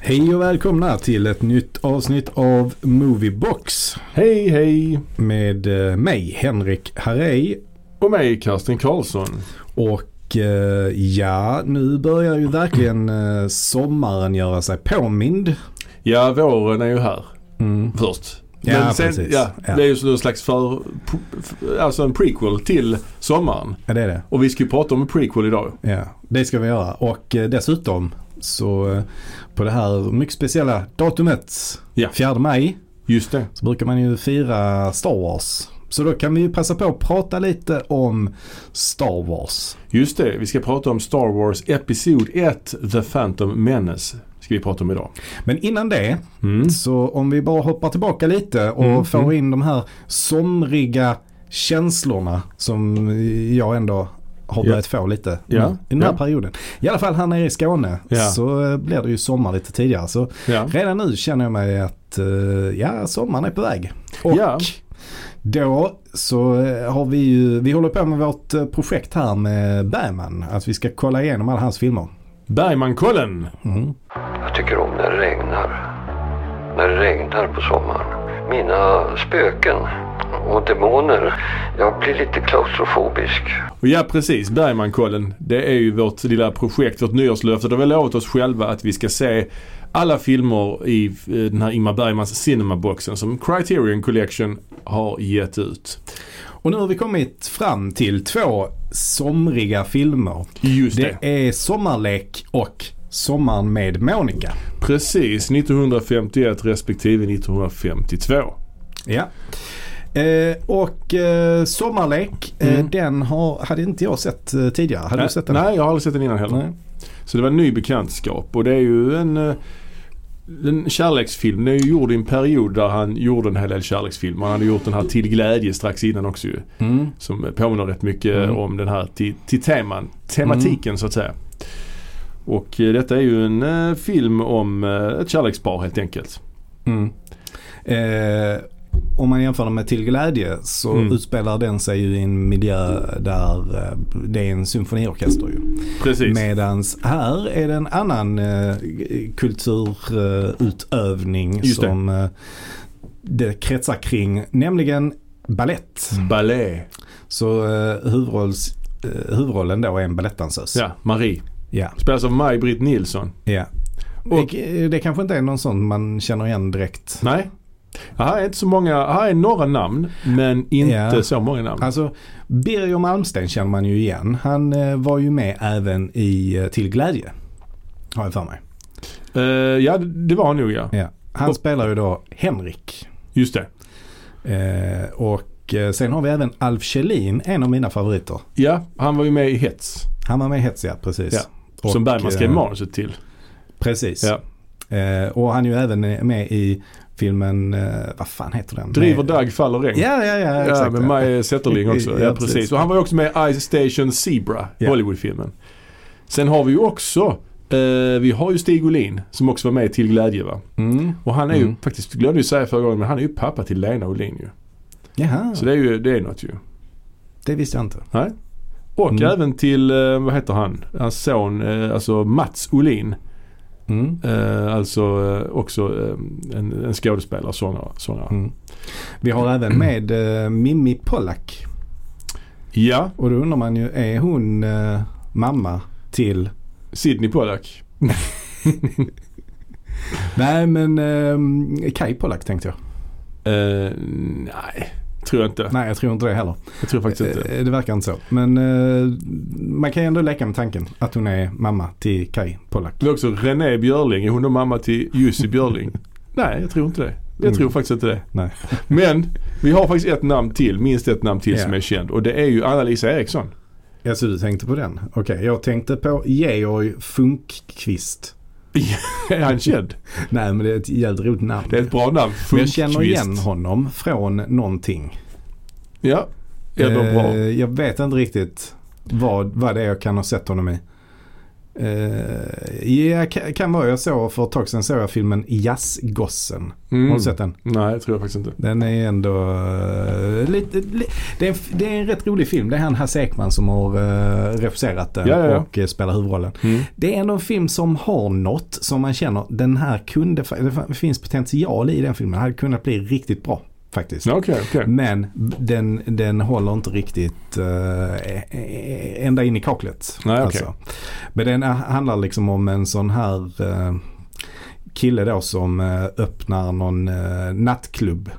Hej och välkomna till ett nytt avsnitt av Moviebox Hej, hej! med eh, mig Henrik Harrej. Och mig, Karsten Karlsson. Och eh, ja, nu börjar ju verkligen eh, sommaren göra sig påmind. Ja, våren är ju här Mm. först. Ja, Men precis. Ja, Ja. Det är ju så någon slags för, p- alltså en prequel till sommaren. Ja, det är det. Och vi ska ju prata om en prequel idag. Ja, det ska vi göra. Och eh, dessutom så eh, på det här mycket speciella datumet, Ja. 4 maj, Just det. så brukar man ju fira Star Wars. Så då kan vi ju passa på att prata lite om Star Wars. Just det, vi ska prata om Star Wars Episod 1, The Phantom Menace. Ska vi prata om idag. Men innan det, Mm. så om vi bara hoppar tillbaka lite och Mm, får mm. in de här somriga känslorna som jag ändå har Ja. börjat få lite Ja. nu, i den här Ja. perioden. I alla fall här nere i Skåne Ja. så eh, blir det ju sommar lite tidigare. Så Ja. Redan nu känner jag mig att eh, ja, sommaren är på väg. Och Ja. då så eh, har vi ju, vi håller på med vårt eh, projekt här med Bergman. Att vi ska kolla igenom alla hans filmer. Bergmankollen! Mm. Jag tycker om när det regnar. När det regnar på sommaren. Mina spöken och demoner. Jag blir lite klaustrofobisk. Och ja precis, Bergmankollen. Det är ju vårt lilla projekt, vårt nyårslöfte. Där vi har lovat oss själva att vi ska se alla filmer i eh, den här Ingmar Bergmans Cinemaboxen som Criterion Collection har gett ut. Och nu har vi kommit fram till två somriga filmer. Just det. Det är Sommarlek och Sommaren med Monica. Precis, 1951 respektive 1952. Ja. Eh, och eh, Sommarlek, eh, Mm. den har, hade inte jag sett eh, tidigare. Hade nej, du sett den? Nej, jag har aldrig sett den innan heller. Nej. Så det var en ny bekantskap och det är ju en, eh, en kärleksfilm. Den är ju gjord i en period där han gjorde en hel del kärleksfilmer. Han hade gjort den här Till glädje strax innan också ju. Mm. Som påminner rätt mycket Mm. om den här till, till teman, tematiken så att säga. Och eh, detta är ju en eh, film om eh, ett kärlekspar helt enkelt. Mm. Eh, om man jämför dem med Till glädje så Mm. utspelar den sig ju i en miljö där eh, det är en symfoniorkester ju. Precis. Medans här är det en annan eh, kulturutövning Just det. som eh, det kretsar kring. Nämligen ballett. Ballet. Så eh, huvudrolls, eh, huvudrollen då är en balettdansös. Ja, Marie. Ja. Spelas av Maj-Britt Nilsson. ja. eh, Och- det, det kanske inte är någon sån man känner igen direkt. Nej. Ja, Här är inte så många, här är några namn men inte Ja. så många namn. Alltså Birger Malmsten känner man ju igen. Han eh, var ju med även i eh, Till glädje. Har jag för mig. Eh, ja, det det var han nog ja. Ja. Han Och- spelar ju då Henrik. Just det. Eh, och eh, sen har vi även Alf Kjellin, en av mina favoriter. Ja, han var ju med i Hets. Han var med i Hets, ja precis. Ja. Och, som Bergman skrev eh, manuset till. Precis. Ja. Eh, och han är ju även eh, med i filmen, eh, vad fan heter den? Driver Med- Dag faller regn. Ja, ja, ja. Ja, Exakt. med Maj Zetterling också. Ja, Ja, precis. precis. Och han var ju också med i Ice Station Zebra, Ja. Hollywoodfilmen. Sen har vi ju också, eh, vi har ju Stig Olin som också var med till glädje va. Mm. Och han är ju Mm. faktiskt, glömde ju säga förra gången, men han är ju pappa till Lena Olin ju. Jaha, Så det är ju, det är något ju. det visste jag inte. Nej. Och Mm. även till, eh, vad heter han, hans son, eh, alltså Mats Olin. Mm. Eh, alltså eh, också eh, en, en skådespelare, sångare. sångare. Mm. Vi har även med eh, Mimmi Pollak. Ja, Och då undrar man ju, är hon eh, mamma till? Sidney Pollack. Nej men eh, Kaj Pollak tänkte jag. Eh, nej, tror jag inte. Nej jag tror inte det heller. Jag tror faktiskt inte. Eh, Det verkar inte så. Men eh, man kan ju ändå leka med tanken att hon är mamma till Kaj Pollak. Det var också René Björling. Är hon då mamma till Jussi Björling? Nej, jag tror inte det. Jag Mm. tror faktiskt inte det. Nej. Men vi har faktiskt ett namn till, minst ett namn till Ja. som är känd och det är ju Anna-Lisa Eriksson. Ja, så du tänkte på den? Okej, jag tänkte på Georg Funkqvist. är han känd? Nej men det är ett jävligt roligt namn. Det är ett bra namn. Men jag känner Funkqvist. igen honom från någonting. Ja, eller Eh, bra. Jag vet inte riktigt vad, vad det är jag kan ha sett honom i. Eh, ja, kan, kan vara. Jag såg för ett tag sedan såg jag filmen Jazzgossen. Mm. Har du sett den? Nej, det tror jag faktiskt inte. Den är ändå eh, lite, li, det, är en, f- det är en rätt rolig film. Det är han Hasse Ekman som har eh, regisserat den Ja, ja, ja. och eh, spelar huvudrollen. Mm. Det är ändå en film som har något som man känner den här kunde, fa- det fa- finns potential i den filmen. Den hade kunnat bli riktigt bra faktiskt. Ja, Okej, okej. Men b- den, den håller inte riktigt eh, eh, ända in i kaklet. alltså. Nej, okej. Men den a- handlar liksom om en sån här eh, kille då som eh, öppnar någon eh, nattklubb.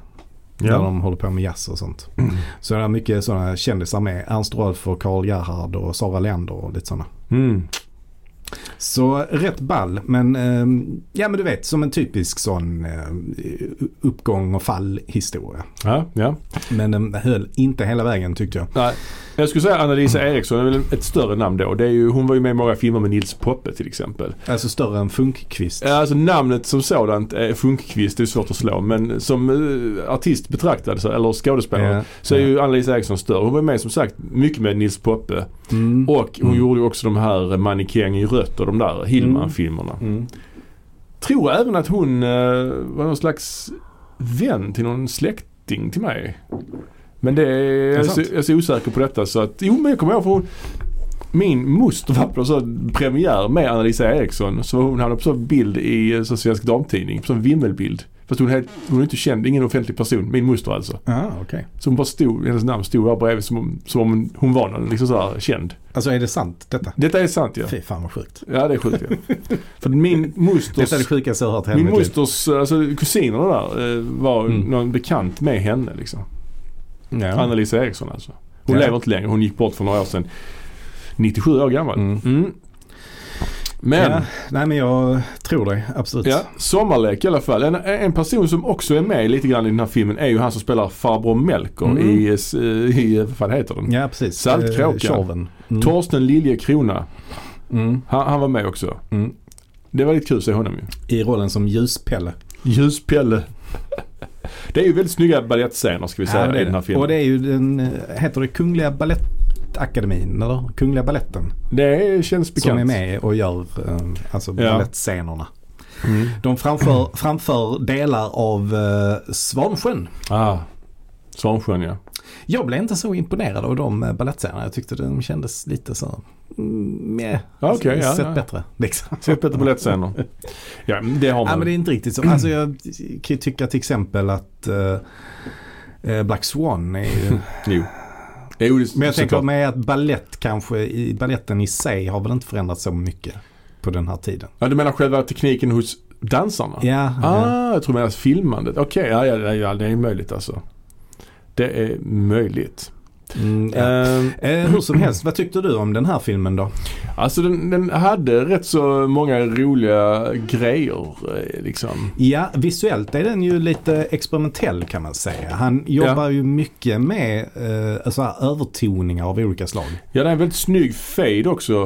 Där Ja. de håller på med jazz och sånt. Mm. Så det är mycket sådana kändisar med. Ernst Rolf och Karl Gerhard och Sara Leander och lite sådana. Mm. Så rätt ball men eh, ja men du vet som en typisk sån eh, uppgång och fall historia. Ja, ja. Men den höll inte hela vägen tyckte jag. Nej. Jag skulle säga Anna-Lisa Eriksson är väl ett större namn då. Det är ju, hon var ju med i många filmer med Nils Poppe till exempel. Alltså större än Funkqvist. Ja, Alltså namnet som sådant, eh, Funkqvist, det är svårt att slå. Men som eh, artist betraktad, så- eller skådespelare, Ja, så är ja. ju Anna-Lisa Eriksson större. Hon var med som sagt mycket med Nils Poppe. Mm. Och hon Mm. gjorde ju också de här Mannekäng i rött och de där Hillman-filmerna. Mm. Tror även att hon eh, var någon slags vän till någon släkting till mig. Men det är, jag, är så, sant? jag är så osäker på detta så att, jo men jag kommer ihåg för hon, min moster var på så här premiär med Anna-Lisa Eriksson. Så hon hade på så här bild i eh, så Svensk Damtidning, på sån vimmelbild. Fast hon, helt, hon är inte känd, ingen offentlig person, min moster alltså. Ah, okej. Så hon bara stod, hennes namn stod där bredvid som, om- som om hon var någon liksom så här känd. Alltså är det sant detta? Detta är sant ja. Fy fan vad sjukt. Ja det är sjukt ja. För min mosters Detta är det sjukaste jag har hört i hela min mitt liv. mosters alltså, kusinerna där eh, var Mm. någon bekant med henne. Liksom. Ja. Anna-Lisa Eriksson alltså. Hon Ja. lever inte längre. Hon gick bort för några år sedan. 97 år gammal. Mm. Mm. Men, Ja, ja. nej men jag tror dig, absolut. sommarlek i alla fall. En, en person som också är med lite grann i den här filmen är ju han som spelar farbror Melker Mm. i, eh, i, vad fan heter den? Ja, precis. Saltkråkan. Eh, Tjorven. Mm. Torsten Liljekrona. Mm. Han, han var med också. Mm. Det var lite kul att se honom ju. I rollen som ljuspelle. Ljuspelle. Det är ju väldigt snygga balettscener ska vi säga i den här filmen. Och det är ju den, eh, heter det Kungliga Balettakademin eller Kungliga Balletten Det känns bekant. Som är med och gör eh, alltså Ja. balettscenerna. Mm. De framför, framför delar av eh, Svansjön. Ah. Svansjön ja. Jag blev inte så imponerad av de eh, balettscenerna. Jag tyckte de kändes lite så... Mm, meh. Ja, okej, ja, Sett ja. bättre liksom. Sätt Petter på lättscener. Ja, men det har Ja, man. men det är inte riktigt så. Alltså, jag kan ju tycka till exempel att eh, eh, Black Swan är ju... Jo. Jo, det, Men jag tänker såklart. med att ballett kanske, i, balletten i sig har väl inte förändrats så mycket på den här tiden. Ja, du menar själva tekniken hos dansarna? Ja, ja. Ah, jag tror menas filmandet. Okej, ja, ja, ja, ja, det är möjligt alltså. Det är möjligt. Mm, ja. Ehm, Eh, hur som helst, vad tyckte du om den här filmen då? alltså den, den hade rätt så många roliga grejer eh, liksom. Ja, visuellt är den ju lite experimentell kan man säga. Han jobbar ju mycket med eh, så här övertoningar av olika slag. Ja, det är en väldigt snygg fade också.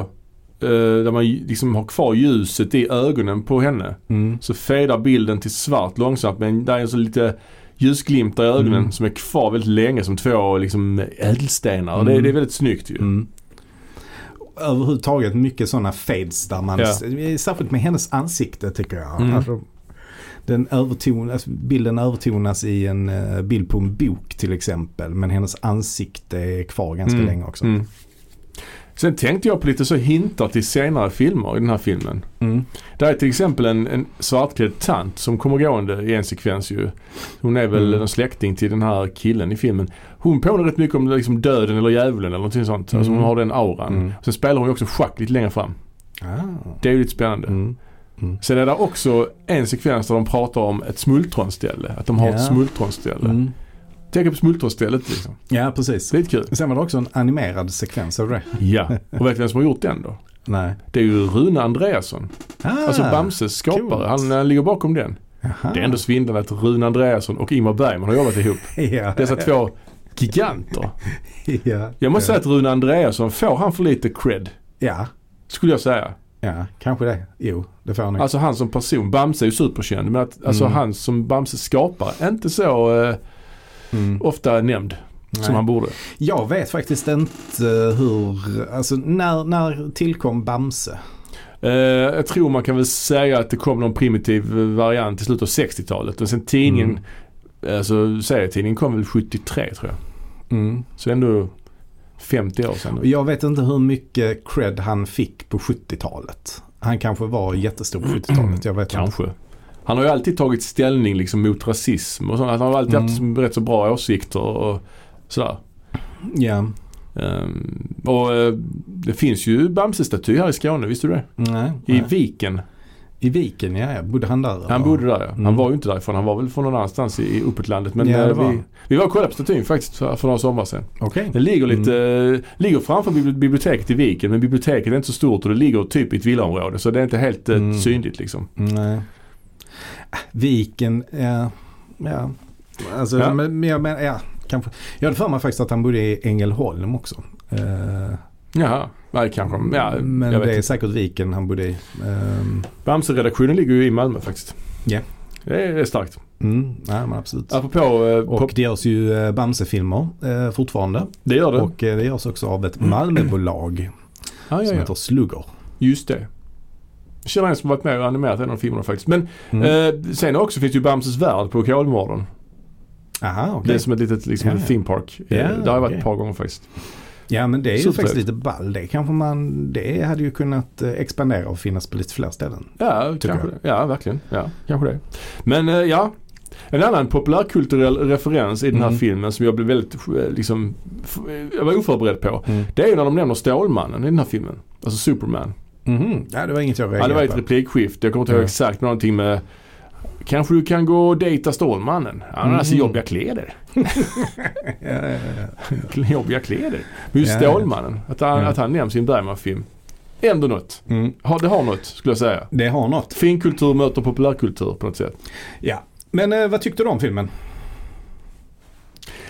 eh, där man ju- liksom har kvar ljuset i ögonen på henne. Mm. Så fadar bilden till svart långsamt men där är så lite ljusglimtar i ögonen Mm. som är kvar väldigt länge som två liksom ädelstenar. Det, Mm. det är väldigt snyggt ju. Mm. Överhuvudtaget mycket sådana fades där man, Ja. särskilt med hennes ansikte tycker jag. Mm. Alltså, den övertonas, bilden övertonas i en eh, bild på en bok till exempel. Men hennes ansikte är kvar ganska Mm. länge också. Mm. Sen tänkte jag på lite så hintar till senare filmer i den här filmen. Mm. Där är till exempel en, en svartklädd tant som kommer gående i en sekvens ju. Hon är väl Mm. en släkting till den här killen i filmen. Hon påminner rätt mycket om liksom döden eller djävulen eller någonting sånt. Alltså Mm. hon har den auran. Mm. Sen spelar hon ju också schack lite längre fram. Ah. Det är ju lite spännande. Mm. Sen är det också en sekvens där de pratar om ett smultronställe. Att de har ett Ja. smultronställe. Mm. Tänk på smultronstället liksom. Ja, precis. Det är lite kul. Sen var det också en animerad sekvens, av det? Ja. Och vet du vem som har gjort den då? Nej. Det är ju Rune Andreasson. Ah, Alltså Bamses skapare. coolt. Ah. Han, eh, ligger bakom den. Jaha. Det är ändå svindlande att Rune Andreasson och Ingmar Bergman har jobbat ihop. Ja. Dessa två giganter. ja. Jag måste säga att Rune Andreasson, får han för lite cred? Ja. Skulle jag säga. ja, kanske det. Jo, det får jag nog. Alltså han som person. Bamse är ju superkänd. Men att, alltså Mm. han som Bamses skapare. Inte så eh, Mm. ofta nämnd. Nej. Som han borde. Jag vet faktiskt inte hur, alltså när, när tillkom Bamse? Eh, jag tror man kan väl säga att det kom någon primitiv eh, variant i slutet av 60-talet. Och sen tidningen, alltså serietidningen kom väl 73 tror jag. Mm. Så ändå 50 år sedan. Och nu. Jag vet inte hur mycket cred han fick på 70-talet. Han kanske var jättestor på 70-talet. Jag vet inte. Kanske. Han har ju alltid tagit ställning liksom mot rasism och sånt. Han har alltid haft Mm. rätt så bra åsikter och sådär. Ja. Ehm, och eh, det finns ju Bamse-staty här i Skåne, visste du det? Nej. I I, Viken. I viken, ja. ja. Bodde han där? Han eller? bodde där ja. Han Mm. var ju inte därifrån. Han var väl från någon annanstans i, i uppåtlandet. Men Ja, det eh, var vi, han. vi var och kollade på statyn faktiskt för, för några somrar sedan. Okej. Den ligger lite, eh, ligger framför bibli- biblioteket i Viken. Men biblioteket är inte så stort och det ligger typ i ett villaområde. Så det är inte helt eh, Mm. synligt liksom. Nej. Viken, ja. ja. Alltså, Ja. Men, men jag menar, ja. Kanske. Jag hade för mig faktiskt att han bodde i Ängelholm också. Eh, Jaha, nej kanske. Ja, men jag vet det är inte. säkert viken han bodde i. Ehm, Bamse-redaktionen ligger ju i Malmö faktiskt. Ja. Det är, det är starkt. mm, nej, men absolut. Apropå, eh, Och pop, det görs ju eh, Bamse-filmer eh, fortfarande. det gör det. Och eh, det görs också av ett Malmöbolag Mm. ja, ja, som ja. heter Slugger. Just det. Jag känner en som varit med och animerat en av filmerna faktiskt. Men Mm. eh, sen också finns det ju Bamses värld på Kolmården. Aha, Det är okej. som ett litet liksom, Ja, ja. theme park. Eh, Ja, där har jag varit okej. ett par gånger faktiskt. Ja men det är ju Så faktiskt trevligt. lite ball. Det kanske man, det hade ju kunnat eh, expandera och finnas på lite fler ställen. Ja, Tycker kanske det. Ja, verkligen. Ja, kanske det. Men eh, ja. En annan populärkulturell referens i den här Mm. filmen som jag blev väldigt, eh, liksom, f- eh, jag var oförberedd på. Det är ju när de nämner Stålmannen i den här filmen. Alltså Superman. Mhm. Ja, det var inget jag Ja, det var reagerade ett replikskifte. Jag kommer inte ihåg Ja. exakt, men någonting med Kanske du kan gå och dejta Stålmannen? Han har så Mhm. jobbiga kläder. Ja, ja, ja. jobbiga kläder. Men just Ja, ja. Stålmannen, att han, Ja. att han nämns i en Bergman-film. Ändå något. Mm. Har, det har något, skulle jag säga. Det har något. Finkultur möter populärkultur på något sätt. Ja. Men eh, vad tyckte du om filmen?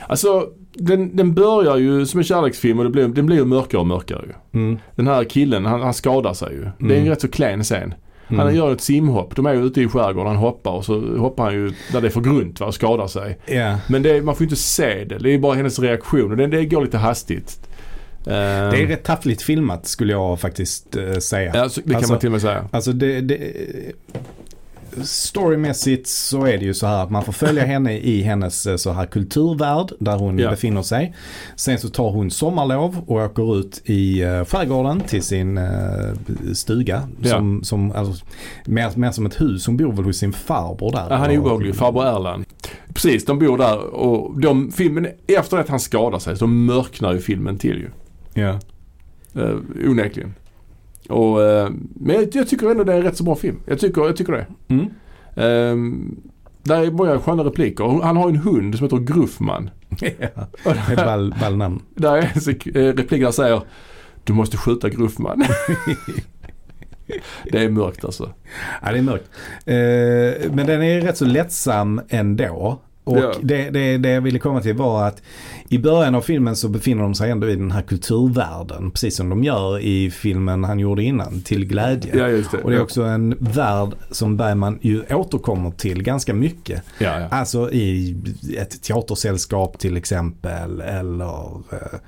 Alltså, den, den börjar ju som en kärleksfilm och det blir, den blir ju mörkare och mörkare ju. Mm. Den här killen, han, han skadar sig ju. Det är en Mm. rätt så klen scen. Mm. Han gör ett simhopp. De är ju ute i skärgården, han hoppar och så hoppar han ju där det är för grunt va, och skadar sig. Ja. Men det, är- man får ju inte se det. Det är ju bara hennes reaktion och det, det går lite hastigt. Det Det är rätt taffligt filmat skulle jag faktiskt eh, säga. Alltså, det kan Alltså- man till och med säga. Alltså det, det, storymässigt så är det ju så här att man får följa henne i hennes eh, så här kulturvärld där hon Ja. befinner sig. Sen så tar hon sommarlov och åker ut i eh, skärgården till sin eh, stuga. Ja. Som, som, alltså, mer, mer som ett hus. Hon bor väl hos sin farbror där. Ja, han är eller? obehaglig. Farbror Erland. Precis, de bor där och de, filmen, efter att han skadar sig, så mörknar ju filmen till ju. Ja. Eh, onekligen. Och, eh, men jag, jag tycker ändå det är en rätt så bra film. Jag tycker, jag tycker det. Mm. Eh, där är många sköna repliker. Hon- Han har en hund som heter Gruffman. ja. Och Det är där, ball, ball namn. där är en sek- eh, replik där han säger Du måste skjuta Gruffman. det är mörkt alltså. Ja, det är mörkt. Eh, men den är rätt så lättsam ändå. Och Ja. det, det, det jag ville komma till var att i början av filmen så befinner de sig ändå i den här kulturvärlden. Precis som de gör i filmen han gjorde innan, Till glädje. Ja, just det. Och det är också en värld som Bergman ju återkommer till ganska mycket. Ja, ja. Alltså i ett teatersällskap till exempel eller eh,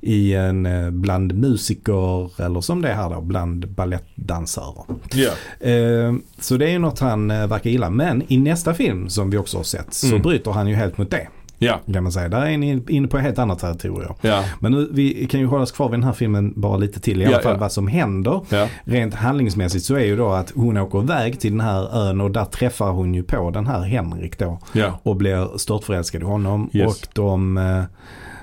i en eh, bland musiker eller som det är här då bland ballettdansörer. ja. Eh, Så det är ju något han eh, verkar gilla. Men i nästa film som vi också har sett så Mm. bryter han ju helt mot det. ja. Kan man säga. Där är ni inne på helt andra territorier. ja. Men nu, vi kan ju hålla oss kvar vid den här filmen bara lite till i alla Ja, fall ja. vad som händer. Ja. Rent handlingsmässigt så är ju då att hon åker iväg till den här ön och där träffar hon ju på den här Henrik då. Ja. Och blir störtförälskad i honom. Yes. Och de eh,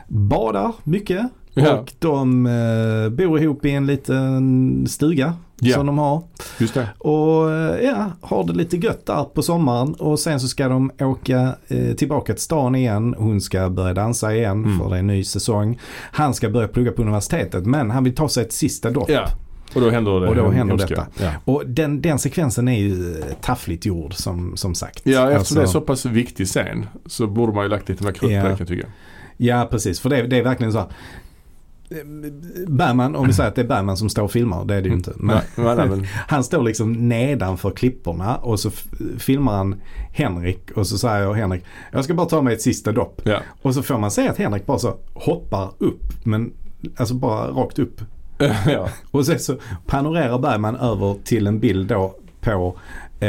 badar mycket. Ja. Och de eh, bor ihop i en liten stuga Ja. som de har. Just det. Och eh, ja, har det lite gött där på sommaren och sen så ska de åka eh, tillbaka till stan igen. Hon ska börja dansa igen Mm. för det är en ny säsong. Han ska börja plugga på universitetet men han vill ta sig ett sista dopp. Ja. Och då händer det. Och då händer hemska. detta. Ja. Och den, den sekvensen är ju eh, taffligt gjord som, som sagt. Ja, eftersom Alltså- det är så pass viktig scen så borde man ju lagt lite mer krut på Ja. det kan jag tycka. Ja, precis. För det, det är verkligen så här. eh, Bergman, om vi säger att det är Bergman som står och filmar, det är det ju inte. Men, Nej, nej, nej, men, Han står liksom nedanför klipporna och så f- filmar han Henrik och så säger Henrik jag ska bara ta mig ett sista dopp. ja. Och så får man se att Henrik bara så hoppar upp men alltså bara rakt upp. ja. Och sen så panorerar Bergman över till en bild då på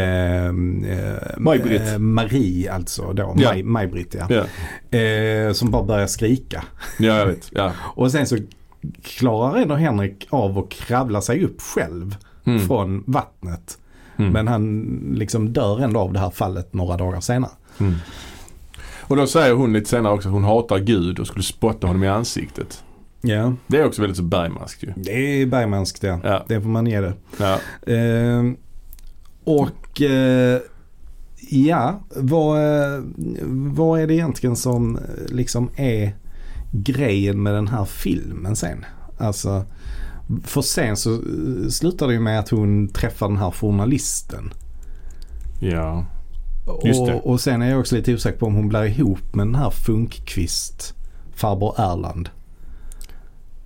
ehm, eh, Maj-Britt. eh, Marie alltså då. Ja. Maj, Maj-Britt ja. Ja. Eh, som bara börjar skrika. ja, jag vet. Ja. Och sen så klarar ändå Henrik av att kravla sig upp själv Mm. från vattnet. Mm. Men han liksom dör ändå av det här fallet några dagar senare. Mm. Och då säger hon lite senare också att hon hatar Gud och skulle spotta honom i ansiktet. Ja, Det är också väldigt så bergmanskt ju. det är Bergmanskt det. Ja. Det får man ge det. Ja. Ehm, och eh, ja, vad, eh, vad är det egentligen som eh, liksom är grejen med den här filmen sen? Alltså, för sen så eh, slutar det ju med att hon träffar den här journalisten. ja. Just det. Och, och sen är jag också lite osäker på om hon blir ihop med den här Funkqvist, farbror Erland.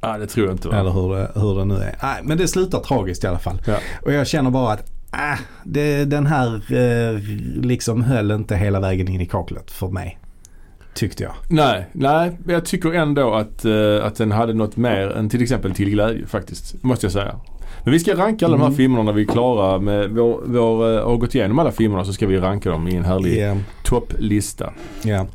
Ah, det tror jag inte va? Eller hur det, hur det nu är. Nej, men det slutar tragiskt i alla fall. Ja. Och jag känner bara att ah, det, den här eh, liksom höll inte hela vägen in i kaklet för mig. Tyckte jag. Nej, nej. Men jag tycker ändå att, eh, att den hade något mer än till exempel Till glädje faktiskt. Måste jag säga. Men vi ska ranka alla de Mm. här filmerna när vi är klara med vår, vår, eh, har gått igenom alla filmerna så ska vi ranka dem i en härlig Ja, topplista. ja.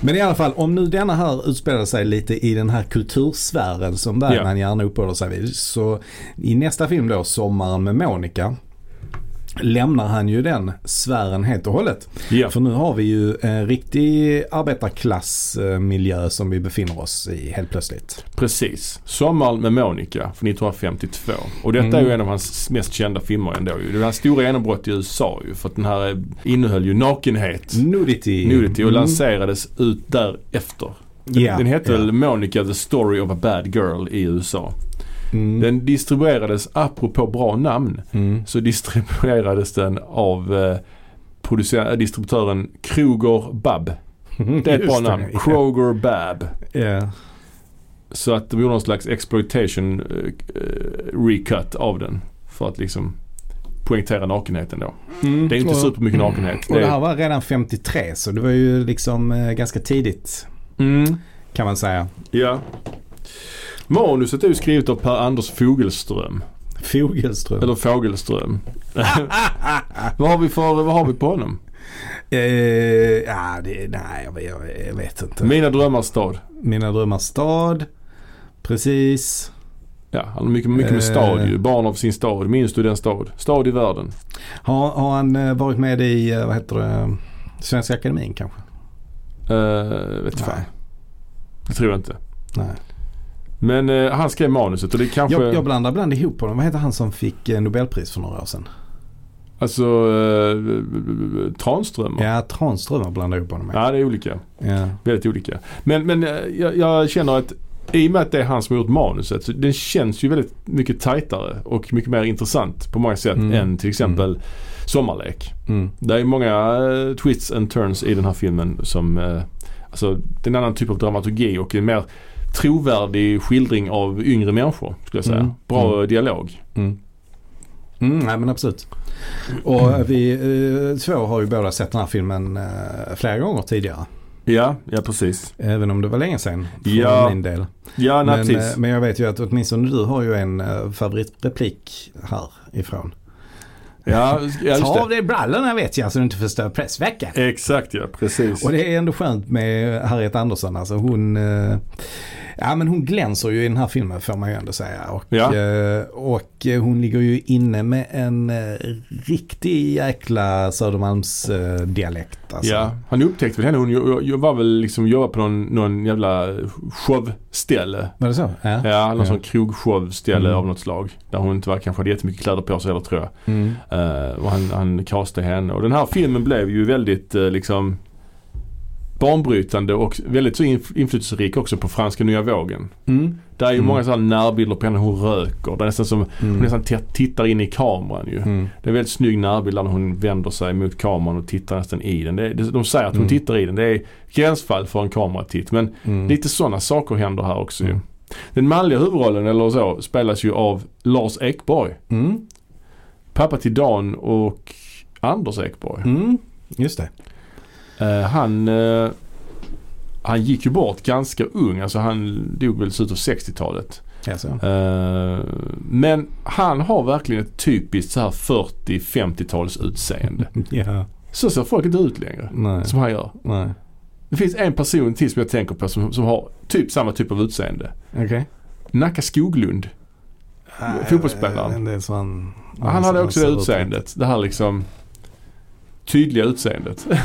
Men i alla fall, om nu denna här utspelar sig lite i den här kultursfären som Bergman gärna uppehåller sig vid. Så i nästa film då, Sommaren med Monica, lämnar han ju den sfären helt och hållet. Ja. För nu har vi ju en riktig arbetarklassmiljö som vi befinner oss i helt plötsligt. Precis. Sommaren med Monica från 1952. Och detta är ju Mm. en av hans mest kända filmer ändå. ju. Det var hans stora genombrott i USA ju. För att den här eh, innehöll ju nakenhet, Nudity. nudity och Mm. lanserades ut därefter. Ja, Den hette ja. väl Monica The Story of a Bad Girl i USA. Mm. Den distribuerades, apropå bra namn, Mm. så distribuerades den av eh, producer- äh, distributören Kroger Bab. Det är ett bra Mm. Just namn. ja. Kroger Bab. Ja. Så att det blir någon slags exploitation eh, eh, recut av den. För att liksom poängtera nakenheten då. Mm. Det är inte Och- supermycket nakenhet. Mm. Och Det det här är, var redan 53 så det var ju liksom eh, ganska tidigt mm, kan man säga. ja. Manuset är ju skrivet av Per Anders Fogelström. Fogelström. Eller Fogelström. vad, har vi för, vad har vi på honom? Eh, ja, det, nej, jag, jag, jag vet inte. Mina drömmars stad. Mina drömmars stad. Precis. Ja, han har mycket, mycket med Eh. stad ju. Barn av sin stad. Minns du den stad? Stad i världen. Har, har han eh, varit med i, eh, vad heter det, Svenska Akademin kanske? Uh, vet fan. Det tror jag inte. Nej. Men eh, han skrev manuset och det kanske... Jag, jag blandar ibland ihop honom. Vad heter han som fick eh, Nobelpris för några år sedan? Alltså eh, Tranström? Ja. Ja, Tranströmer blandar jag ihop honom med. ja, det är olika. Ja. Väldigt olika. Men, men eh, jag, jag känner att i och med att det är han som har gjort manuset så den känns ju väldigt mycket tajtare och mycket mer intressant på många sätt Mm. än till exempel Sommarlek. Mm. Det är många eh, twists and turns i den här filmen som eh, alltså det är en annan typ av dramaturgi och en mer trovärdig skildring av yngre människor skulle jag säga. Mm. Bra dialog. Mm. Mm, nej men absolut. Och vi eh, två har ju båda sett den här filmen eh, flera gånger tidigare. Ja, ja precis. Även om det var länge sedan för Ja, min del. Ja, nej, Men, precis. eh, men jag vet ju att åtminstone du har ju en eh, favoritreplik härifrån. ja, ja, just Ta det. av dig brallorna vet jag så du inte förstör pressveckan. Exakt ja, precis. Och det är ändå skönt med Harriet Andersson. Alltså hon, eh, ja, men hon glänser ju i den här filmen får man ju ändå säga. Och, Ja. eh, och eh, hon ligger ju inne med en eh, riktig jäkla Södermalmsdialekt. Eh, dialekt, alltså. Ja, han upptäckte väl henne. Hon jo- jo- var väl liksom jobba på någon, någon jävla showställe. Var det så? Ja. Ja, någon Ja. sån krogshowställe Mm. av något slag. Där hon inte var, kanske hade jättemycket kläder på sig eller tror jag. Mm. Eh, och han, han kastade henne. Och den här filmen blev ju väldigt eh, liksom banbrytande och väldigt så inf- inflytelserik också på franska nya vågen. Mm. Där är ju Mm. många sådana närbilder på henne. Hon röker. Det är nästan som hon Mm. nästan t- tittar in i kameran ju. Mm. Det är en väldigt snygg närbild där hon vänder sig mot kameran och tittar nästan i den. Det är, de säger att hon Mm. tittar i den. Det är gränsfall för en kameratitt. Men Mm. lite sådana saker händer här också ju. Mm. Den manliga huvudrollen eller så spelas ju av Lars Ekborg. Mm. Pappa till Dan och Anders Ekborg. Mm. Just det. Eh, han, eh, han gick ju bort ganska ung. Alltså han dog väl i slutet av 60-talet. Jaså? Eh, men han har verkligen ett typiskt så här 40-50-tals utseende. Ja. Så ser folk inte ut längre. Nej. Som han gör. Nej. Det finns en person till som jag tänker på som, som har typ samma typ av utseende. Okej. Nacka Skoglund. Nej, Fotbollsspelaren. en del som han, han hade som också ser det ut. utseendet. Det här liksom tydliga utseendet.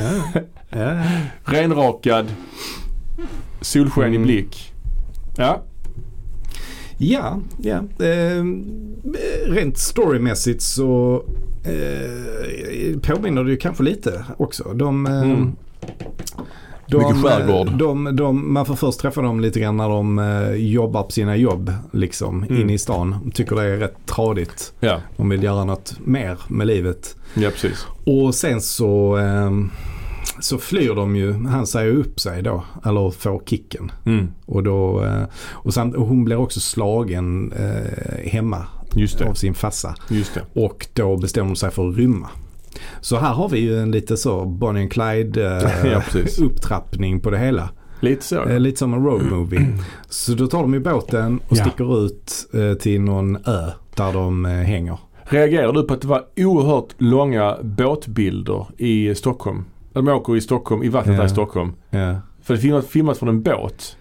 Ja. Renrakad, solsken Mm. i blick. Ja, Ja, ja. Eh, rent storymässigt så eh, påminner det ju kanske lite också. De, eh, Mm. Mycket skärgård. De, de, man får först träffa dem lite grann när de eh, jobbar på sina jobb liksom Mm. inne i stan. Tycker det är rätt tradigt. ja, De vill göra något mer med livet. ja precis. Och sen så, ehm, så flyr de ju. Han säger upp sig då. Eller får kicken. Mm. Och, då, eh, och, samt, och hon blir också slagen eh, hemma Just det, av sin fassa. just det. Och då bestämmer de sig för att rymma. Så här har vi ju en lite så Bonnie and Clyde eh, Ja, precis. upptrappning på det hela. Lite så. Eh, lite som en road movie. Så då tar de ju båten och Ja. sticker ut eh, till någon ö där de eh, hänger. Reagerar du på att det var oerhört långa båtbilder i Stockholm? De åker i Stockholm, i vattnet Ja. där i Stockholm. Ja. För det filmas, filmas från en båt.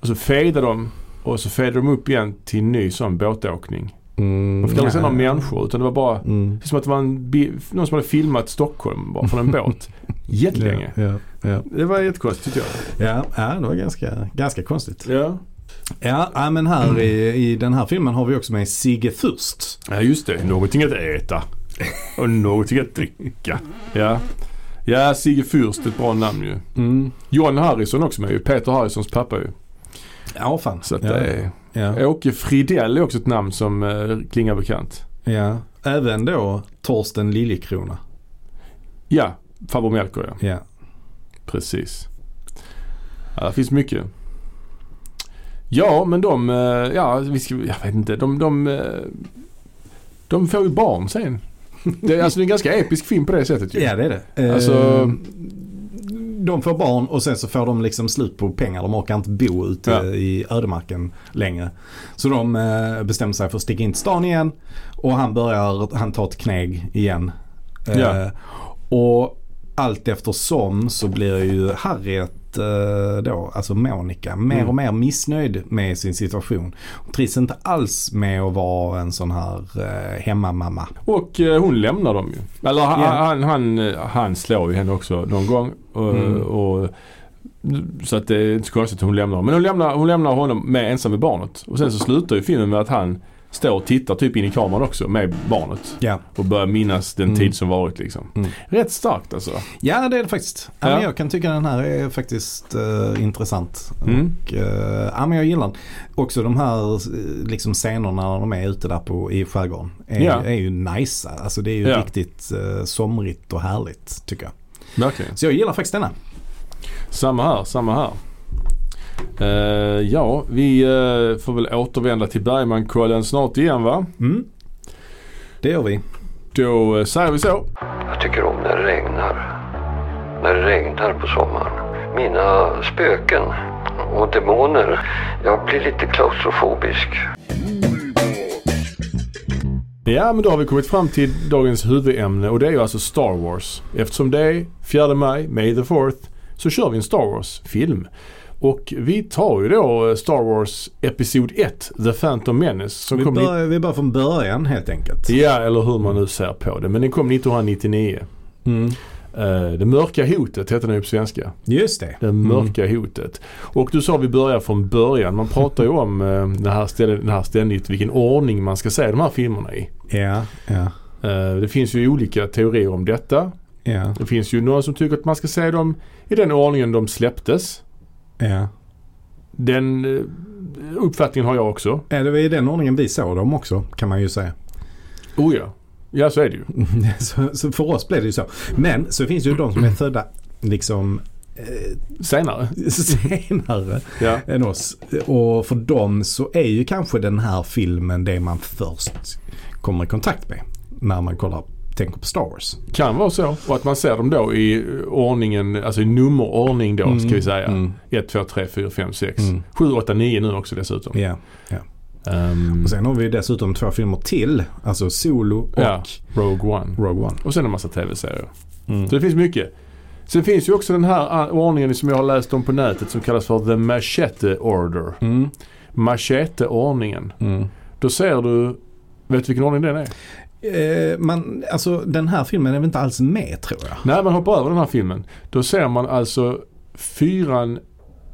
Och så fejdar de och så fejdar de upp igen till en ny sån båtåkning. Mm, De fick aldrig se ja. några människor utan det var bara Mm. det är som att det var en, bi- någon som hade filmat Stockholm bara från en båt. Jättelänge. Ja, ja. Det var jättekonstigt tyckte jag. Ja, ja, det var ganska, ganska konstigt. Ja, Ja, ja, men här i, i den här filmen har vi också med Sigge Fürst. ja just det. Någonting att äta. Och någonting att dricka. Ja, ja Sigge Fürst ett bra namn ju. John Harrison också med ju. Peter Harrisons pappa ju. Ja, fan. Så att ja. det ja. är... Åke Fridell är också ett namn som eh, klingar bekant. ja. Även då Torsten Liljekrona. Ja, farbror Melker ja. Ja. Precis. Ja, det finns mycket. Ja, men de, eh, ja, vi ska, jag vet inte, de, de, eh, de får ju barn sen. Det, är- alltså det är en ganska episk film på det sättet ju. ja, det är det. Alltså- Eh, De får barn och sen så får de liksom slut på pengar. De orkar inte bo ute Ja. i ödemarken längre. Så de eh, bestämmer sig för att sticka in till stan igen. Och han börjar, han tar ett knägg igen. Eh, Ja. Och allt eftersom så blir ju Harriet eh, då, alltså Monica, Mm. mer och mer missnöjd med sin situation. Hon trivs inte alls med att vara en sån här eh, hemmamamma. Och eh, hon lämnar dem ju. Eller han, Ja. han, han, eh, han slår ju henne också någon gång. Och, Mm. och, så att det är inte så konstigt att hon lämnar honom. Men hon lämnar, hon lämnar honom med ensam med barnet. Och sen så slutar ju filmen med att han står och tittar typ in i kameran också med barnet. Ja. Och börja minnas den Mm. tid som varit liksom. Mm. Rätt starkt alltså. Ja det är det faktiskt. Ja. Ja. men jag kan tycka den här är faktiskt eh, intressant. Mm. Och, eh, ja, men jag gillar den. Också de här eh, liksom, scenerna när de är ute där på, i skärgården. Är, Ja. är ju nice. Alltså det är ju Ja. riktigt eh, somrigt och härligt tycker jag. Verkligen. Så jag gillar faktiskt denna. Samma här, samma här. Eh, ja, vi eh, får väl återvända till Bergmankollen snart igen va? Mm. Det gör vi. Då eh, säger vi så. Jag tycker om när det regnar. När det regnar på sommaren. Mina spöken och demoner. Jag blir lite klaustrofobisk. Ja, men då har vi kommit fram till dagens huvudämne och det är ju alltså Star Wars. Eftersom det är 4 maj, May the 4th, så kör vi en Star Wars-film. Och vi tar ju då eh, Star Wars Episod 1, The Phantom Menace. Som Vi kom ni- börjar, vi börjar från början helt enkelt. Ja, eller hur man nu ser på det. Men den kom 1999. Mm. Eh, det mörka hotet heter den ju på svenska. Just det. Det mörka hotet. Och du sa vi börjar från början. Man pratar ju om eh, det, här stället, det här ständigt vilken ordning man ska se de här filmerna i. Ja, ja, Eh, det finns ju olika teorier om detta. ja, Det finns ju några som tycker att man ska se dem i den ordningen de släpptes. ja. Den eh, uppfattningen har jag också. Ja, Det var i den ordningen vi såg dem också kan man ju säga. Oh ja. Ja, så är det ju. så, så för oss blev det ju så. Men så finns det ju de som är födda liksom Senare. senare Ja. än oss. Och för dem så är ju kanske den här filmen det man först kommer i kontakt med. När man kollar, tänker på Star Wars. Kan vara så. Och att man ser dem då i eh, ordningen, alltså i nummerordning Mm, då ska vi säga. 1, 2, 3, 4, 5, 6. 7, 8, 9 nu också dessutom. Ja, ja. Ehm, Och sen har vi dessutom två filmer till. Alltså Solo och ja, Rogue One. Rogue One. Och sen en massa tv-serier. Mm. Så det finns mycket. Sen finns ju också den här uh, ordningen som jag har läst om på nätet som kallas för The Machete Order. Mm. Machete-ordningen. Mm. Då ser du, vet du vilken ordning den är? Eh, man, alltså den här filmen är väl inte alls med tror jag. När man hoppar över den här filmen, då ser man alltså fyran,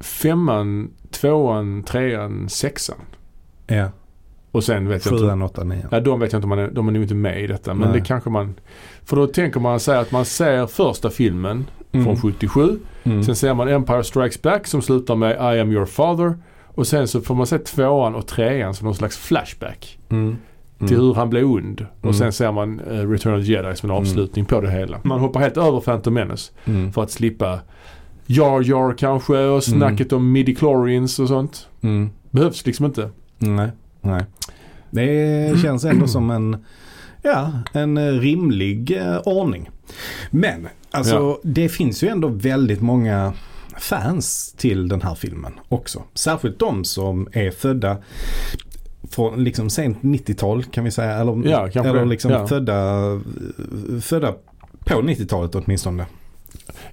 femman, tvåan, trean, sexan. Ja. Och sen vet jag inte. Sjuan, åttan, nian. Nej, de vet jag inte om man är, de är nog inte med i detta. Men Nej. det kanske man... För då tänker man sig att man ser första filmen Mm. från 77. Mm. Sen ser man Empire Strikes Back som slutar med I am your father. Och sen så får man se tvåan och trean som någon slags flashback Mm. till hur han blev ond. Mm. Och sen ser man eh, Return of the Jedi som en avslutning på det hela. Man hoppar helt över Phantom Menace Mm. för att slippa Jar Jar kanske och snacket om midi-chlorians och sånt. Mm. Behövs liksom inte. Nej. Nej. Det känns ändå som en, ja, en eh, rimlig eh, ordning. Men alltså Ja. det finns ju ändå väldigt många fans till den här filmen också. Särskilt de som är födda från liksom sent 90-tal kan vi säga. Eller, Ja, kanske eller det. liksom Ja. födda, födda på 90-talet åtminstone.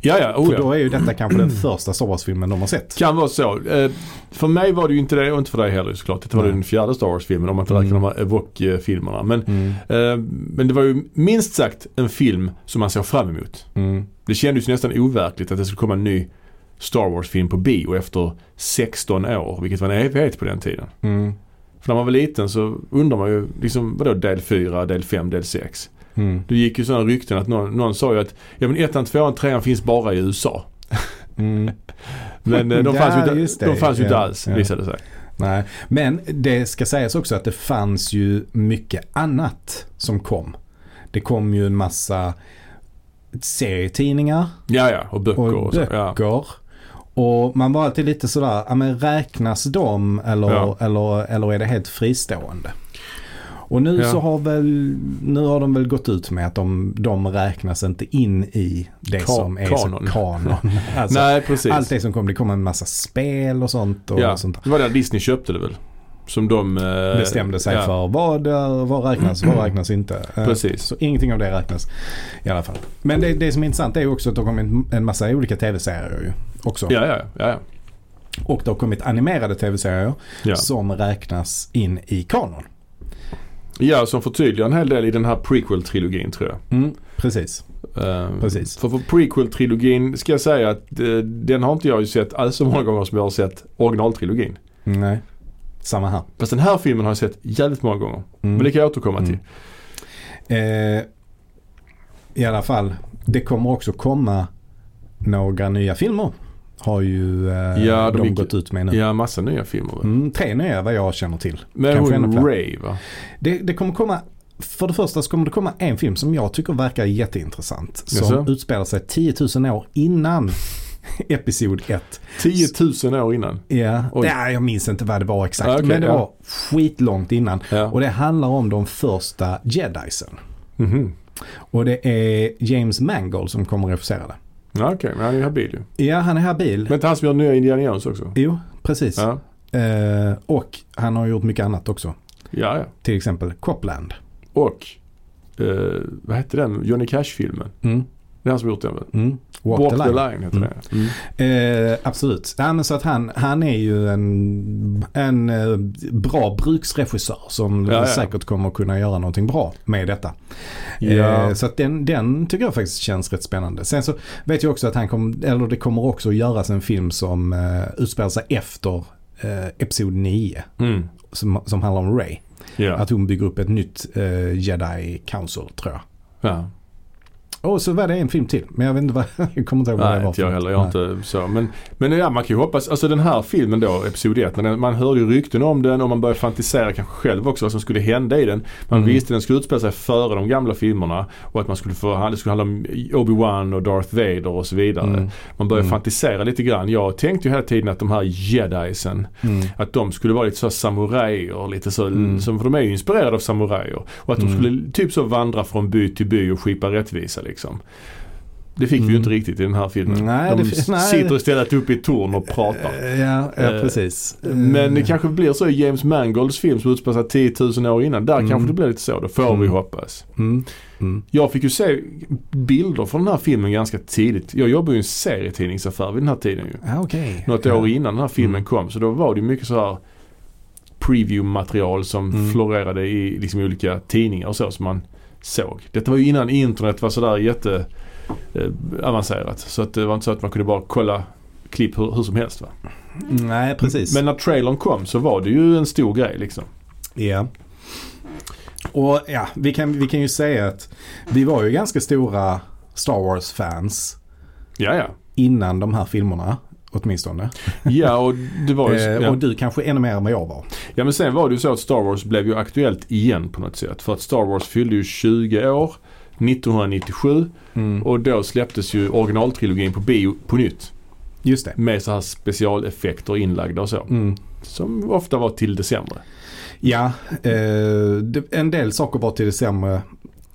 Ja, ja, oh, För ja. då är ju detta kanske den första Star Wars-filmen de har sett. Kan vara så. Eh, för mig var det ju inte det och inte för dig heller såklart. Det var Nej. den fjärde Star Wars-filmen om man inte Mm. räknar de här Evoque-filmerna. Men, Mm. eh, men det var ju minst sagt en film som man såg fram emot. Mm. Det kändes ju nästan overkligt att det skulle komma en ny Star Wars-film på bio efter 16 år, vilket var en evighet på den tiden. Mm. För när man var liten så undrar man ju liksom, vadå del 4, del 5, del 6? Mm. Det gick ju sådana rykten att någon, någon sa ju att ja men ettan, tvåan, trean finns bara i USA. Mm. Men eh, de Ja, fanns ju just inte, det. de fanns ju inte Ja, alls ja. visade det sig. Nej, men det ska sägas också att det fanns ju mycket annat som kom. Det kom ju en massa serietidningar Ja, ja, och böcker och och, så. Ja. böcker. Och man var alltid lite sådär, ja men räknas de eller, Ja. eller, eller är det helt fristående? Och nu Ja. så har väl, nu har de väl gått ut med att de, de räknas inte in i det Ka- som är kanon. Så kanon. Alltså, Nej, precis. allt det som kom, det kom en massa spel och sånt. Och ja. sånt där. Det var där Disney köpte det väl? Som de... Eh, bestämde sig ja, för vad, eh, vad räknas, vad räknas inte. Eh, Precis. Så ingenting av det räknas i alla fall. Men det, det som är intressant är ju också att det har kommit en massa olika tv-serier ju också. Ja, ja, ja. ja. Och det har kommit animerade tv-serier ja. som räknas in i kanon. ja, som förtydligar en hel del i den här prequel-trilogin tror jag. Mm, Precis. Eh, Precis. För, för prequel-trilogin ska jag säga att eh, den har inte jag ju sett alls så många gånger som jag har sett originaltrilogin. Nej. Samma här. Fast den här filmen har jag sett jävligt många gånger. Mm. Men det kan jag återkomma till. Eh, I alla fall, det kommer också komma några nya filmer. Har ju eh, Ja, de, de gick- gått ut med nu. Ja, massa nya filmer. väl? Mm, tre nya vad jag känner till. Men Kanske ännu fler. hon Ray va? Det, det kommer komma, för det första så kommer det komma en film som jag tycker verkar jätteintressant. Som Jaså? utspelar sig 10 000 år innan Episod 1. 10 000 år innan. Ja, Oj. nej, jag minns inte vad det var exakt. Ja, okej, men det ja. var skitlångt innan. Ja. Och det handlar om de första jedisen. Mhm. Och det är James Mangold som kommer att regissera det. Ja, Okej, men han är ju habil ju. Ja, han är habil. Men inte han som gör nya Indiana Jones också? Jo, precis. Ja, Eh, och han har gjort mycket annat också. ja. ja. Till exempel Copland. Och eh, vad hette den? Johnny Cash-filmen. Mm. Det är han som gjort den väl? Mm. Walk, the line. heter Mm. den. Mm. Eh, absolut. Ja, men så att han, han är ju en, en eh, bra bruksregissör som Ja, ja. säkert kommer att kunna göra någonting bra med detta. Ja. Eh, så att den, den tycker jag faktiskt känns rätt spännande. Sen så vet jag också att han kom, eller det kommer också att göras en film som eh, utspelar sig efter eh, Episod 9. Mm. Som, som handlar om Ray. Ja. Att hon bygger upp ett nytt eh, Jedi Council tror jag. ja. Och så var det en film till. Men jag vet inte vad, jag kommer inte ihåg vad det Nej, var. inte jag för- heller. Jag har Nej. inte så. Men, men ja, man kan ju hoppas. Alltså den här filmen då, Episod 1. när den- Man hörde ju rykten om den och man började fantisera kanske själv också vad som skulle hända i den. Man Mm. visste den skulle utspela sig före de gamla filmerna och att man skulle få, det skulle handla om Obi-Wan och Darth Vader och så vidare. Mm. Man började Mm. fantisera lite grann. Jag tänkte ju hela tiden att de här jedisen Mm. Att de skulle vara lite så här samurajer, lite så, Mm. som, för de är ju inspirerade av samurajer. Och att Mm. de skulle typ så vandra från by till by och skipa rättvisa liksom. Det fick vi Mm. ju inte riktigt i den här filmen. Nej, de det fi- nej. sitter istället uppe i ett torn och pratar. Ja, ja Eh, precis. Men det Eh, kanske blir så i James Mangolds film som utspelar sig 10 000 år innan. Där Mm. kanske det blir lite så. Då får vi Mm. hoppas. Mm, mm, Jag fick ju se bilder från den här filmen ganska tidigt. Jag jobbade ju i en serietidningsaffär vid den här tiden ju. ja, Ah, okej. Något år innan den här filmen Mm. kom. Så då var det ju mycket så här preview-material som Mm. florerade i liksom olika tidningar och så som man såg. Detta var ju innan internet var sådär jätte eh, avancerat. Så att det var inte så att man kunde bara kolla klipp hur, hur som helst va. Nej, precis. Men när trailern kom så var det ju en stor grej liksom. Ja. Och ja, vi kan, vi kan ju säga att vi var ju ganska stora Star Wars-fans Ja, ja. innan de här filmerna. Åtminstone. Ja, och det var ju... Eh, och Ja. du kanske ännu mer än vad jag var. ja, men sen var det ju så att Star Wars blev ju aktuellt igen på något sätt. För att Star Wars fyllde ju 20 år 1997 och då släpptes ju originaltrilogin på bio på nytt. Just det. Med så här specialeffekter inlagda och så. Mm. Som ofta var till det sämre. Ja, eh, det, en del saker var till det sämre.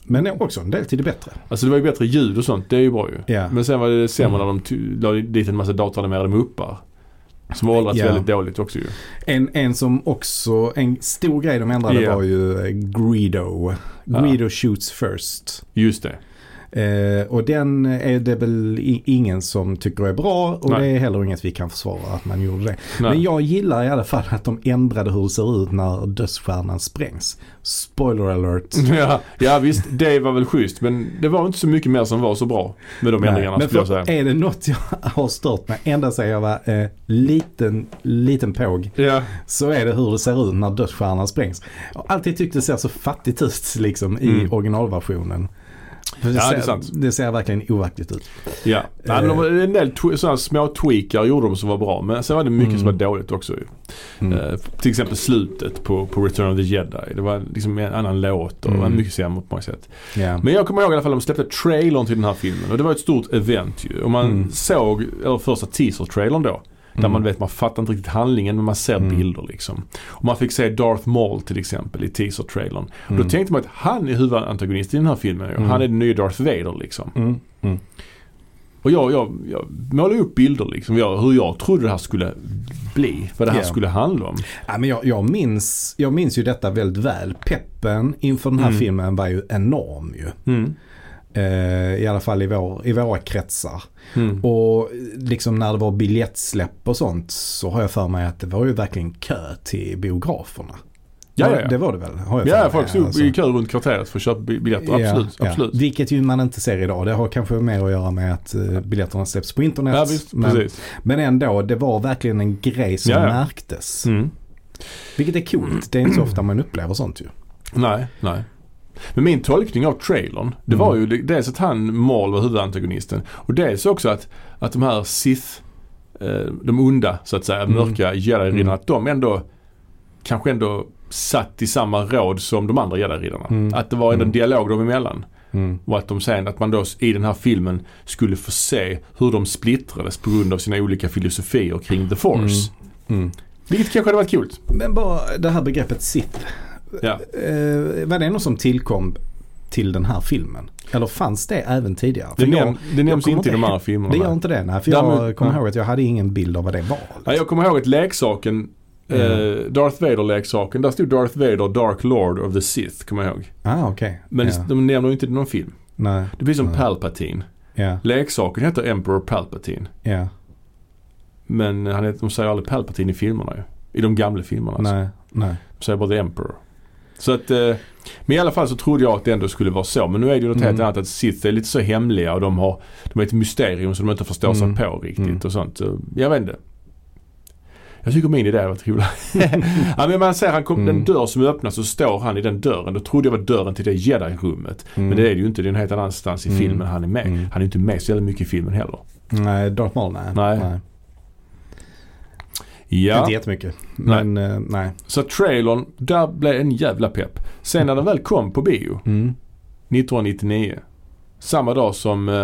Men också en del till det bättre. Alltså det var ju bättre ljud och sånt, det är ju bra ju. Ja. Men sen var det sämre Mm. när de ty- la dit en massa datoranimerade muppar. Som har åldrats Ja. väldigt dåligt också ju. En, en som också, en stor grej de ändrade Ja. var ju eh, Greedo. Ja. Greedo shoots first. Just det. Eh, och den är det väl i- ingen som tycker är bra och Nej. det är heller inget vi kan försvara att man gjorde det. Nej. Men jag gillar i alla fall att de ändrade hur det ser ut när dödsstjärnan sprängs. Spoiler alert. Ja, ja visst, det var väl schysst. Men det var inte så mycket mer som var så bra med de Nej, ändringarna Men skulle jag för, säga. är det något jag har stört mig ända sedan jag var eh, liten, liten påg Ja, så är det hur det ser ut när dödsstjärnan sprängs. Jag har alltid tyckt det ser så fattigt ut liksom i Mm. originalversionen. För Ja, ser, det är sant. det ser verkligen overkligt ut. ja. Nej, men de, var- Eh. en del tw- sådana små tweakar gjorde de som var bra. Men sen var det mycket som var Mm. dåligt också ju. Mm. Eh, till exempel slutet på, på Return of the Jedi. Det var liksom en annan låt och det var Mm. mycket sämre på många sätt. Ja. Men jag kommer ihåg i alla fall att de släppte trailern till den här filmen. Och det var ett stort event ju. Och man Mm. såg, eller första teaser-trailern då. Där Mm. man vet, man fattar inte riktigt handlingen men man ser Mm. bilder liksom. Och man fick se Darth Maul till exempel i teaser-trailern. Och Mm. Då tänkte man att han är huvudantagonist i den här filmen. och Mm. Han är den nya Darth Vader liksom. Mm. Mm. Och jag, jag, jag målade upp bilder liksom. Jag, hur jag trodde det här skulle bli. Vad det här Ja. skulle handla om. Ja, men jag, jag, minns, jag minns ju detta väldigt väl. Peppen inför den här Mm. filmen var ju enorm ju. Mm. Eh, I alla fall i, vår, i våra kretsar. Mm. Och eh, liksom när det var biljettsläpp och sånt så har jag för mig att det var ju verkligen kö till biograferna. Ja, ja, ja. Det var det väl? Har jag för Ja, mig, folk stod alltså. i kö runt kvarteret för att köpa bi- biljetter. Ja, Absolut, ja. absolut. Vilket ju man inte ser idag. Det har kanske mer att göra med att eh, biljetterna släpps på internet. Ja, visst, men, precis. men ändå, det var verkligen en grej som Ja, ja. märktes. Mm. Vilket är coolt. Det är inte så ofta man upplever sånt ju. Nej, nej. Men min tolkning av trailern, det Mm. var ju li- dels att han Maul var huvudantagonisten och dels också att, att de här Sith, eh, de onda så att säga, Mm. mörka jedi-riddarna, Mm. att de ändå kanske ändå satt i samma råd som de andra jedi-riddarna. Mm. Att det var ändå en Mm. dialog dem emellan. Mm. Och att de sen, att man då i den här filmen skulle få se hur de splittrades på grund av sina olika filosofier kring the force. Mm. Mm. Vilket kanske hade varit kul. Men bara det här begreppet Sith. Ja. Eh, var det något som tillkom till den här filmen? Eller fanns det även tidigare? Det, För jag- näm- det nämns kommer inte i de inte- andra filmerna. det nej. gör inte det, nej. För Nej, jag men- kommer nej. ihåg att jag hade ingen bild av vad det var. Ja, jag kommer ihåg att leksaken, eh, Mm. Darth Vader-leksaken, där stod Darth Vader Dark Lord of the Sith, kommer jag ihåg. Ah, okej. Men ja. de nämner ju inte någon film. Nej, Det blir som Mm. Palpatine. ja, Leksaken heter Emperor Palpatine. ja, Men eh, han heter, de säger aldrig Palpatine i filmerna ju. I de gamla filmerna. alltså. nej, nej. De säger bara The Emperor. Så att, eh, men i alla fall så trodde jag att det ändå skulle vara så. Men nu är det ju något helt Mm. annat att Sith är lite så hemliga och de, har, de är ett mysterium som de inte förstår Mm. sig på riktigt Mm. och sånt. Så, Jag vet inte. Jag tycker min idé var trevlig. ja, men man ser han kom, Mm. den dörr som öppnas så står han i den dörren. Då trodde jag var dörren till det jedi-rummet. Men det är det ju inte. Det är en helt annanstans i Mm. filmen han är med. Mm. Han är inte med så jävla mycket i filmen heller. Nej, Darth Maul, nej. Nej. Ja. Inte jättemycket. Nej. Men eh, nej. Så trailern, där blev en jävla pepp. Sen när den väl kom på bio Mm. 1999. Samma dag som eh,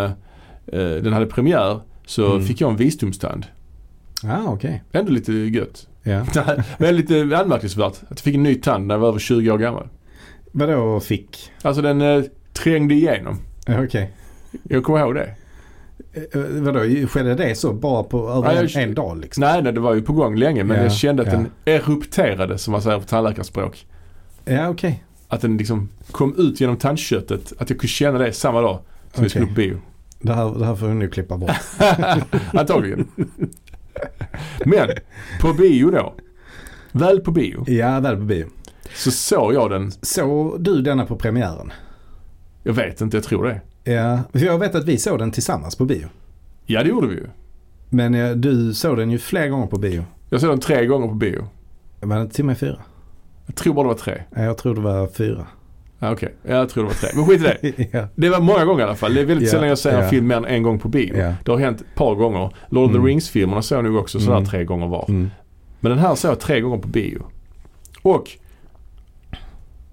eh, den hade premiär så Mm. fick jag en visdomstand. Ah, okej. Ändå lite gött. Ja. Men lite anmärkningsvärt att jag fick en ny tand när jag var över 20 år gammal. Vadå fick? Alltså den eh, trängde igenom. Ja, Okej. Jag kommer ihåg det. Eh, Vadå, skedde det så bara på över Ja, jag- en, en dag liksom? Nej, nej, det var ju på gång länge men Ja, jag kände att ja. den erupterade som man säger på tandläkarspråk. Ja, okej. Att den liksom kom ut genom tandköttet. Att jag kunde känna det samma dag som vi skulle Okej. på bio. Det, här, det här får vi nu klippa bort. Antagligen. men på bio då. Väl på bio ja, väl på bio. så såg jag den. Såg du denna på premiären? Jag vet inte, jag tror det. Ja, för jag vet att vi såg den tillsammans på bio. Ja, det gjorde vi ju. Men eh, du såg den ju flera gånger på bio. Jag såg den tre gånger på bio. Var det inte till och med fyra? Jag tror bara det var tre. Ja, Jag tror det var fyra. Ja, okej. Jag tror det var tre. Men skit i det. ja. Det var många gånger i alla fall. Det är väldigt Ja, sällan jag ser en ja. film mer än en gång på bio. Ja. Det har hänt ett par gånger. Lord of Mm. the Rings-filmerna såg jag nog också sådär Mm. tre gånger var. Mm. Men den här såg jag tre gånger på bio. Och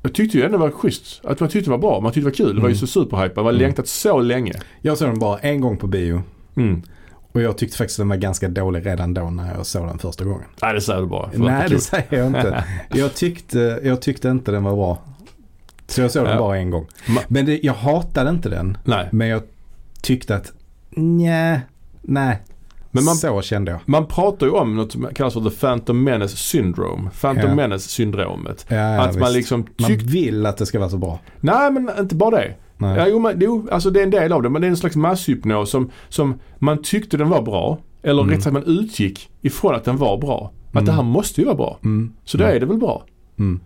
jag tyckte ju ändå det var schysst. Att man tyckte det var bra. Man tyckte det var kul. Det var ju Mm. så superhypat. Man hade längtat så länge. Jag såg den bara en gång på bio. Mm. Och jag tyckte faktiskt den var ganska dålig redan då när jag såg den första gången. Nej, det säger du bara. för att Nej, det är det kul. säger jag inte. Jag tyckte, jag tyckte inte den var bra. Så jag såg den Ja. bara en gång. Ma- Men det, jag hatade inte den. Nej. Men jag tyckte att nej, nej. Men man- så kände jag. Man pratar ju om något som kallas för The Phantom Menace Syndrome. Phantom Ja. Menace-syndromet. Ja, ja, att man visst. liksom Man tyckte... vill att det ska vara så bra. Nej, men inte bara det. Nej. Ja, jo, men, jo, alltså det är en del av det. Men det är en slags masshypnos som, som man tyckte den var bra. Eller Mm. rätt sagt man utgick ifrån att den var bra. Att det här måste ju vara bra. Mm. Så då är det väl bra. Mm.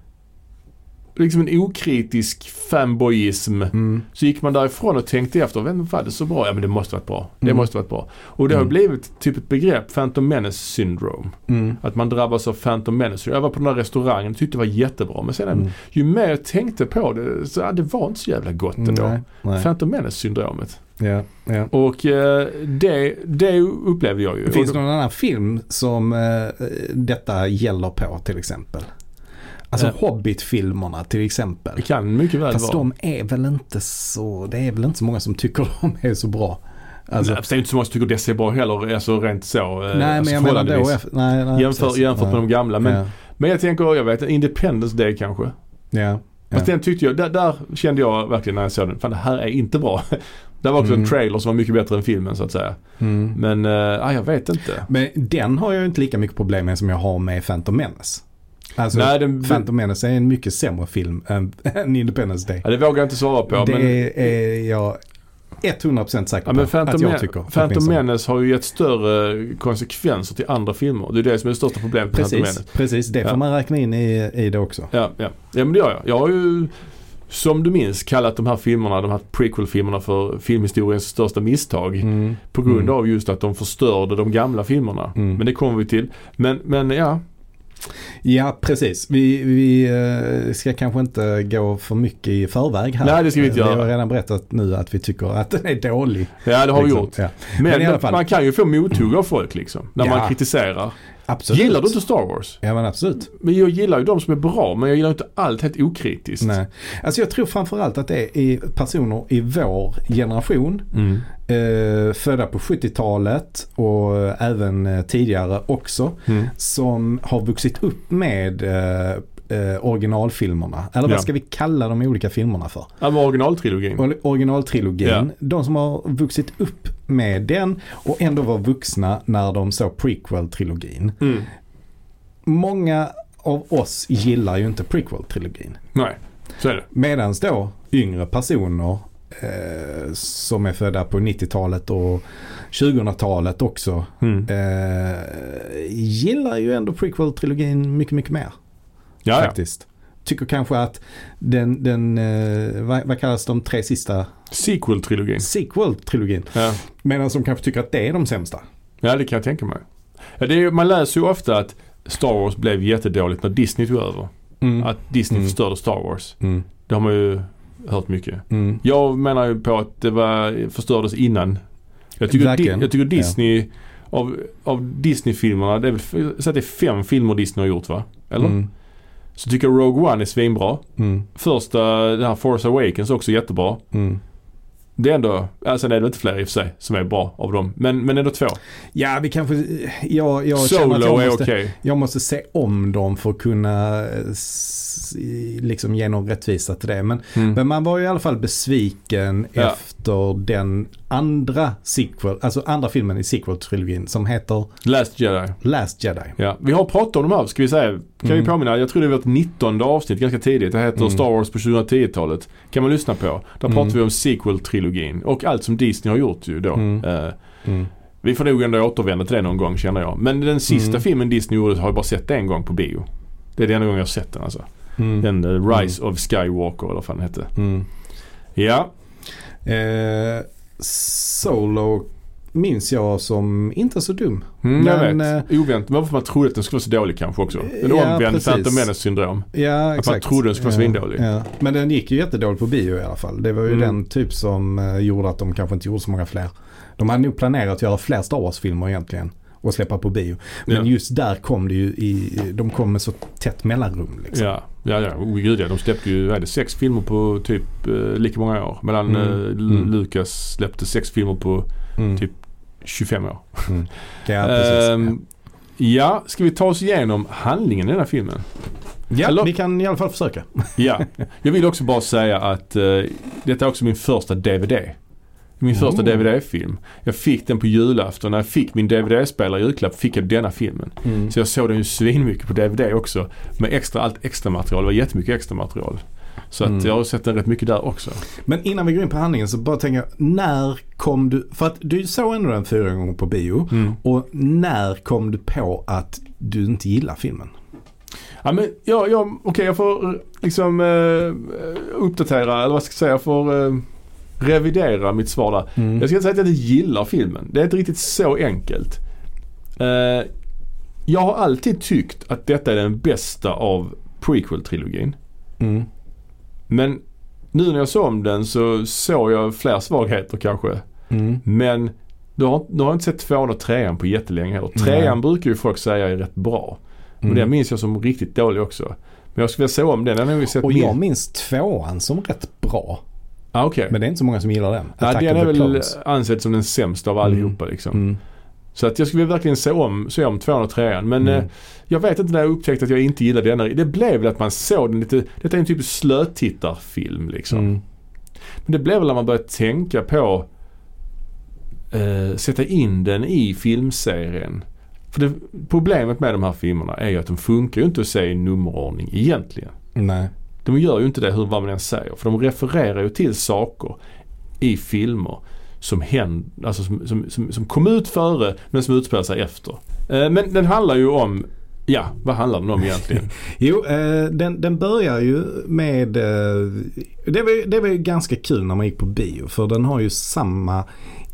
Liksom en okritisk fanboyism. Mm. Så gick man därifrån och tänkte efter. Vem var det så bra? Ja men det måste varit bra. Det Mm. måste varit bra. Och det har blivit typ ett begrepp, Phantom Menace Syndrome. Mm. Att man drabbas av Phantom Menace. Jag var på den här restaurangen och tyckte det var jättebra. Men sen Mm. ju mer jag tänkte på det så ja, det var inte så jävla gott ändå. Nej, nej. Phantom Menace-syndromet. Ja, ja. Och eh, det, det upplevde jag ju. Finns Och det då- någon annan film som eh, detta gäller på till exempel? Alltså Eh. Hobbit-filmerna till det exempel. kan mycket väl Fast vara. de är väl inte så, det är väl inte så många som tycker de är så bra. Alltså, Nej, fast det är inte så många som tycker dessa är bra heller, alltså rent så. eh, nej, alltså, men jag menar då. förhållandevis. efter- Nej, nej, Jämför, precis. jämfört med de gamla. Men, Ja. men jag tänker, jag vet Independence Day kanske. Ja. Fast Ja. den tyckte jag, där, där kände jag verkligen när jag såg den, fan det här är inte bra. det var också en trailer som var mycket bättre än filmen så att säga. Mm. Men, eh, ja, jag vet inte. Men den har jag inte lika mycket problem med som jag har med Phantom Menace. Alltså, Nej, den- Phantom Menace är en mycket sämre film än, än Independence Day. Ja, det vågar jag inte svara på. det men, är jag 100% säker på Ja, men Phantom, att jag Men- tycker. Phantom åtminstone. Menace har ju gett större konsekvenser till andra filmer. Det är det som är det största problemet med Phantom Precis, Menace. precis, det Ja. får man räkna in i, i det också. Ja, ja. ja, men det gör jag. Jag har ju som du minns kallat de här filmerna, de här prequel-filmerna för filmhistoriens största misstag. Mm. På grund Mm. av just att de förstörde de gamla filmerna. Mm. Men det kommer vi till. Men, men ja, Ja, precis. Vi, vi eh, ska kanske inte gå för mycket i förväg här. Nej, det ska vi inte Eh, Vi göra. har redan berättat nu att vi tycker att den är dålig. ja det har vi Liksom, gjort. Ja. Men, Men i alla fall- man kan ju få mothugg av folk liksom. När Ja. man kritiserar. Absolut. Gillar du inte Star Wars? Ja, men absolut. Men jag gillar ju de som är bra men jag gillar inte allt helt okritiskt. Nej. Alltså jag tror framförallt att det är personer i vår generation. Mm. Eh, födda på 70-talet och eh, även eh, tidigare också. Mm. Som har vuxit upp med eh, eh, originalfilmerna. Eller Ja. vad ska vi kalla de olika filmerna för? Ja, men originaltrilogin. Or- Originaltrilogin. Ja. De som har vuxit upp med den och ändå var vuxna när de såg prequel-trilogin. Mm. Många av oss gillar ju inte prequel-trilogin. Nej, så är det. Medan då yngre personer eh, som är födda på 90-talet och 2000-talet också eh, gillar ju ändå prequel-trilogin mycket, mycket mer. Ja, ja. Faktiskt. Tycker kanske att den, den eh, vad, vad kallas de tre sista Mm. Sequel-trilogin. sequel-trilogin. Ja. Medan de kanske tycker att det är de sämsta. ja, det kan jag tänka mig. Ja, det är, ju- man läser ju ofta att Star Wars blev jättedåligt när Disney tog över. Mm. Att Disney Mm. förstörde Star Wars. Mm. Det har man ju hört mycket. Mm. Jag menar ju på att det var, förstördes innan. Jag tycker, di, Verkligen. jag tycker Disney, av, av Disney-filmerna, det är väl, f- så att det är fem filmer Disney har gjort va? Eller? Mm. Så tycker jag Rogue One är svinbra. Mm. Första, den här Force Awakens är också jättebra. Mm. Det är ändå, ja, sen är det väl inte fler i och för sig som är bra av dem. Men, men ändå två. Ja, vi kanske... Jag, jag känner att jag Solo är måste- okej. Jag måste se om dem för att kunna eh, s- i- liksom ge någon rättvisa till det. Men, Mm. men man var ju i alla fall besviken Ja. efter den andra sequel, alltså andra filmen i sequel-trilogin som heter Last Jedi. Last Jedi. Ja, vi har pratat om de här, ska vi säga. Kan Mm. vi påminna, jag tror det är vårt 19 avsnitt ganska tidigt. Det heter Star Wars på 2010-talet. Kan man lyssna på. Mm. Där pratar vi om sequel-trilogin och allt som Disney har gjort ju då. Mm. Eh, Vi får nog ändå återvända till det någon gång känner jag. Men den sista Mm. filmen Disney gjorde har jag bara sett en gång på bio. Det är den enda gången jag har sett den alltså. Den Mm. eh, Rise of Skywalker eller vad fan den hette. Ja, Eh, Solo minns jag som inte så dum. mm, Men, eh, jag vet. Oväntat. Varför man trodde att den skulle vara så dålig kanske också. En ja, omvänd precis. Phantom Menace syndrom. Ja, Att exakt. man trodde den skulle vara Ja, svindålig. Ja. Men den gick ju jättedåligt på bio i alla fall. Det var ju Mm. den typ som eh, gjorde att de kanske inte gjorde så många fler. De hade nog planerat att göra fler Star Wars-filmer egentligen och släppa på bio. Men Ja. just där kom det ju i, de kom med så tätt mellanrum liksom. Ja, ja, ja. Oh, gud ja. De släppte ju, vad är det, sex filmer på typ eh, lika många år. Medan Mm. eh, L- Mm. Lucas släppte sex filmer på Mm. Typ, 25 år. Ja, precis. Ehm, ja, ska vi ta oss igenom handlingen i den här filmen? ja. eller- ja, vi kan i alla fall försöka. Ja, jag vill också bara säga att eh, detta är också min första DVD. Min första Oh. DVD-film. Jag fick den på julafton. När jag fick min DVD-spelare i julklapp fick jag denna filmen. Så jag såg den ju svinmycket på DVD också. Med extra, allt extra material. Det var jättemycket extra material. Så att Mm. jag har sett den rätt mycket där också. Men innan vi går in på handlingen så bara tänker jag, när kom du, för att du såg ändå den fyra gånger på bio och när kom du på att du inte gillar filmen? Ja, men ja, ja, okej jag får liksom eh, uppdatera, eller vad ska jag säga, jag får eh, revidera mitt svar där. Jag ska inte säga att jag inte gillar filmen. Det är inte riktigt så enkelt. Eh, jag har alltid tyckt att detta är den bästa av prequel-trilogin. Mm. Men nu när jag såg om den så såg jag fler svagheter kanske. Mm. Men du har, du har jag inte sett tvåan och trean på jättelänge heller. Trean brukar ju folk säga är rätt bra. Men Mm. den minns jag som riktigt dålig också. Men jag skulle vilja se om den. Den har vi sett Och jag minst- minns tvåan som rätt bra. ah, okej. Men det är inte så många som gillar den. Ja, Attack den of är the väl Clones. Mm. ansedd som den sämsta av allihopa liksom. Så att jag skulle verkligen se om, se om tvåan och trean. Men Mm. eh, jag vet inte när jag upptäckte att jag inte gillade denna. Det blev väl att man såg den lite, detta är en typ slötittarfilm liksom. Men det blev väl när man började tänka på eh, sätta in den i filmserien. För det, problemet med de här filmerna är ju att de funkar ju inte att se i nummerordning egentligen. Nej. De gör ju inte det hur vad man än säger. För de refererar ju till saker i filmer som, händ, alltså som, som, som, som kom ut före men som utspelar sig efter. Eh, men den handlar ju om, ja vad handlar den om egentligen? Jo, eh, den, den börjar ju med... Eh, det, var, ju- det var ju ganska kul när man gick på bio för den har ju samma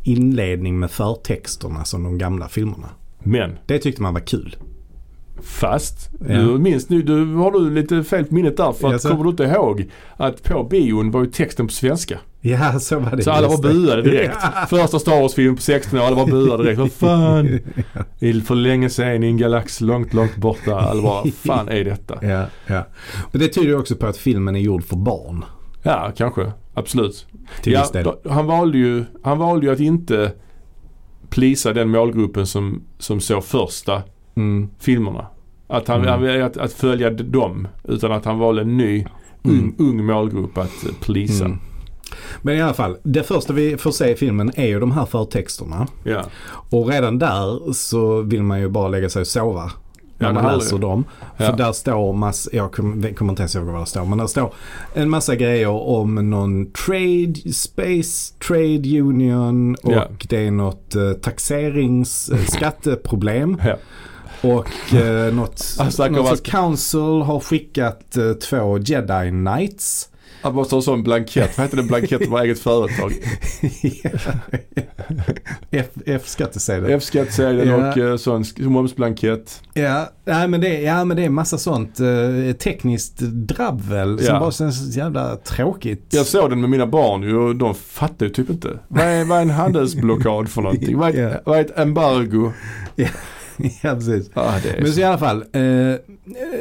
inledning med förtexterna som de gamla filmerna. men Det tyckte man var kul. Fast, Ja. du minns nu, du har du lite fel på minnet där för att Jaså? kommer du inte ihåg att på bion var ju texten på svenska. Ja, så var det. Så alla var just det. buade direkt. Första Star Wars-filmen på 16 år, alla var buade direkt. Vad fan! Il- För länge sedan i en galax långt, långt borta. Alla bara, vad fan är detta? Ja, ja. Men det tyder ju också på att filmen är gjord för barn. Ja, kanske. Absolut. Till ja, viss del. då- han, valde ju, han valde ju att inte plisa den målgruppen som, som såg första Mm. filmerna. Att han, han ville att, att följa d- dem. Utan att han valde en ny ung, ung målgrupp att eh, plisa. Mm. Men i alla fall, det första vi får se i filmen är ju de här förtexterna. Ja. Och redan där så vill man ju bara lägga sig och sova. När det man handlar läser ju. dem. För Ja. där står massa, jag kommer kommer inte ens ihåg vad det står, men där står en massa grejer om någon trade, space trade union och Ja. det är något eh, taxerings, eh, skatteproblem. Ja. Och eh, något, Han snackar om något att- sorts council har skickat eh, två jedi knights. Att man står så en blankett. Vad heter den blanketten på eget företag? F, F-skattesedel. F-skattsedeln Ja. och eh, sån sk- momsblankett. Ja, nej, men det, ja, men det är massa sånt eh, tekniskt drabbel Ja. som bara känns så jävla tråkigt. Jag såg den med mina barn ju och de fattade ju typ inte. Vad är, vad är en handelsblockad för någonting? Vad är, Ja. vad är ett embargo? ja, precis. Ah, det är Men så så. i alla fall, eh,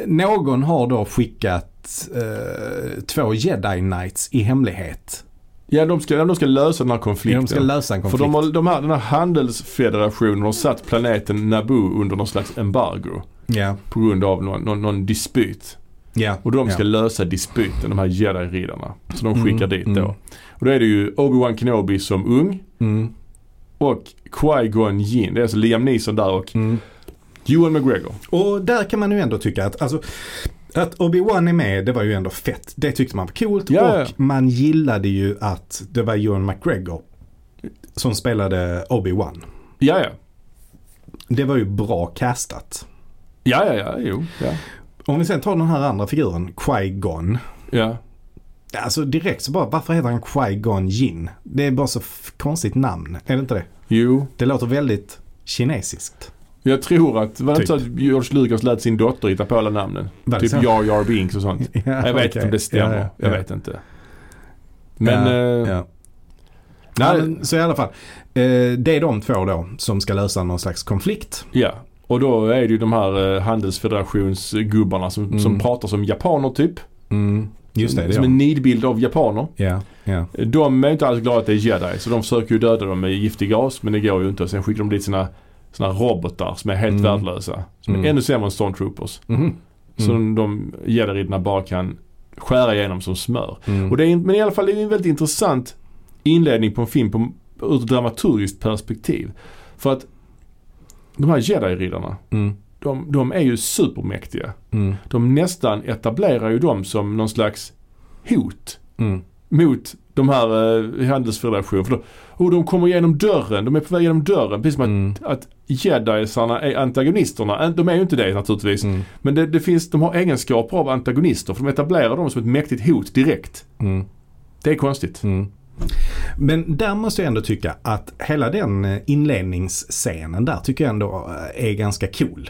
någon har då skickat eh, två jedi knights i hemlighet. Ja, de ska, de ska lösa den här konflikten. De ska lösa en För konflikt. de har, de här, den här handelsfederationen har satt planeten Naboo under någon slags embargo ja. på grund av någon, någon, någon dispyt. Ja. Och de ska ja. lösa dispyten, de här jedi-riddarna. Så de skickar dit då. mm. Och då är det ju Obi-Wan Kenobi som ung Mm. och Qui-Gon Jinn. Det är alltså Liam Neeson där och Mm. Ewan McGregor. Och där kan man ju ändå tycka att, alltså, att Obi-Wan är med, det var ju ändå fett. Det tyckte man var coolt Ja, ja. och man gillade ju att det var Ewan McGregor som spelade Obi-Wan. Ja, ja. Det var ju bra castat. Ja, ja, ja, jo. Ja. Om vi sen tar den här andra figuren, Qui-Gon. ja. Alltså direkt så bara, varför heter han Qui-Gon Jin? Det är bara så f- konstigt namn, är det inte det? Jo. Det låter väldigt kinesiskt. Jag tror att, var det Typ. inte så att George Lucas lät sin dotter hitta på alla namnen? Var det Typ så? Jar Jar Binks och sånt. Ja, Jag vet okej. inte om det stämmer. Ja, ja, Jag ja. vet inte. Men, eh, Ja. Nej. Nej, men, så i alla fall. Eh, det är de två då som ska lösa någon slags konflikt. ja. Och då är det ju de här eh, handelsfederationsgubbarna som, som Mm. pratar som japaner typ. Just det, det är som en de. nidbild av japaner. Ja, ja. De är inte alls glada att det är jedi så de försöker ju döda dem med giftig gas men det går ju inte. Och sen skickar de dit sina, sina robotar som är helt Mm. värdelösa. Som är Mm. ännu sämre än stormtroopers. Mhm. Som de jedi bara kan skära igenom som smör. Mm. Och det är, men i alla fall det är ju en väldigt intressant inledning på en film på, ur ett dramaturgiskt perspektiv. För att de här jedi-riddarna, Mm. de, de är ju supermäktiga. Mm. De nästan etablerar ju dem som någon slags hot Mm. mot de här eh, handelsfederationen. För då, och de kommer genom dörren, de är på väg genom dörren. Precis som Mm. att, att jedisarna är antagonisterna. Eh, De är ju inte det naturligtvis. Mm. Men det, det finns, de har egenskaper av antagonister för de etablerar dem som ett mäktigt hot direkt. Mm. Det är konstigt. Mm. Men där måste jag ändå tycka att hela den eh, inledningsscenen där tycker jag ändå eh, är ganska cool.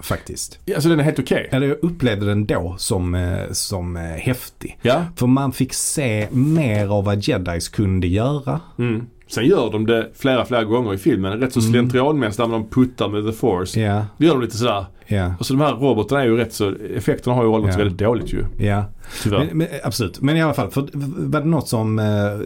Faktiskt. Ja, Alltså den är helt okej. Eller jag upplevde den då som, eh, som eh, häftig. Ja. För man fick se mer av vad jedis kunde göra. Mm. Sen gör de det flera, flera gånger i filmen. Rätt så slentrianmässigt där de puttar med the force. Mm. Ja, Det gör de lite sådär. ja, Och så Alltså, de här robotarna är ju rätt så, effekterna har ju åldrats Ja. väldigt dåligt ju. ja. Tyvärr. Men, men, absolut, men i alla fall. För, var det något som eh, eh,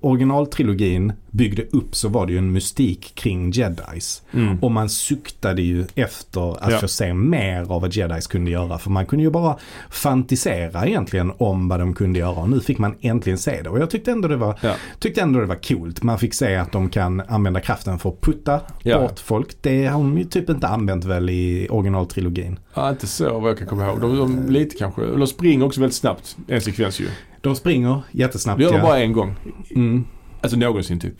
originaltrilogin byggde upp så var det ju en mystik kring jedis. Mm. Och man suktade ju efter att Ja. få se mer av vad jedis kunde göra. För man kunde ju bara fantisera egentligen om vad de kunde göra. Och nu fick man äntligen se det. Och jag tyckte ändå det var, Ja. tyckte ändå det var coolt. Man fick se att de kan använda kraften för att putta Ja. bort folk. Det har de ju typ inte använt väl i originaltrilogin. Ja, inte så vad jag kan komma ihåg. De, Eh. de, lite kanske. De springer också väldigt snabbt. En sekvens ju. De springer jättesnabbt. Det gör de ja. bara en gång. Mm. Alltså någonsin typ.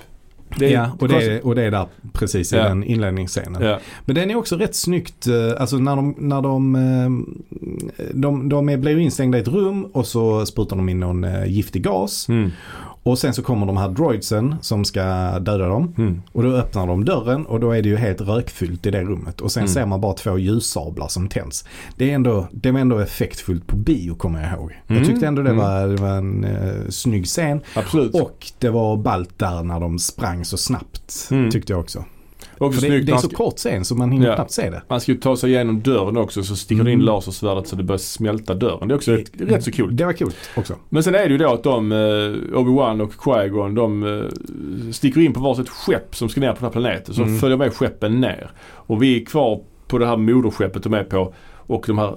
Det är ja, och det, är, och det är där precis i Ja. den inledningsscenen. Ja. Men den är också rätt snyggt, eh, alltså när de, när de, eh, de, de är, blir instängda i ett rum och så sprutar de in någon eh, giftig gas. Mm. Och sen så kommer de här droidsen som ska döda dem. Mm. Och då öppnar de dörren och då är det ju helt rökfyllt i det rummet. Och sen Mm. ser man bara två ljussablar som tänds. Det är ändå, det var ändå effektfullt på bio kommer jag ihåg. Mm. Jag tyckte ändå det Mm. var, det var en eh, snygg scen. Absolut. Och, Och det var ballt där när de sprang så snabbt Mm. tyckte jag också. också För det, snyggt. det är man, så ska, kort sen så man hinner Ja. knappt se det. man ska ju ta sig igenom dörren också så sticker det in Mm. lasersvärdet så det börjar smälta dörren. Det är också rätt, rätt så kul. Det var kul också. Men sen är det ju då att de, eh, Obi-Wan och Qui-Gon, de eh, sticker in på varsitt skepp som ska ner på den här planeten. Så Mm. följer med skeppen ner. Och vi är kvar på det här moderskeppet de är på. Och de här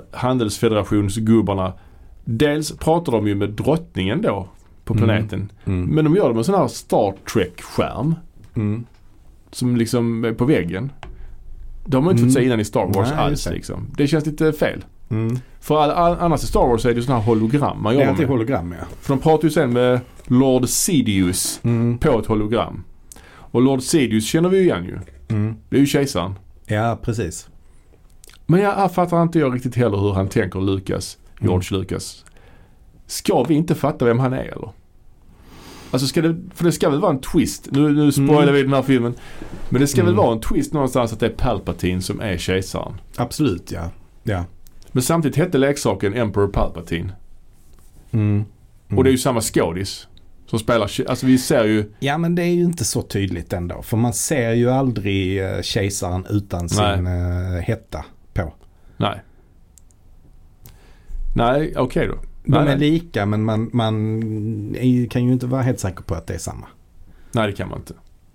handelsfederationsgubbarna. Dels pratar de ju med drottningen då på Mm. planeten. Men de gör det med en sån här Star Trek-skärm. Mm. Som liksom är på väggen. De har man ju inte fått se Mm. innan i Star Wars Nej, alls just det. liksom. Det känns lite fel. Mm. För all, all, annars i Star Wars är det ju sådana här hologram man Det gör är dem alltid med. hologram ja. För de pratar ju sen med Lord Sidious Mm. på ett hologram. Och Lord Sidious känner vi ju igen ju. Mm. Det är ju kejsaren. Ja precis. Men jag jag fattar inte jag riktigt heller hur han tänker Lucas, George Mm. Lucas. Ska vi inte fatta vem han är eller? Alltså ska det, för det ska väl vara en twist. Nu, nu spoilar Mm. vi den här filmen. Men det ska väl Mm. vara en twist någonstans att det är Palpatine som är kejsaren. Absolut ja. ja. Men samtidigt hette leksaken Emperor Palpatine. Mm. Mm. Och det är ju samma skådis. Som spelar, ke- alltså vi ser ju, Ja men det är ju inte så tydligt ändå. För man ser ju aldrig eh, kejsaren utan sin eh, hetta på. nej. Nej, okej då. De Nej, är nej. lika men man, man är ju- kan ju inte vara helt säker på att det är samma. Nej det kan man inte.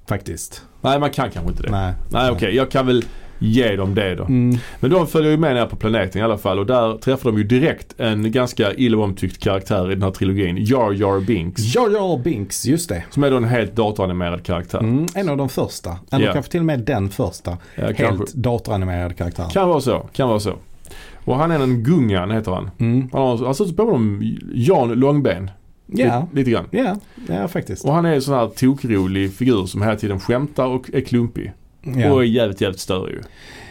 Faktiskt. Nej man kan kanske inte det. Nej, Nej. okej jag kan väl Ge dem det då. Mm. Men de följer ju med ner på planeten i alla fall och där träffar de ju direkt en ganska illa omtyckt karaktär i den här trilogin. Jar Jar Binks. Jar Jar Binks, just det. Som är då en helt datoranimerad karaktär. Mm, en av de första. Eller Ja. kanske till och med den första. Ja, Helt kanske. datoranimerad karaktär. Kan vara så, kan vara så. Och han är en Gungan heter han. Mm. Han har alltså på honom Jan Långben. Ja. Lite, lite grann. Ja, ja faktiskt. Och han är en sån här tokrolig figur som hela tiden skämtar och är klumpig. Och är Ja. jävligt, jävligt störig ju.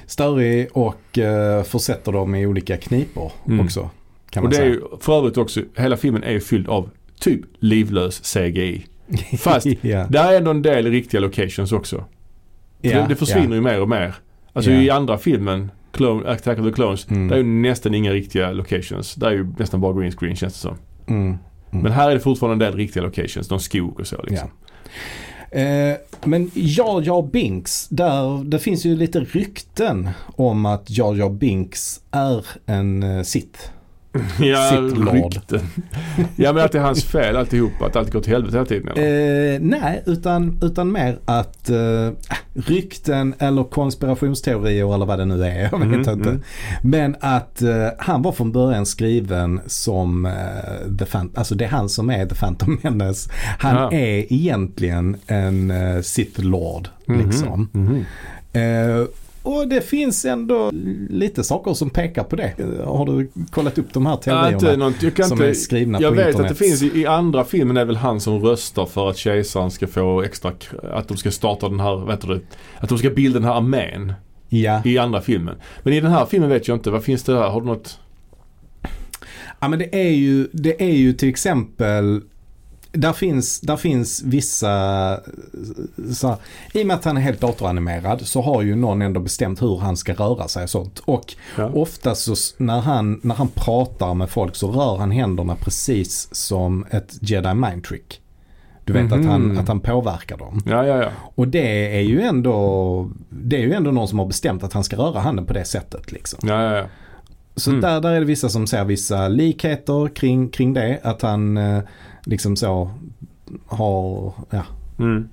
Störig och eh, försätter dem i olika knipor Mm. också. Kan Och man det är säga. ju för övrigt också, hela filmen är ju fylld av typ livlös CGI. Fast ja. där är ändå en del riktiga locations också. För Ja, det, det försvinner ja. ju mer och mer. Alltså Ja. i andra filmen, Clone, Attack of the Clones, Mm. där är ju nästan inga riktiga locations. Där är ju nästan bara green screen känns det som. Mm. Men här är det fortfarande en del riktiga locations. Någon skog och så liksom. Ja. Eh, men Jar Jar Binks, där, det finns ju lite rykten om att Jar Jar Binks är en eh, Sith. Ja, Sitt lord. rykten. ja men att det är hans fel alltihop. Att allt går till helvete hela tiden eller? Eh, nej, utan, utan mer att eh, rykten eller konspirationsteorier eller vad det nu är. Jag vet Mm, inte. mm. Men att eh, han var från början skriven som eh, The Phantom, alltså det är han som är The Phantom Menace. Han Ja. är egentligen en eh, Sith Lord liksom. Mhm. Eh, och det finns ändå lite saker som pekar på det. Eh, Har du kollat upp de här Ja, teorierna? inte något, jag kan som inte, är skrivna Jag på vet internet. att det finns i, i andra filmen är väl han som röstar för att kejsaren ska få extra, kr- att de ska starta den här, vad heter det, att de ska bilda den här armén Ja. i andra filmen. Men i den här filmen vet jag inte, vad finns det här? Har du något? Ja men det är ju, det är ju till exempel där finns, där finns vissa, eh, så här, i och med att han är helt datoranimerad så har ju någon ändå bestämt hur han ska röra sig och sånt. Och Ja. ofta så s- när han, när han pratar med folk så rör han händerna precis som ett jedi mind trick. Du vet att, han, Mhm. att han påverkar dem. Ja, ja, ja. Och det är ju ändå, det är ju ändå någon som har bestämt att han ska röra handen på det sättet liksom. ja, ja, ja. Så Mm. där, där är det vissa som ser vissa likheter kring, kring det. Att han eh, liksom så har, ja, Mm.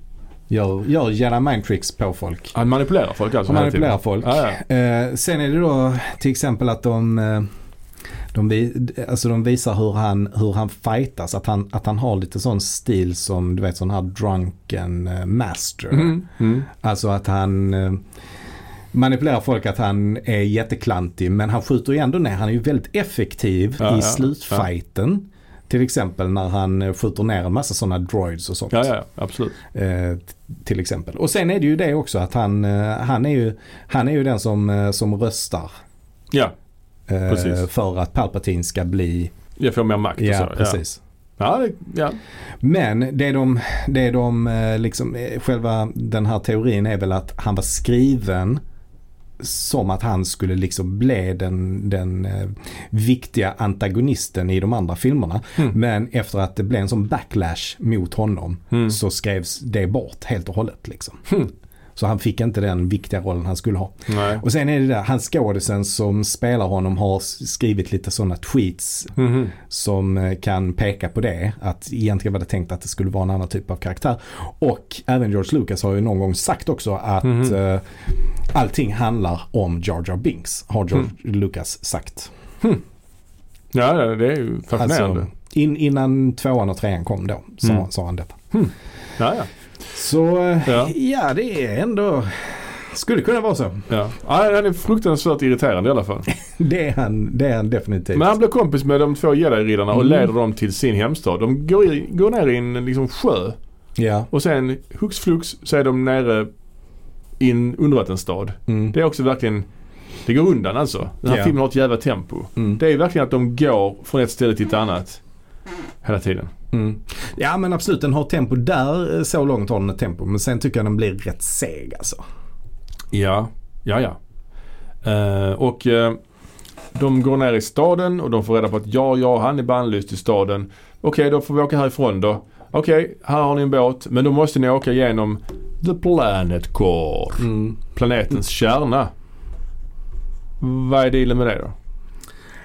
gör, gör Jedi mind tricks på folk. Han manipulerar folk alltså Han hela tiden. manipulerar folk. Ja, Eh, sen är det då till exempel att de, eh, de, vi- alltså de visar hur han, hur han fightas. Att han, att han har lite sån stil som du vet sån här drunken eh, master. ja. Mm. Mm. Alltså att han eh, manipulerar folk att han är jätteklantig men han skjuter ju ändå ner. Han är ju väldigt effektiv Ja, i ja, slutfighten. Till exempel när han eh, skjuter ner en massa sådana droids och sånt. Ja, ja, ja, absolut. Eh, t- till exempel. Och sen är det ju det också att han, eh, han, är, ju, han är ju den som, eh, som röstar Ja, eh, Precis. för att Palpatine ska bli... jag får mer makt och Ja, så. precis. Ja, ja, det, ja. Men det de, det de eh, liksom, eh, själva den här teorin är väl att han var skriven som att han skulle liksom bli den, den eh, viktiga antagonisten i de andra filmerna. Men efter att det blev en sån backlash mot honom så skrevs det bort helt och hållet. Liksom. Så han fick inte den viktiga rollen han skulle ha. Nej. Och sen är det där, han skådisen som spelar honom har s- skrivit lite sådana tweets Mhm. som eh, kan peka på det. Att egentligen var det tänkt att det skulle vara en annan typ av karaktär. Och även George Lucas har ju någon gång sagt också att Mhm. eh, allting handlar om Jar Jar Binks. Har George Mm. Lucas sagt. Ja, ja, det är ju fascinerande. Alltså, in, innan tvåan och trean kom då sa, Mm. sa han detta. Alltså- Ja, ja. Så eh, Ja. ja, det är ändå... Skulle kunna vara så. Ja. ja, han är fruktansvärt irriterande i alla fall. Det är han, det är han definitivt. Men han blir kompis med de två jedi-riddarna och Mm. leder dem till sin hemstad. De går, i, går ner i en liksom, sjö Ja. och sen hux flux så är de nere i en undervattensstad. Mm. Det är också verkligen, det går undan alltså. Den här Ja. filmen har ett jävla tempo. Mm. Det är ju verkligen att de går från ett ställe till ett annat hela tiden. Mm. Ja men absolut den har tempo där, eh, så långt har den ett tempo. Men sen tycker jag den blir rätt seg alltså. Ja, ja, ja. Eh, och eh, de går ner i staden och de får reda på att ja, ja, han är bannlyst i staden. Okej, då får vi åka härifrån då. Okej, här har ni en båt, men då måste ni åka igenom The Planet Core. Planetens kärna. Vad är dealen med det då?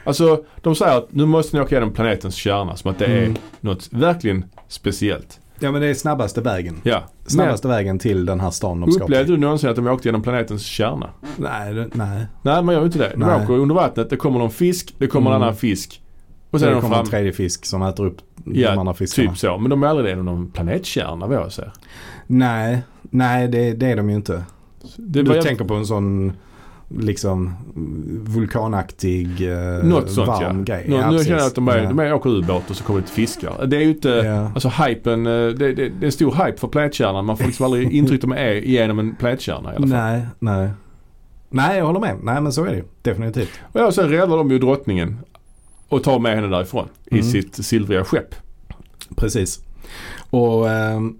Alltså, de säger att nu måste ni åka igenom planetens kärna som att det är något verkligen speciellt. Ja men det är snabbaste vägen. Ja. Snabbaste vägen till den här stan de ska till. Upplevde du någonsin att de åkte genom planetens kärna? Nej, det- nej. Nej, man gör ju inte det. De Nej. åker under vattnet, det kommer någon fisk, det kommer en Mm. annan fisk. Och sen är Det de kommer fram. en tredje fisk som äter upp de Ja, andra fiskarna. typ så. Men de är aldrig det. De är någon planetkärna vad jag ser. Nej, nej det, det är de ju inte. Det Du var- tänker på en sån liksom vulkanaktig eh, Något sånt ja. varm Nu, grej. nu känner jag att de, är, Ja. de är åker ubåt och så kommer det fiskar. Det är ju inte, Ja. alltså hypen, eh, det, det, det är en stor hype för planetkärnan. Man får liksom aldrig intryck de är genom en planetkärna i alla fall. Nej, nej. Nej, jag håller med. Nej, men så är det ju. Definitivt. Och ja, sen räddar de ju drottningen och tar med henne därifrån i Mm. sitt silvriga skepp. Precis. Och... ehm,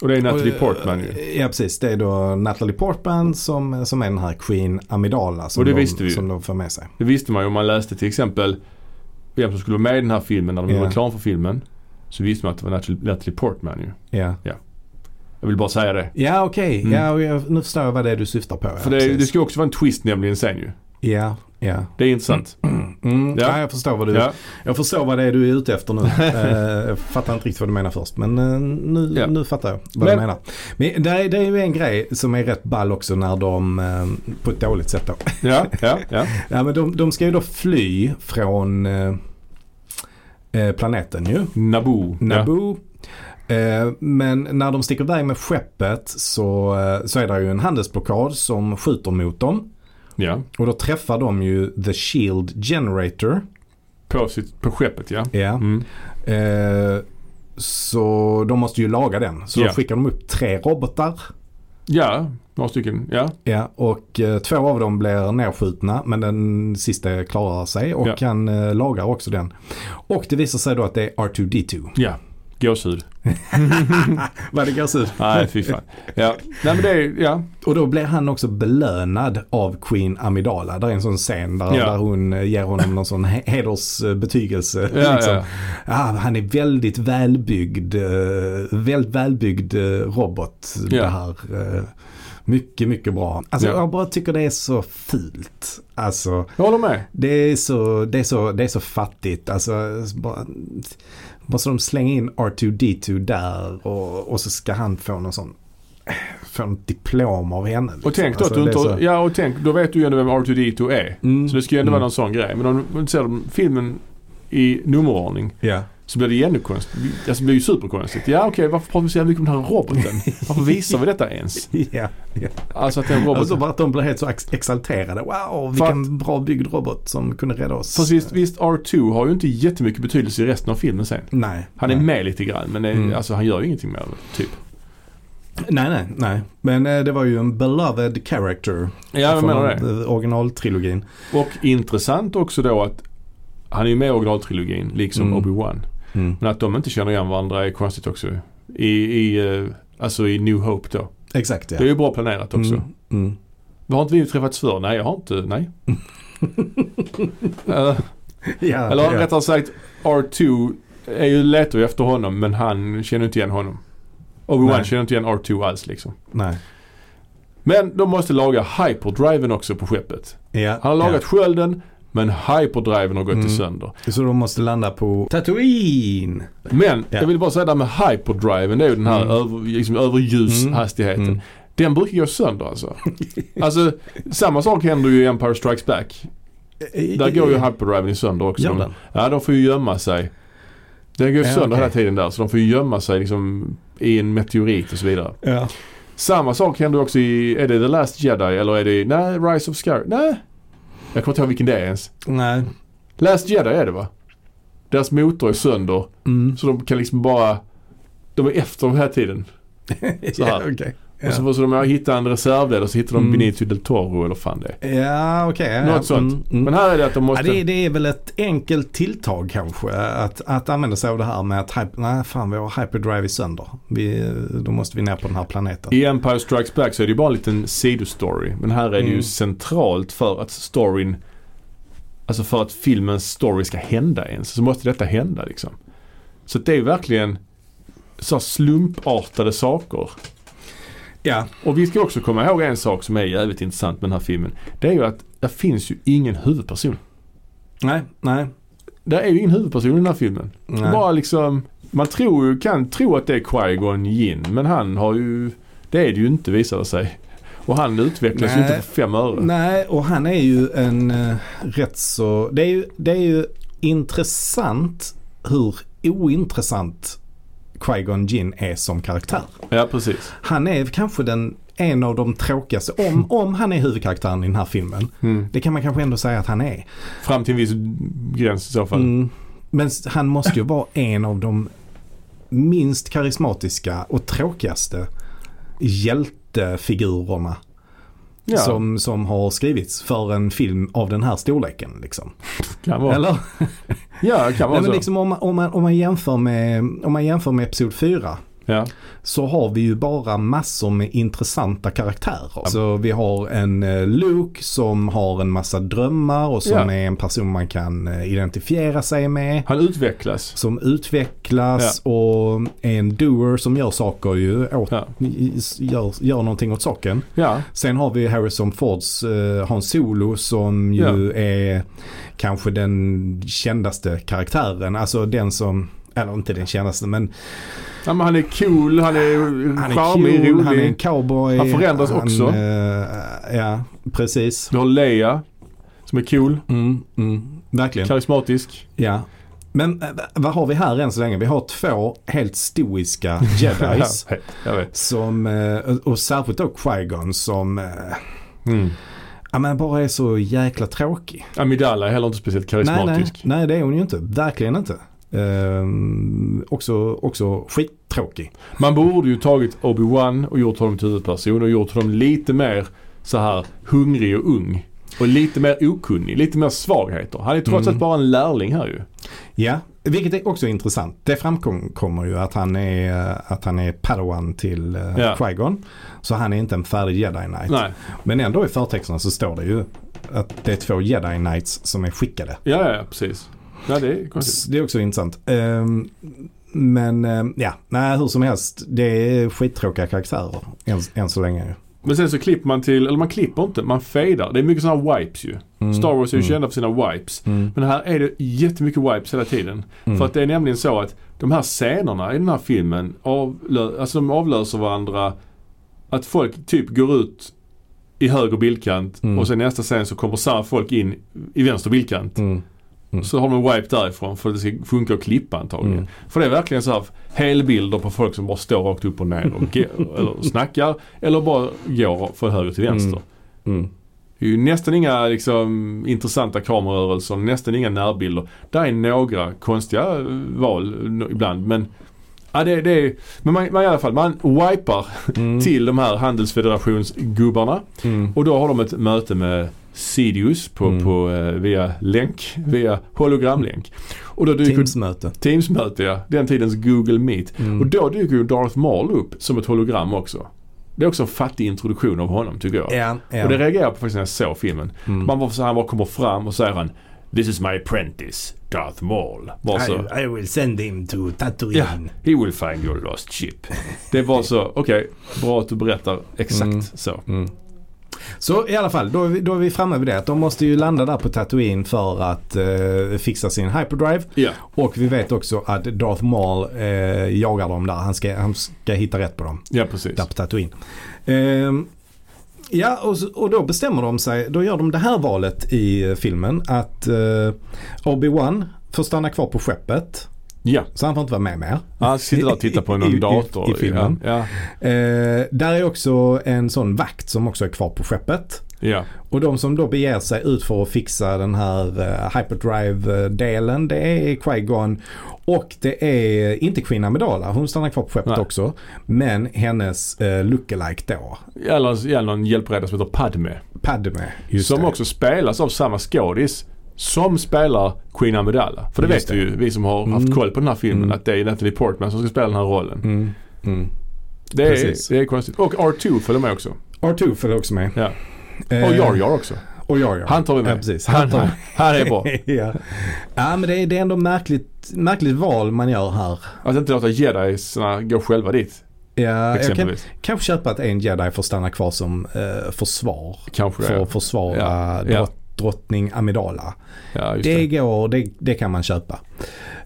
Och det är Natalie Och, Portman ju. eh, Ja precis, det är då Natalie Portman som, som är den här Queen Amidala som, Och det de, visste vi ju. som de får med sig. Det visste man ju om man läste till exempel vem som skulle vara med i den här filmen när de gjorde Ja. reklam för filmen. Så visste man att det var Natalie, Natalie Portman ju. Ja, Jag vill bara säga det. ja okej. Mm. Ja, och jag- nu förstår jag vad det är du syftar på. Ja, För det, är- det precis. ska ju också vara en twist nämligen sen ju. ja, ja. Det är intressant. Mm. Ja. ja. jag förstår vad du Ja. Jag förstår vad det är du är ute efter nu. Eh, Jag fattar inte riktigt vad du menar först. Men eh, nu, Ja. nu fattar jag vad Men- du menar. Men det är, det är ju en grej som är rätt ball också när de, eh, på ett dåligt sätt då. Ja, ja, ja. Ja, men de, de ska ju då fly från eh, eh, planeten ju. Naboo. Naboo. Eh, Men när de sticker iväg med skeppet så, eh, så är det ju en handelsblockad som skjuter mot dem. Ja. ja. Och då träffar de ju The Shield Generator. På, sitt, på skeppet ja. Ja. Mm. Eh, Så de måste ju laga den. Så Ja. då skickar de upp tre robotar. Ja, några stycken. Ja. Ja, och eh, två av dem blir nedskjutna men den sista klarar sig och Ja. han eh, lagar också den. Och det visar sig då att det är R2D2. Ja. Gåshud. Vad det går ut. Nej, fy fan. Ja. Nej men det är, ja. Och då blir han också belönad av Queen Amidala. Där är en sån scen där, Ja. där hon eh, ger honom någon sån he- hedersbetygelse. Ja, liksom. ja. Ah, han är väldigt välbyggd, eh, väldigt välbyggd eh, robot. Ja. Det här. eh, Mycket, mycket bra. Alltså Ja. jag bara tycker det är så fult. Alltså Jag håller med. det är så, det är så, det är så fattigt. Alltså bara, bara så de slänger in R2D2 där och, och så ska han få någon sån få något diplom av henne. Och tänk då Alltså, att du det är inte har, så- ja och tänk, då vet du ju ändå vem R2D2 är. Mm. Så det ska ju ändå Mm. vara någon sån grej. Men om du ser de filmen i nummerordning Ja. så blir det ju ännu konstigt. Alltså det blir ju superkonstigt. Ja okej, varför pratar vi så jävla mycket om den här roboten? Varför visar vi detta ens? Ja, ja. Alltså att det är en robot. Alltså bara att de blir helt så ex- exalterade. Wow, För vilken bra byggd robot som kunde rädda oss. Fast visst, visst R2 har ju inte jättemycket betydelse i resten av filmen sen. Nej. Han är nej. med lite grann men det, Mm. alltså, han gör ju ingenting med det, typ. Nej, nej, nej. Men eh, det var ju en beloved character. Ja, jag från menar det. eh, Originaltrilogin. Och intressant också då att han är ju med i originaltrilogin, liksom Mm. Obi-Wan. Mm. Men att de inte känner igen varandra är konstigt också. I, i, eh, alltså i New Hope då. Exakt ja. Det är ju bra planerat också. Mm, mm. Har inte vi träffats förr? Nej, jag har inte. Nej. Eh, Ja, Eller ja. rättare sagt, R2 är ju, letar ju efter honom men han känner inte igen honom. Obi-Wan Nej. känner inte igen R2 alls liksom. Nej. Men de måste laga hyperdriven också på skeppet. Ja, Han har lagat skölden men hyperdriven har gått Mm. till sönder. ja. Så de måste landa på Tatooine. Men Ja. jag vill bara säga det här med hyperdriven, det är ju den här Mm. över, liksom, överljushastigheten. Mm. Den brukar gå sönder alltså. alltså samma sak händer ju i Empire Strikes Back. Eh, Där går ju hyperdriven sönder också. Gör De- den? Ja, de får ju gömma sig. Den går Ja, sönder okej. hela tiden där så de får ju gömma sig liksom i en meteorit och så vidare. Ja. Samma sak händer också i, är det The Last Jedi eller är det, nej, Rise of Scar? Nej. Jag kommer inte ihåg vilken det är ens. Nej. Last Jedi är det va? Deras motor är sönder Mm. så de kan liksom bara, de är efter den här tiden. Så här. ja, okej. Och så, så de har hittat en reservdel och så hittar de Mm. Benito del Toro eller fan det är. Ja, ja okej. ja, Något ja. sånt. Mm, mm. Men här är det att de Ja, måste... det, det är väl ett enkelt tilltag kanske att, att använda sig av det här med att hype, nej, fan, vår hyperdrive är sönder. Vi, då måste vi ner på den här planeten. I Empire Strikes Back så är det ju bara en liten sidostory. Men här är det ju Mm. centralt för att storyn, alltså för att filmens story ska hända ens. Så måste detta hända liksom. Så det är ju verkligen så här slumpartade saker. Ja, Och vi ska också komma ihåg en sak som är jävligt intressant med den här filmen. Det är ju att det finns ju ingen huvudperson. nej, nej. Det är ju ingen huvudperson i den här filmen. Nej. Bara liksom Man tror, ju- kan tro att det är Qui-Gon Jinn men han har ju... Det är det ju inte visar det sig. Och han utvecklas ju Nej. inte för fem öre. Nej, och han är ju en eh, rätt så... Det är ju, det är ju intressant hur ointressant Qui-Gon Jinn är som karaktär. Ja precis. Han är kanske den, en av de tråkigaste, om, om han är huvudkaraktären i den här filmen. Mm. Det kan man kanske ändå säga att han är. Fram till en viss gräns i så fall. Mm. Men s- han måste ju vara en av de minst karismatiska och tråkigaste hjältefigurerna ja, som, som har skrivits för en film av den här storleken. Liksom. kan vara. Eller? Ja, kan vara Nej, men så. liksom om, man- om, man, om, man jämför med, om man jämför med Episod 4 Ja. så har vi ju bara massor med intressanta karaktärer. Så vi har en eh, Luke som har en massa drömmar och som Ja. är en person man kan eh, identifiera sig med. Han utvecklas. Som utvecklas och är en doer som gör saker ju. Åt, Ja. i- i- gör, gör någonting åt saken. Ja, Sen har vi Harrison Fords eh, Han Solo som ju är kanske den kändaste karaktären. Alltså den som, eller inte den kändaste men ja men han är cool, han är han är charmig, cool, rolig. han är en cowboy. Han förändras också. eh, ja, precis. Du har Leia som är cool, Mm, mm, verkligen. karismatisk. Ja. Men eh, vad har vi här än så länge? Vi har två helt stoiska jedis. Jag vet, jag vet. Som, eh, och särskilt då Qui-Gon som eh, Mm. ja, men bara är så jäkla tråkig. Amidala är heller inte speciellt Nej, nej, karismatisk. nej, det är hon ju inte. Verkligen inte. Ehm, också, också skittråkig. Man borde ju tagit Obi-Wan och gjort honom till huvudperson och gjort honom lite mer så här hungrig och ung. Och lite mer okunnig, lite mer svagheter. Han är trots Mm. allt bara en lärling här ju. Ja, vilket är också intressant. Det framkommer ju att han är, eh, att han är padawan till eh, Ja. Qui-Gon. Så han är inte en färdig jedi knight. Nej, Men ändå i förtexterna så står det ju att det är två jedi knights som är skickade. ja, ja, ja precis. Ja, det är konstigt. Det är också intressant. Ehm, men ehm, ja, nej hur som helst. Det är skittråkiga karaktärer än, än så länge. ju. Men sen så klipper man till, eller man klipper inte, man fadar. Det är mycket sådana här wipes ju. Star Wars är ju kända för sina wipes. Men här är det jättemycket wipes hela tiden. För att det är nämligen så att de här scenerna i den här filmen, avlö- alltså de avlöser varandra. Att folk typ går ut i höger bildkant Mm. och sen nästa scen så kommer samma folk in i vänster bildkant. Mm, Så har de en wipe därifrån för att det ska funka att klippa antagligen. Mm. För det är verkligen så här helbilder på folk som bara står rakt upp och ner och går, eller snackar eller bara går från höger till vänster. Mm. Mm. Det är ju nästan inga liksom, intressanta kamerarörelser, nästan inga närbilder. Där är några konstiga eh, val n- ibland men Ja, det, det är, men man, man i alla fall, man wipar till de här handelsfederationsgubbarna. Mm. Och då har de ett möte med Sidious på, Mm. på, eh, via länk, via hologramlänk. Och då dyker Teamsmöte. Teamsmöte ja, den tidens Google Meet. Mm. Och då dyker ju Darth Maul upp som ett hologram också. Det är också en fattig introduktion av honom tycker jag. Ja, ja. Och det reagerar jag på faktiskt när jag såg filmen. Mm. Man var så han bara kommer fram och säger han This is my apprentice, Darth Maul. Bara så. I, I will send him to Tatooine. Ja, he will find your lost ship. Det var så, okej, bra att du berättar exakt Mm. så. Så i alla fall, då är, vi, då är vi framme vid det. Att de måste ju landa där på Tatooine för att eh, fixa sin hyperdrive. Ja, Och vi vet också att Darth Maul eh, jagar dem där. Han ska, han ska hitta rätt på dem ja precis. där på Tatooine. Ehm, ja, och, så- och då bestämmer de sig. Då gör de det här valet i eh, filmen. Att eh, Obi-Wan får stanna kvar på skeppet. Ja, Så han får inte vara med mer. han sitter där och tittar på I- i- i- någon dator. i filmen. Ja, Eh, där är också en sån vakt som också är kvar på skeppet. ja. Och de som då beger sig ut för att fixa den här eh, hyperdrive-delen det är Qui-Gon och det är inte Queen Amidala. Hon stannar kvar på skeppet Nej. också. Men hennes eh, lookalike då, ja. Eller, eller någon hjälpreda som heter Padme. Padme. Just som det. också spelas av samma skådis som spelar Queen Amidala. För det Just vet det. vi ju, vi som har haft koll på den här filmen, att det är Natalie Portman som ska spela den här rollen. Mm. Mm. Det, precis. är, det är konstigt. Och R2 följer med också. R2 följer också med. Ja. Eh, Och Jar Jar också. Och Jar Jar. Han tar vi med. Ja, precis. Han, han, är bra. ja. ja men det är, det är ändå märkligt, märkligt val man gör här. Att inte låta jedisarna gå själva dit. Ja, jag kan, Exempelvis. kanske köpa att en jedi får stanna kvar som eh, försvar. Kanske det. För att försvara Ja, drott, ja. drottning Amidala. Ja, just Det det. går, det, det kan man köpa.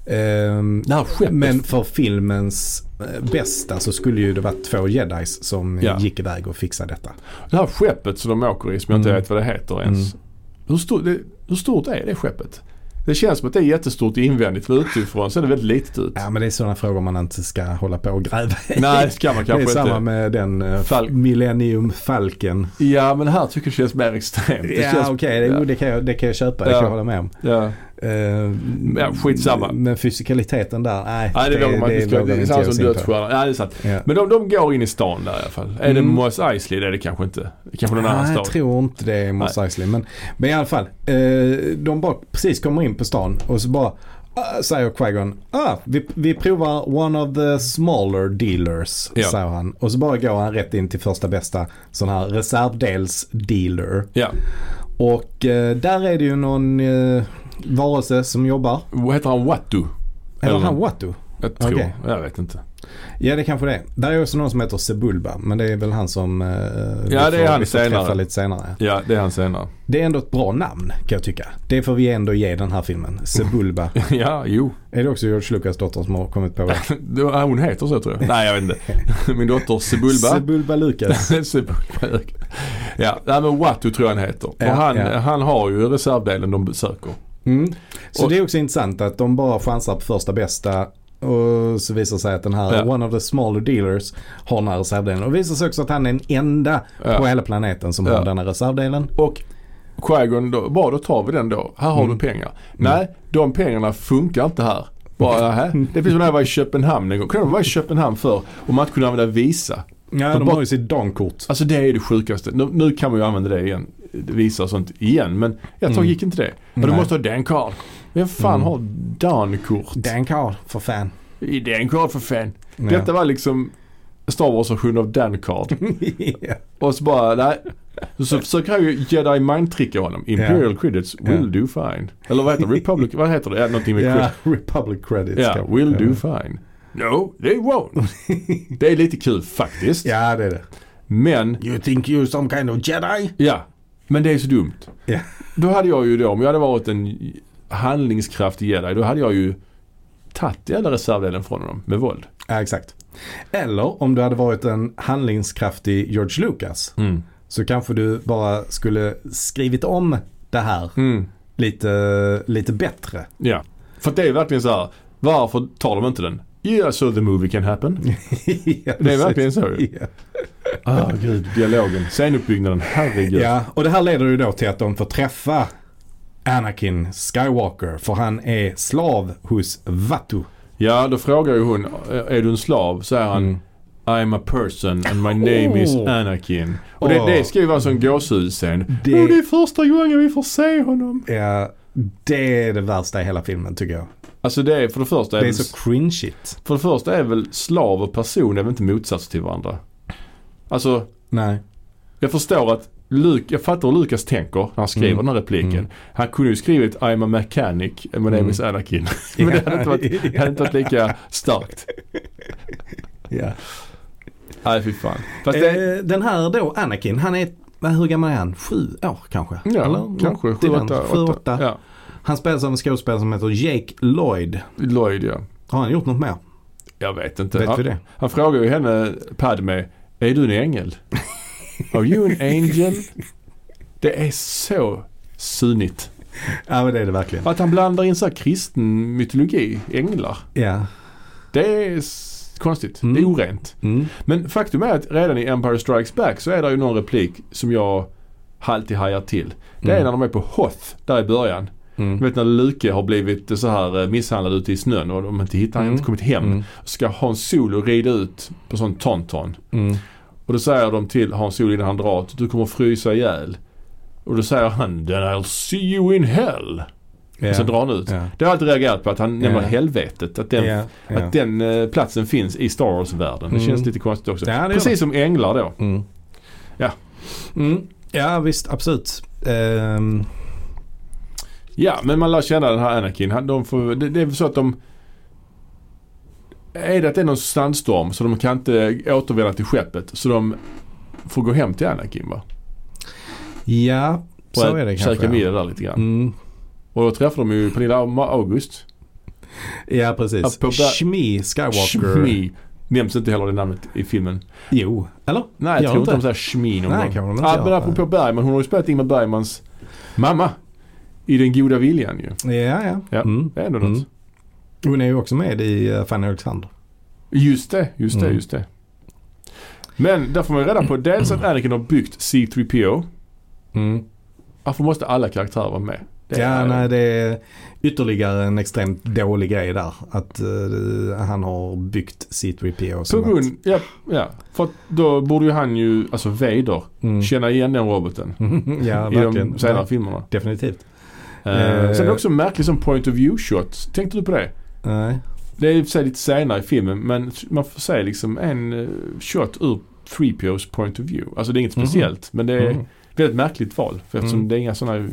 Ehm, Det här skeppet. men för filmens eh, bästa så skulle ju det vara två jedis som Ja. gick iväg och fixade detta. Det här skeppet som de åker i som jag inte Mm. vet vad det heter ens. Hur, stor, det, hur stort är det skeppet? Det känns som att det är jättestort invändigt men utifrån ser det väldigt litet ut. Ja men det är sådana frågor man inte ska hålla på och gräva i. Nej, det ska man Det är kanske samma inte. med den eh, Falk. Millennium Falken. Ja men det här tycker jag känns mer extremt. Det ja känns, okej, det, ja. jo, det, kan jag- det kan jag köpa. Det Ja. kan jag hålla med om. ja. Uh, Ja, skitsamma. Men fysikaliteten där, nej. Nej det vågar man inte. Det, vågar vi är inte samma ge oss som in på. dödsstjärnan. Ja det är sant. Ja. Men de, de går in i stan där i alla fall. Är det Mm. Mos Eisley? Det är det kanske inte. Det kanske är någon annan Nej, stad. jag tror inte det är Mos Eisley. Men, men i alla fall, eh, de bara precis kommer in på stan och så bara ah, säger Quagon, ah, vi, vi provar one of the smaller dealers, Ja. säger han. Och så bara går han rätt in till första bästa sån här reservdelsdealer. Ja. Och eh, där är det ju någon eh, varelse som jobbar. Vad heter han? Wattu? Eller Eller- han Wattu? Jag tror. Okej. Jag vet inte. Ja det kanske det är. Där är också någon som heter Sebulba. Men det är väl han som eh, vi det är får- han vi får senare. träffa lite senare. Ja det är han senare. Det är ändå ett bra namn kan jag tycka. Det får vi ändå ge den här filmen. Sebulba. ja jo. är det också George Lucas dotter som har kommit på det? Det var- Hon heter så tror jag. Nej jag vet inte. Min dotter Sebulba. Sebulba Lucas. Sebulba. ja, nej, men Wattu tror jag han heter. Ja, och han, ja. han har ju reservdelen de söker. Mm. Så Och- det är också intressant att de bara chansar på första bästa. Och så visar det sig att den här Ja. One of the smaller dealers har den här reservdelen. Och det visar sig också att han är den enda Ja. på hela planeten som Ja. har den här reservdelen. Och Quagon då, bara då tar vi den då. Här har Mm. du pengar. Nej, de pengarna funkar inte här. Bara, nähä. det finns som när jag var i Köpenhamn en gång. Kunde de vara i Köpenhamn för och man inte kunde använda Visa. Ja, de de, bara- har ju sitt dankort. Alltså det är ju det sjukaste. Nu, nu kan man ju använda det igen. Visa och sånt igen. Men ett tag Mm. gick inte det. Men du Nej. måste ha Dancard. Vem fan Mm. har Dankort? Dankard, för fan. I Dancard för fan. Detta var liksom Star Wars-version av Dancard. ja. Och så bara, nej. Så försöker han ju jedi mind-tricka honom. Imperial credits will Ja. do fine. Eller vad heter det? Republic, vad heter det? Ja, någonting med ja, credits. Republic credits. Ja, kanske. will Ja. do fine. No, they won't. det är lite kul faktiskt. Ja, det är det. Men, You think you're some kind of jedi? ja. Men det är så dumt. Ja. Då hade jag ju då, om jag hade varit en handlingskraftig jedi, då hade jag ju tagit hela reservdelen från honom med våld. Ja, exakt. Eller om du hade varit en handlingskraftig George Lucas Mm. så kanske du bara skulle skrivit om det här Mm. lite, lite bättre. Ja. För det är verkligen så här, varför tar de inte den? Yeah, so the movie can happen. Det är verkligen så ju. Ja. Ah, gud. Dialogen. Scenuppbyggnaden. Herregud. ja, och det här leder ju då till att de får träffa Anakin Skywalker för han är slav hos Wattu. Ja, då frågar ju hon, är du en slav? Säger han, I'm a person and my name is Mm. Åh. Anakin. Och det, det ska ju vara en sån gåshudsscen. Det... Det- det är första gången vi får se honom. Ja, det är det värsta i hela filmen tycker jag. Alltså det är, för det första är, Det är väl, så cringeigt. för det första är väl slav och person är väl inte motsatser till varandra. Alltså, Nej. jag förstår att Luke, jag fattar hur Lukas tänker när han skriver Mm. den här repliken. Mm. Han kunde ju skrivit I'm a mechanic and my name Mm. is Anakin. Men det hade inte varit, det hade inte varit lika starkt. Ja. Nej fy fan. Fast det, Eh, Den här då, Anakin, han är, vad- hur gammal är han? Sju år kanske? Ja, Eller? kanske. Något i 7, den. 8, Sju, åtta. Ja. Han spelas av en skådespelare som heter Jake Lloyd. Lloyd ja. Har han gjort något mer? Jag vet inte. Vet han, vi det? han frågar ju henne, Padme, är du en ängel? Are you an angel? Det är så synigt. Ja, men det är det verkligen. Att han blandar in så här kristen mytologi, änglar. Ja. Det är s- konstigt. Mm. Det är orent. Mm. Men faktum är att redan i Empire Strikes Back så är det ju någon replik som jag alltid hajar till. Det är Mm. när de är på Hoth där i början. Du Mm. vet när Luke har blivit så här eh, misshandlad ute i snön och de inte hittar, han har inte Mm. kommit hem. Mm. Ska Han Solo rida ut på sån tonton. Mm. Och då säger de till Han Solo innan han drar att du kommer frysa ihjäl. Och då säger han “Then I'll see you in hell”. Ja. Och så drar han ut. Ja. Det har jag alltid reagerat på att han nämner Ja. helvetet. Att den, Ja. Ja. att den eh, platsen finns i Star Wars-världen. Det Mm. känns lite konstigt också. Ja, det gör Precis som änglar då. Mm. Ja. Mm. Ja, visst. Absolut. Ehm, Ja, men man lär känna den här Anakin. Han, de får, det, det är väl så att de... Är det att det är någon sandstorm så de kan inte återvända till skeppet så de får gå hem till Anakin va? ja, Och så är det Käka kanske. middag där lite grann. Mm. Och då träffar de ju Pernilla August. Ja, precis. På ba- Shmi Skywalker. Shmi nämns inte heller det namnet i filmen. Jo, eller? Nej, jag Gör tror inte inte. de säger Shmi någon Nej, gång. kanske de inte ah, gör. men apropå Bergman, hon har ju spelat Ingmar Bergmans mamma i Den goda viljan ju. Ja, ja. Ja, Mm. det är ändå något. Mm. Hon är ju också med i eh, Fanny Alexander. Just det, just det, Mm. just det. Men där får man ju reda på dels att Anakin har byggt C3PO. Varför måste alla karaktärer vara med? Det Mm. ja, är- nej det är ytterligare en extremt dålig grej där. Att eh, han har byggt C3PO På som att... grund, ja, ja. För att då borde ju han ju, alltså Vader, Mm. känna igen den roboten. ja, I verkligen. de senare Ja, filmerna. Definitivt. Eh, sen är det Eh. också märkligt som point of view shot. Tänkte du på det? Nej. Det är i och för sig lite senare i filmen men man får se liksom en eh, shot ur 3PO's point of view. Alltså det är inget Mhm. speciellt men det är Mm. väldigt märkligt val för eftersom Mm. det är inga sådana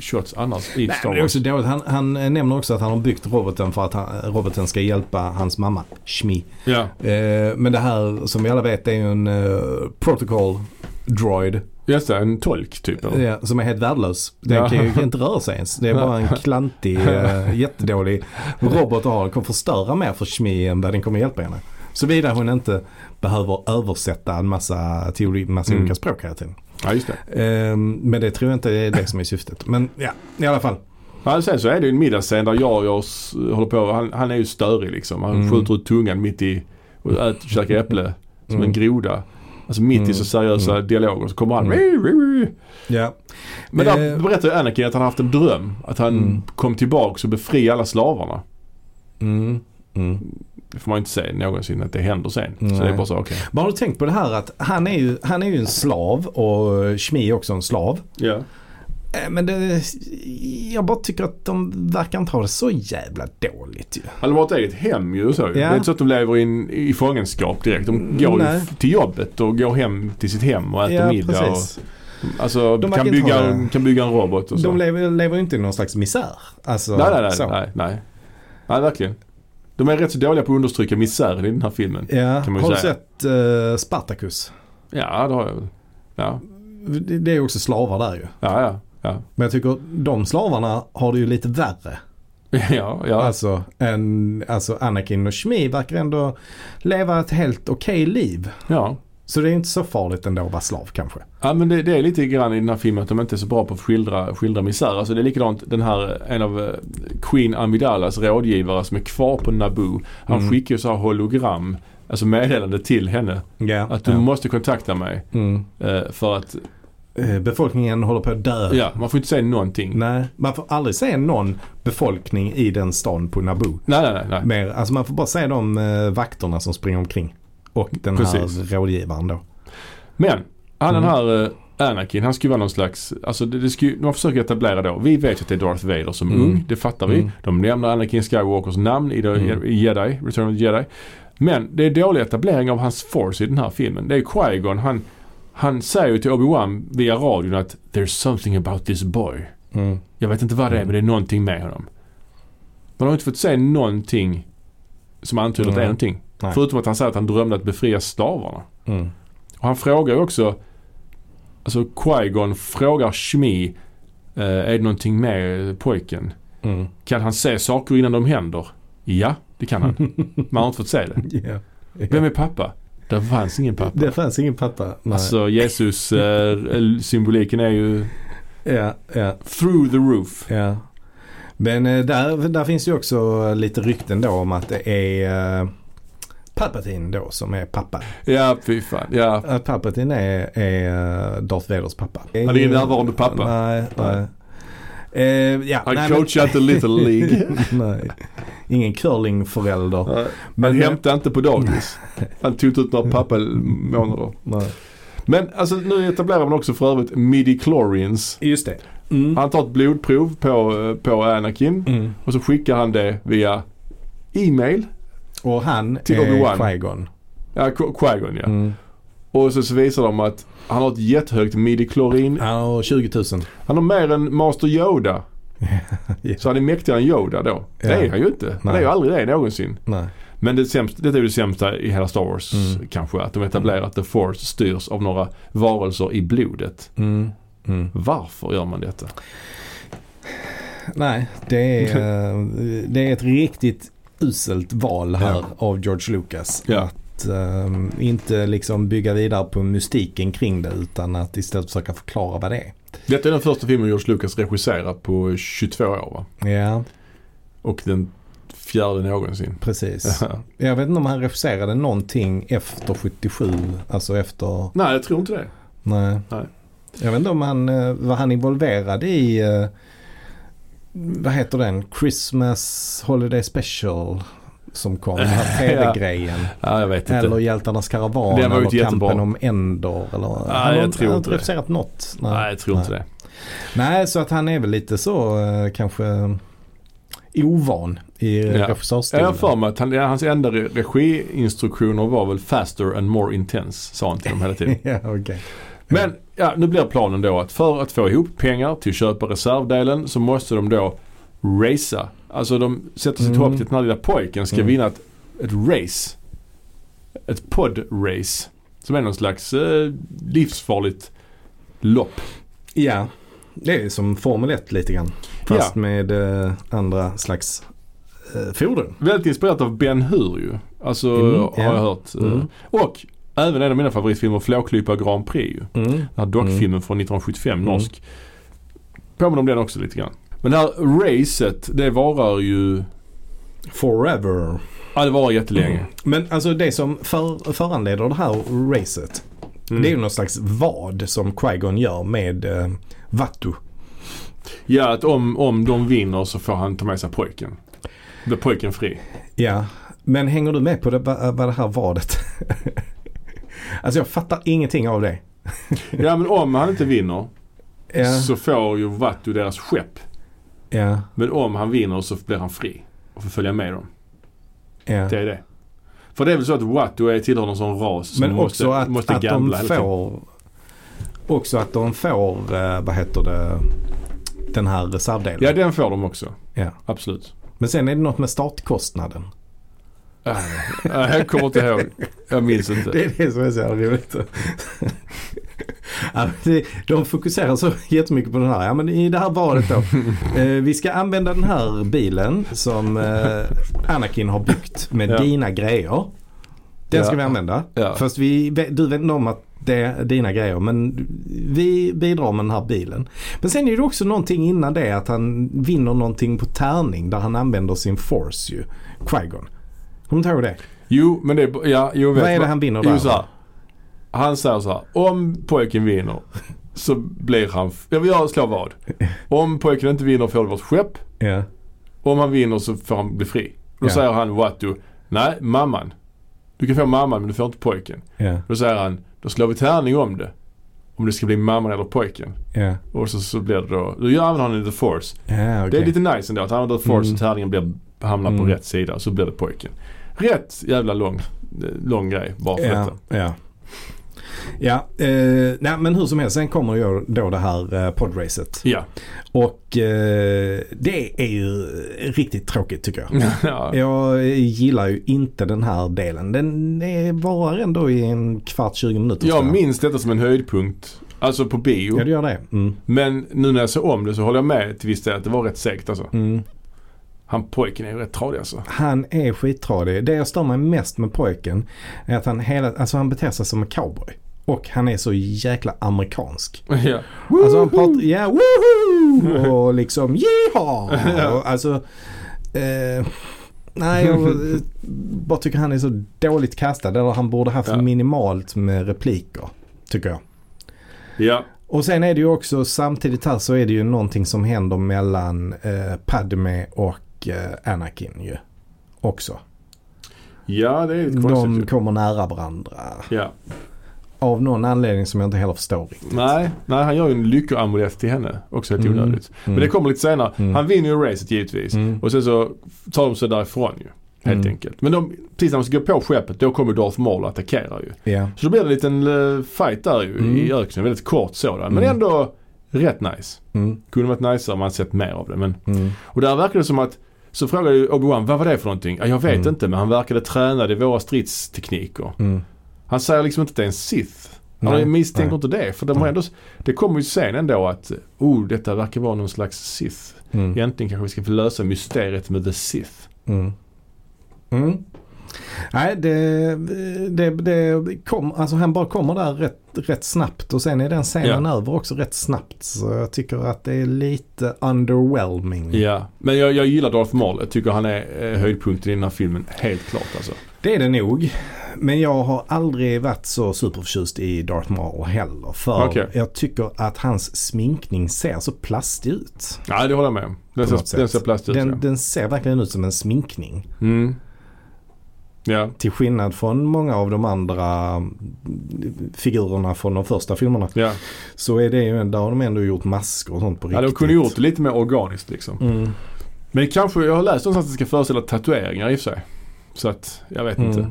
shots annars i Nej, men Star det är Wars. också dåligt. Han, han eh, nämner också att han har byggt roboten för att han, roboten ska hjälpa hans mamma, Shmi. Ja, Eh, men det här som vi alla vet är ju en eh, protocol droid just det. En tolk typ. eller? ja, som är helt värdelös. Den Ja. kan ju inte röra sig ens. Det är bara en klantig, eh, jättedålig robot att ha. Den kommer förstöra mer för Shmi än vad den kommer hjälpa henne. Såvida hon inte behöver översätta en massa, teori, massa Mm. olika språk hela tiden. Ja, just det. Eh, men det tror jag inte är det som är syftet. Men ja, i alla fall. Ja, alltså, sen så är det ju en middagsscen där jag och eh, håller på. Han, han är ju störig liksom. Han Mm. skjuter ut tungan mitt i och äter, käkar äpple som Mm. en groda. Alltså mitt i så seriösa dialoger så kommer han Mm. Ja. Men där Eh, berättar ju Anakin att han haft en dröm. Att han Mm. kom tillbaks och befriade alla slavarna. mm, mm. Det får man ju inte säga någonsin att det händer sen. Nej. Så det är bara så, okej. Men har du tänkt på det här att han är ju, han är ju en slav och Shmi är också en slav. Ja. Eh, Men det, jag bara tycker att de verkar inte ha det så jävla dåligt ju. Han har ett eget hem ju och så. ju. Det är inte så att de lever i, en- i fångenskap direkt. De går ju Mm, Nej. f- till jobbet och går hem till sitt hem och äter middag. Och, alltså De kan, verkar inte bygga, ha det. kan bygga en robot och så. De lever, lever ju inte i någon slags misär. Alltså, nej, nej, nej, så. nej, nej. Nej, verkligen. De är rätt så dåliga på att understryka misären i den här filmen. Ja, Kan man ju har du säga. sett eh, Spartacus? Ja, det har jag väl. Ja, Det det är ju också slavar där ju. ja, ja. Ja, Men jag tycker de slavarna har det ju lite värre. ja. ja. Alltså, än, alltså Anakin och Shmi verkar ändå leva ett helt okej liv. ja. Så det är ju inte så farligt ändå att vara slav kanske. Ja men det, det är lite grann i den här filmen att de inte är så bra på att skildra, skildra misär. Alltså det är likadant den här, en av eh, Queen Amidalas rådgivare som är kvar på Naboo. Han Mm. skickar ju så här hologram, alltså meddelande till henne. Ja. Att du ja. måste kontakta mig. Mm. eh, För att, Eh, Befolkningen håller på att dö. ja man får inte säga någonting. Nej, man får aldrig se någon befolkning i den stan på Naboo. Nej nej nej. nej. Mer, alltså man får bara se de eh, vakterna som springer omkring. Och den Precis. här rådgivaren då. Men, han den Mm. här eh, Anakin, han ska ju vara någon slags, alltså det, det ska ju, de försöker etablera då. Vi vet ju att det är Darth Vader som Mm. ung, det fattar vi. Mm. De nämner Anakin Skywalkers namn i, Mm. i Jedi, Return of the Jedi. Men det är dålig etablering av hans force i den här filmen. Det är Qui-Gon, han, han säger ju till Obi-Wan via radion att “There's something about this boy”. Jag vet inte vad Mm. det är men det är någonting med honom. Man har inte fått se någonting som antyder att det är Nej. någonting. Nej. Förutom att han säger att han drömde att befria stavarna. Mm. Och han frågar ju också, alltså Qui-Gon frågar Shmi, eh, är det någonting med pojken? Mm. Kan han se saker innan de händer? Ja, det kan han. Men han har inte fått se det. Ja. Vem är pappa? Det fanns ingen pappa. Det fanns ingen pappa. Nej. Alltså Jesus-symboliken är ju Ja, ja, through the roof. ja. Men eh, där, där finns ju också lite rykten då om att det är eh, Palpatine då som är pappa. Ja, fy fan. Ja. Att Palpatine är, är eh, Darth Vaders pappa. är ingen närvarande pappa. Nej, nej. Eh, ja, Han nej, coachat the little league. nej. Ingen curlingförälder. Men hämtade inte på dagis. Han tog inte ut några pappamånader. Nej. Men alltså nu etablerar man också för övrigt midi-chlorians. Just det. Mm. Han tar ett blodprov på, eh, på Anakin Mm. och så skickar han det via e-mail. Och han Till är Obi-Wan. Qui-Gon. Ja, Qui- Qui-Gon ja. Mm. Och så, så visar de att han har ett jättehögt midiklorin. Han har 20 000. Han har mer än Master Yoda. Så han är mäktigare än Yoda då. Det Ja. är han ju inte. Han är Nej. ju aldrig det någonsin. Nej. Men det sämsta, detta är ju det sämsta i hela Star Wars Mm. kanske. Att de etablerar att The Force styrs av några varelser i blodet. Mm. Mm. Varför gör man detta? nej. Det är, eh, det är ett riktigt uselt val här av George Lucas. Ja. Att ehm, inte liksom bygga vidare på mystiken kring det utan att istället försöka förklara vad det är. Detta är den första filmen George Lucas regisserat på 22 år va? Ja, Och den fjärde någonsin. precis. Jag vet inte om han regisserade någonting efter 77. Alltså efter... Nej, jag tror inte det. Nej. Nej. Jag vet inte om han eh, var han involverad i eh, vad heter den? Christmas Holiday Special som kom. Den här tv-grejen. Ja, jag vet inte. Eller Hjältarnas karavan Den var ju eller inte jättebra. Kampen om Endor. Eller, han jag har- tror han har inte det. regisserat något. Nej, jag tror inte det. Nej, så att han är väl lite så eh, kanske ovan i Ja. Jag regissörstilen. har för mig att han, ja, hans enda re- regiinstruktioner var väl faster and more intense, sa han till dem hela tiden. ja, okej. Men ja, nu blir planen då att för att få ihop pengar till att köpa reservdelen så måste de då racea. Alltså de sätter sitt Mm. hopp till att den här lilla pojken ska Mm. vinna ett, ett race. Ett podd-race. Som är någon slags eh, livsfarligt lopp. Ja, det är ju som Formel 1 lite grann. Fast Ja. med eh, andra slags eh, fordon. Väldigt inspirerat av Ben Hur ju. Alltså Mm, har ja. jag hört. eh, Mm. Och även en av mina favoritfilmer, Flåklypa Grand Prix ju. Mm. Den här dockfilmen från 1975, norsk. Påminner om den också lite grann. Men det här racet, det varar ju... Forever. Ja, det varar jättelänge. Men alltså det som för, föranleder det här racet. Mm. Det är ju någon slags vad som Qui-Gon gör med eh, Wattu. Ja, att om, om de vinner så får han ta med sig pojken. Blir pojken fri. Ja, men hänger du med på det, vad vad det här vadet? alltså jag fattar ingenting av det. Ja, men om han inte vinner Ja, så får ju Vattu deras skepp. ja, Men om han vinner så blir han fri och får följa med dem. ja. Det är det. För det är väl så att Wattu är tillhör någon sån ras som Men måste, också att, måste att de gamla hela tiden. får... Också att de får, eh, vad heter det, den här reservdelen. Ja, den får de också. Ja. Absolut. Men sen är det något med startkostnaden. Äh, jag kommer inte ihåg. Jag minns inte. Det är det som är så jävla roligt. Ja, men det- De fokuserar så jättemycket på den här. Ja, men I det här valet då. Eh, vi ska använda den här bilen som eh, Anakin har byggt med Ja. dina grejer. Den ska Ja. vi använda. Ja. Fast vi, du vet inte om att det är dina grejer. Men vi bidrar med den här bilen. Men sen är det också någonting innan det att han vinner någonting på tärning där han använder sin force ju. Qui-Gon. Kommer du inte ihåg det? Jo, men det är... Ja, jo, vet Vad är du det han vinner Jo, där? så här. Han säger så här. Om pojken vinner så blir han... f- Jag vill jag slår vad. Om pojken inte vinner får han vårt skepp. Ja. Om han vinner så får han bli fri. Då Ja. säger han Wattu. Nej, mamman. Du kan få mamman men du får inte pojken. Ja. Då säger han. Då slår vi tärning om det. Om det ska bli mamman eller pojken. Ja. och Och så, så blir det då... Då gör han lite force. Ja, Det okej. är lite nice ändå att han använder force Mm. och tärningen blir, hamnar på Mm. rätt sida och så blir det pojken. Rätt jävla lång, lång grej bara för detta. ja, ja. Ja, eh, nej, men hur som helst. Sen kommer ju då det här eh, podracet. Ja. Och eh, det är ju riktigt tråkigt tycker jag. ja. Jag gillar ju inte den här delen. Den är- varar ändå i en kvart, 20 minuter. tror Jag minns detta som en höjdpunkt. Alltså på bio. Ja, det gör det. Mm. Men nu när jag såg om det så håller jag med till viss del att det var rätt segt alltså. Mm. Han pojken är ju rätt tradig alltså. Han är skittradig. Det jag stör mig mest med pojken är att han hela, alltså han beter sig som en cowboy. Och han är så jäkla amerikansk. ja. Alltså han pratar, ja woho! Och liksom jiha! Och Alltså, eh, nej jag eh, bara tycker han är så dåligt kastad. Eller han borde haft Ja. minimalt med repliker. Tycker jag. Ja. Och sen är det ju också samtidigt här så är det ju någonting som händer mellan eh, Padme och eh, Anakin ju. Också. Ja, det är lite konstigt De ju. kommer nära varandra. Ja. Av någon anledning som jag inte heller förstår riktigt. Nej, nej, han gör ju en lyckoamulett till henne. Också helt Mm. onödigt. Men Mm. det kommer lite senare. Mm. Han vinner ju racet givetvis. Mm. Och sen så tar de sig därifrån ju. Helt Mm. enkelt. Men de, precis när de ska gå på skeppet då kommer Darth Maul och attackerar ju. Ja. Så då blir det en liten eh, fight där ju Mm. i öknen. Väldigt kort sådan. Men Mm. ändå rätt nice. Mm. Kunde varit nicer om man sett mer av det. Men, Mm. och där verkar det som att så frågade ju Obi-Wan vad var det för någonting? Ja, jag vet Mm. inte men han verkade tränad i våra stridstekniker. Mm. Han säger liksom inte att det är en Sith. Nej, Nej, jag misstänker nej. Mm. inte det. För de har ändå, det kommer ju sen ändå att oh, detta verkar vara någon slags Sith. Mm. Egentligen kanske vi ska få lösa mysteriet med The Sith. Mm. Mm. Nej, det, det, det kom, alltså han bara kommer där rätt, rätt snabbt och sen är den scenen över också rätt snabbt. Så jag tycker att det är lite underwhelming. Ja, men jag, jag gillar Darth Maul. Jag tycker han är eh, höjdpunkten i den här filmen, helt klart alltså. Det är det nog. Men jag har aldrig varit så superförtjust i Darth Maul heller. För Okej. jag tycker att hans sminkning ser så plastig ut. Nej, det håller jag med om. Den, på något ser, den sätt. ser plastig ut. den, ja. den ser verkligen ut som en sminkning. Mm. Ja. Till skillnad från många av de andra mm, figurerna från de första filmerna. Ja. Så är det ju, där har de ändå gjort masker och sånt på ja, riktigt. de kunde gjort det lite mer organiskt liksom. Mm. Men kanske, jag har läst någonstans att det ska föreställa tatueringar i och för sig. Så att, jag vet Mm. inte.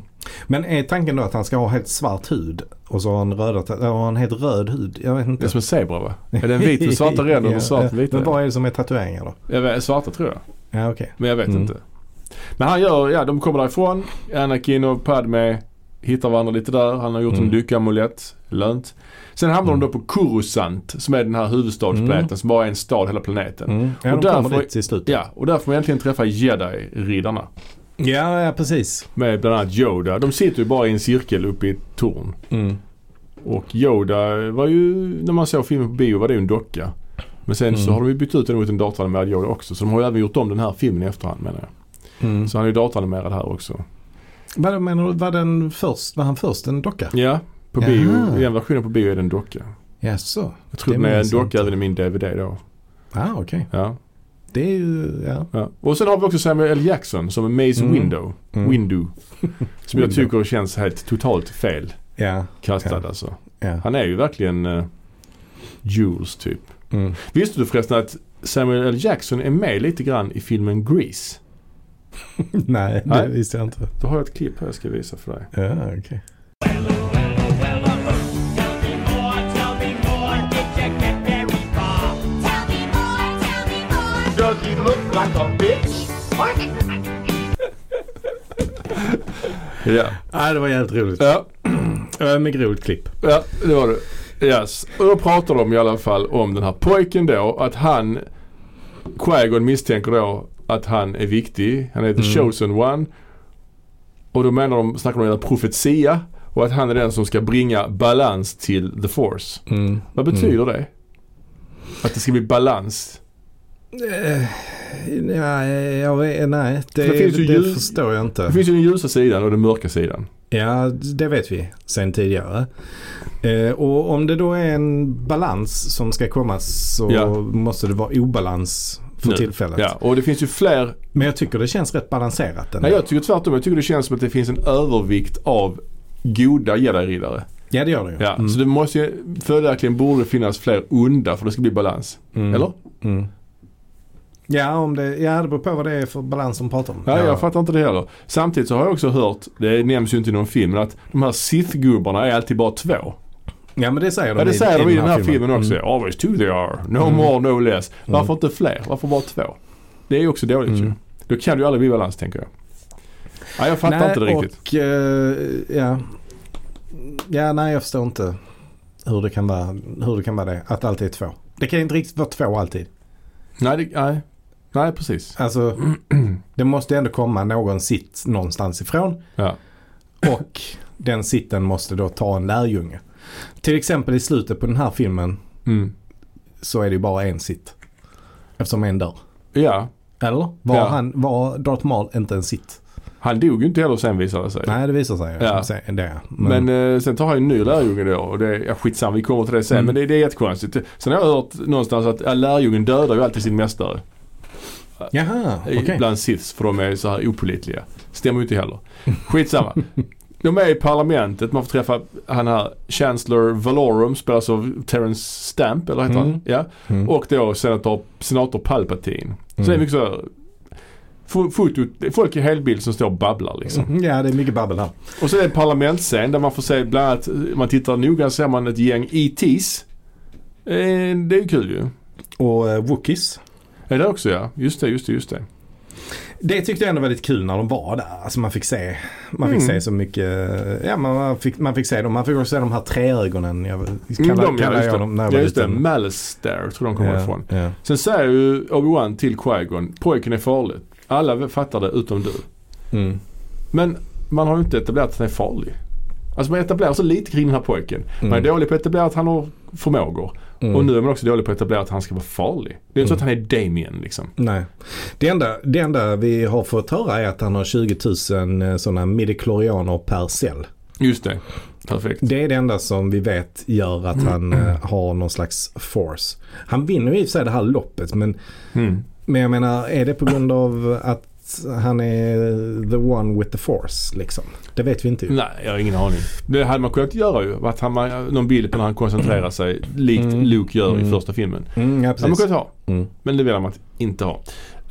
Men är tanken då att han ska ha helt svart hud och så har han, röda, ta- eller har han helt röd hud? Jag vet Det är inte. som en zebra va? Är det en vit med svarta ränder och en svart med vita Men ränder? vad är det som är tatueringar då? Jag vet- Svarta tror jag. Ja okej. Men jag vet Mm. inte. Men han gör, ja de kommer därifrån. Anakin och Padme hittar varandra lite där. Han har gjort en Mm. lyckamulett. Lönt. Sen hamnar Mm. de då på Coruscant som är den här huvudstadsplaneten Mm. som bara är en stad hela planeten. Mm. Ja, Och de kommer därför- dit till slut. Ja, och där får man äntligen träffa jedi-riddarna. ja, ja, precis. Med bland annat Yoda. De sitter ju bara i en cirkel uppe i ett torn. Mm. Och Yoda var ju, när man såg filmen på bio var det ju en docka. Men sen så Mm. har de ju bytt ut den mot en datoranimerad Yoda också. Så de har ju även gjort om den här filmen i efterhand menar jag. Mm. Så han är ju datoranimerad här också. Vad menar du, var, den först, var han först en docka? Ja, på Jaha. bio. I den versionen på bio är det en docka. Jaså? Jag tror Det den är en minns jag docka även i min DVD då. Ah, okej. Ja, Det är ju, ja. ja. Och sen har vi också Samuel L. Jackson som är Maze Mm. Window. Mm. Window. Som jag Window. tycker känns helt totalt fel Ja, kastad Ja. alltså. ja. Han är ju verkligen eh, Jules typ. Mm. Visste du förresten att Samuel L. Jackson är med lite grann i filmen Grease? Nej, det Nej. visste jag inte. Då har jag ett klipp här jag ska visa för dig. Ja, okej. Does he look like a bitch? What? Ja, Ah, det var jävligt roligt. ja, Ja. Mycket roligt klipp. ja det var det. Yes. Och då pratar de i alla fall om den här pojken då, att han, qui misstänker då att han är viktig, han är the Mm. chosen one. Och då menar de, snackar de om en profetia och att han är den som ska bringa balans till the force. Mm. Vad betyder det? Att det ska bli balans? Eh, Ja, jag vet, nej, det, Det det, finns ju ljud- förstår jag inte. Det finns ju den ljusa sidan och den mörka sidan. Ja, det vet vi sen tidigare. Eh, och om det då är en balans som ska komma så Ja. måste det vara obalans för Nu. tillfället. Ja, och det finns ju fler Men jag tycker det känns rätt balanserat. ändå. Nej, jag tycker tvärtom. Jag tycker det känns som att det finns en övervikt av goda jedi-riddare. Ja, det gör det ju. Ja, Så det måste ju, följaktligen borde det finnas fler onda för det ska bli balans. Eller? Ja, om det, ja, det beror på vad det är för balans som pratar om. Nej, jag fattar inte det heller. Samtidigt så har jag också hört, det nämns ju inte i någon film, men att de här Sith-gubbarna är alltid bara två. ja, men det säger de Ja, det säger de i den här filmen, Mm. också. Mm. Always two they are. No more, no less. Varför inte fler? Varför bara två? Det är ju också dåligt ju. Då kan det ju aldrig bli balans, tänker jag. Nej, jag fattar nej, inte det riktigt. Och, eh, ja. ja, nej jag förstår inte hur det, kan vara, hur det kan vara det. Att alltid är två. Det kan inte riktigt vara två alltid. Nej, det, nej. nej, precis. Alltså, det måste ändå komma någon sitt någonstans ifrån. Ja. Och den sitten måste då ta en lärjunge. Till exempel i slutet på den här filmen Mm. så är det ju bara en sitt. Eftersom en dör. ja, Eller? Var, Ja. han, var Darth Maul inte en sitt? Han dog ju inte heller sen visade det sig. Nej, det visar sig. Ja. Sen, det, men, Mm. Men eh, sen tar han ju en ny lärjunge då och det, ja, skitsamma vi kommer till det sen. Men det, det är jättekonstigt. Sen har jag hört någonstans att ja, lärjungen dödar ju alltid sin mästare. Jaha, I- okej. Bland siths för de är så här opolitliga. Stämmer ju inte heller. Skitsamma. de är i parlamentet. Man får träffa han här Chancellor Valorum spelas av Terence Stamp eller heter han? Mm. Ja. Mm. Och då senator, senator Palpatine. Så Mm. det är mycket så här, fo- fotot, folk i helbild som står och babblar liksom. Mhm, Ja, det är mycket babbel här. Och så är det en parlamentsscen där man får se bland annat, om man tittar noga ser man ett gäng ETs. Eh, Det är ju kul ju. Och eh, Wookies. Är det också ja. Just det, just det, just det. Det tyckte jag ändå var lite kul när de var där. Alltså man fick se, man Mm. fick se så mycket, eh, ja man- man fick, man fick se dem, man fick också se de här treögonen. Jag Mm, kallar, de, ja, kallar just jag det. dem när jag ja, var just det. liten. Malstair tror de kommer Ja, ifrån. ja. Sen säger ju Obi-Wan till Qui-Gon, pojken är farlig. Alla fattar det utom du. Mm. Men man har ju inte etablerat att han är farlig. Alltså man etablerar så lite kring den här pojken. Man är Mm. dålig på att etablera att han har förmågor. Mm. Och nu är man också dålig på att etablera att han ska vara farlig. Det är inte så att han är Damien liksom. Nej. Det enda, det enda vi har fått höra är att han har 20 000 sådana midichlorianer per cell. Just det. Perfekt. Det är det enda som vi vet gör att han eh, har någon slags force. Han vinner ju i och för sig det här loppet men, Mm. men jag menar är det på grund av att han är the one with the force liksom? Det vet vi inte ju. Nej, jag har ingen aning. Det hade man kunnat göra ju. Att han, någon bild på när han koncentrerar sig likt Luke gör i första filmen. Mm, ja, Ja, man precis. kan ha. Mm. Men det vill man inte ha.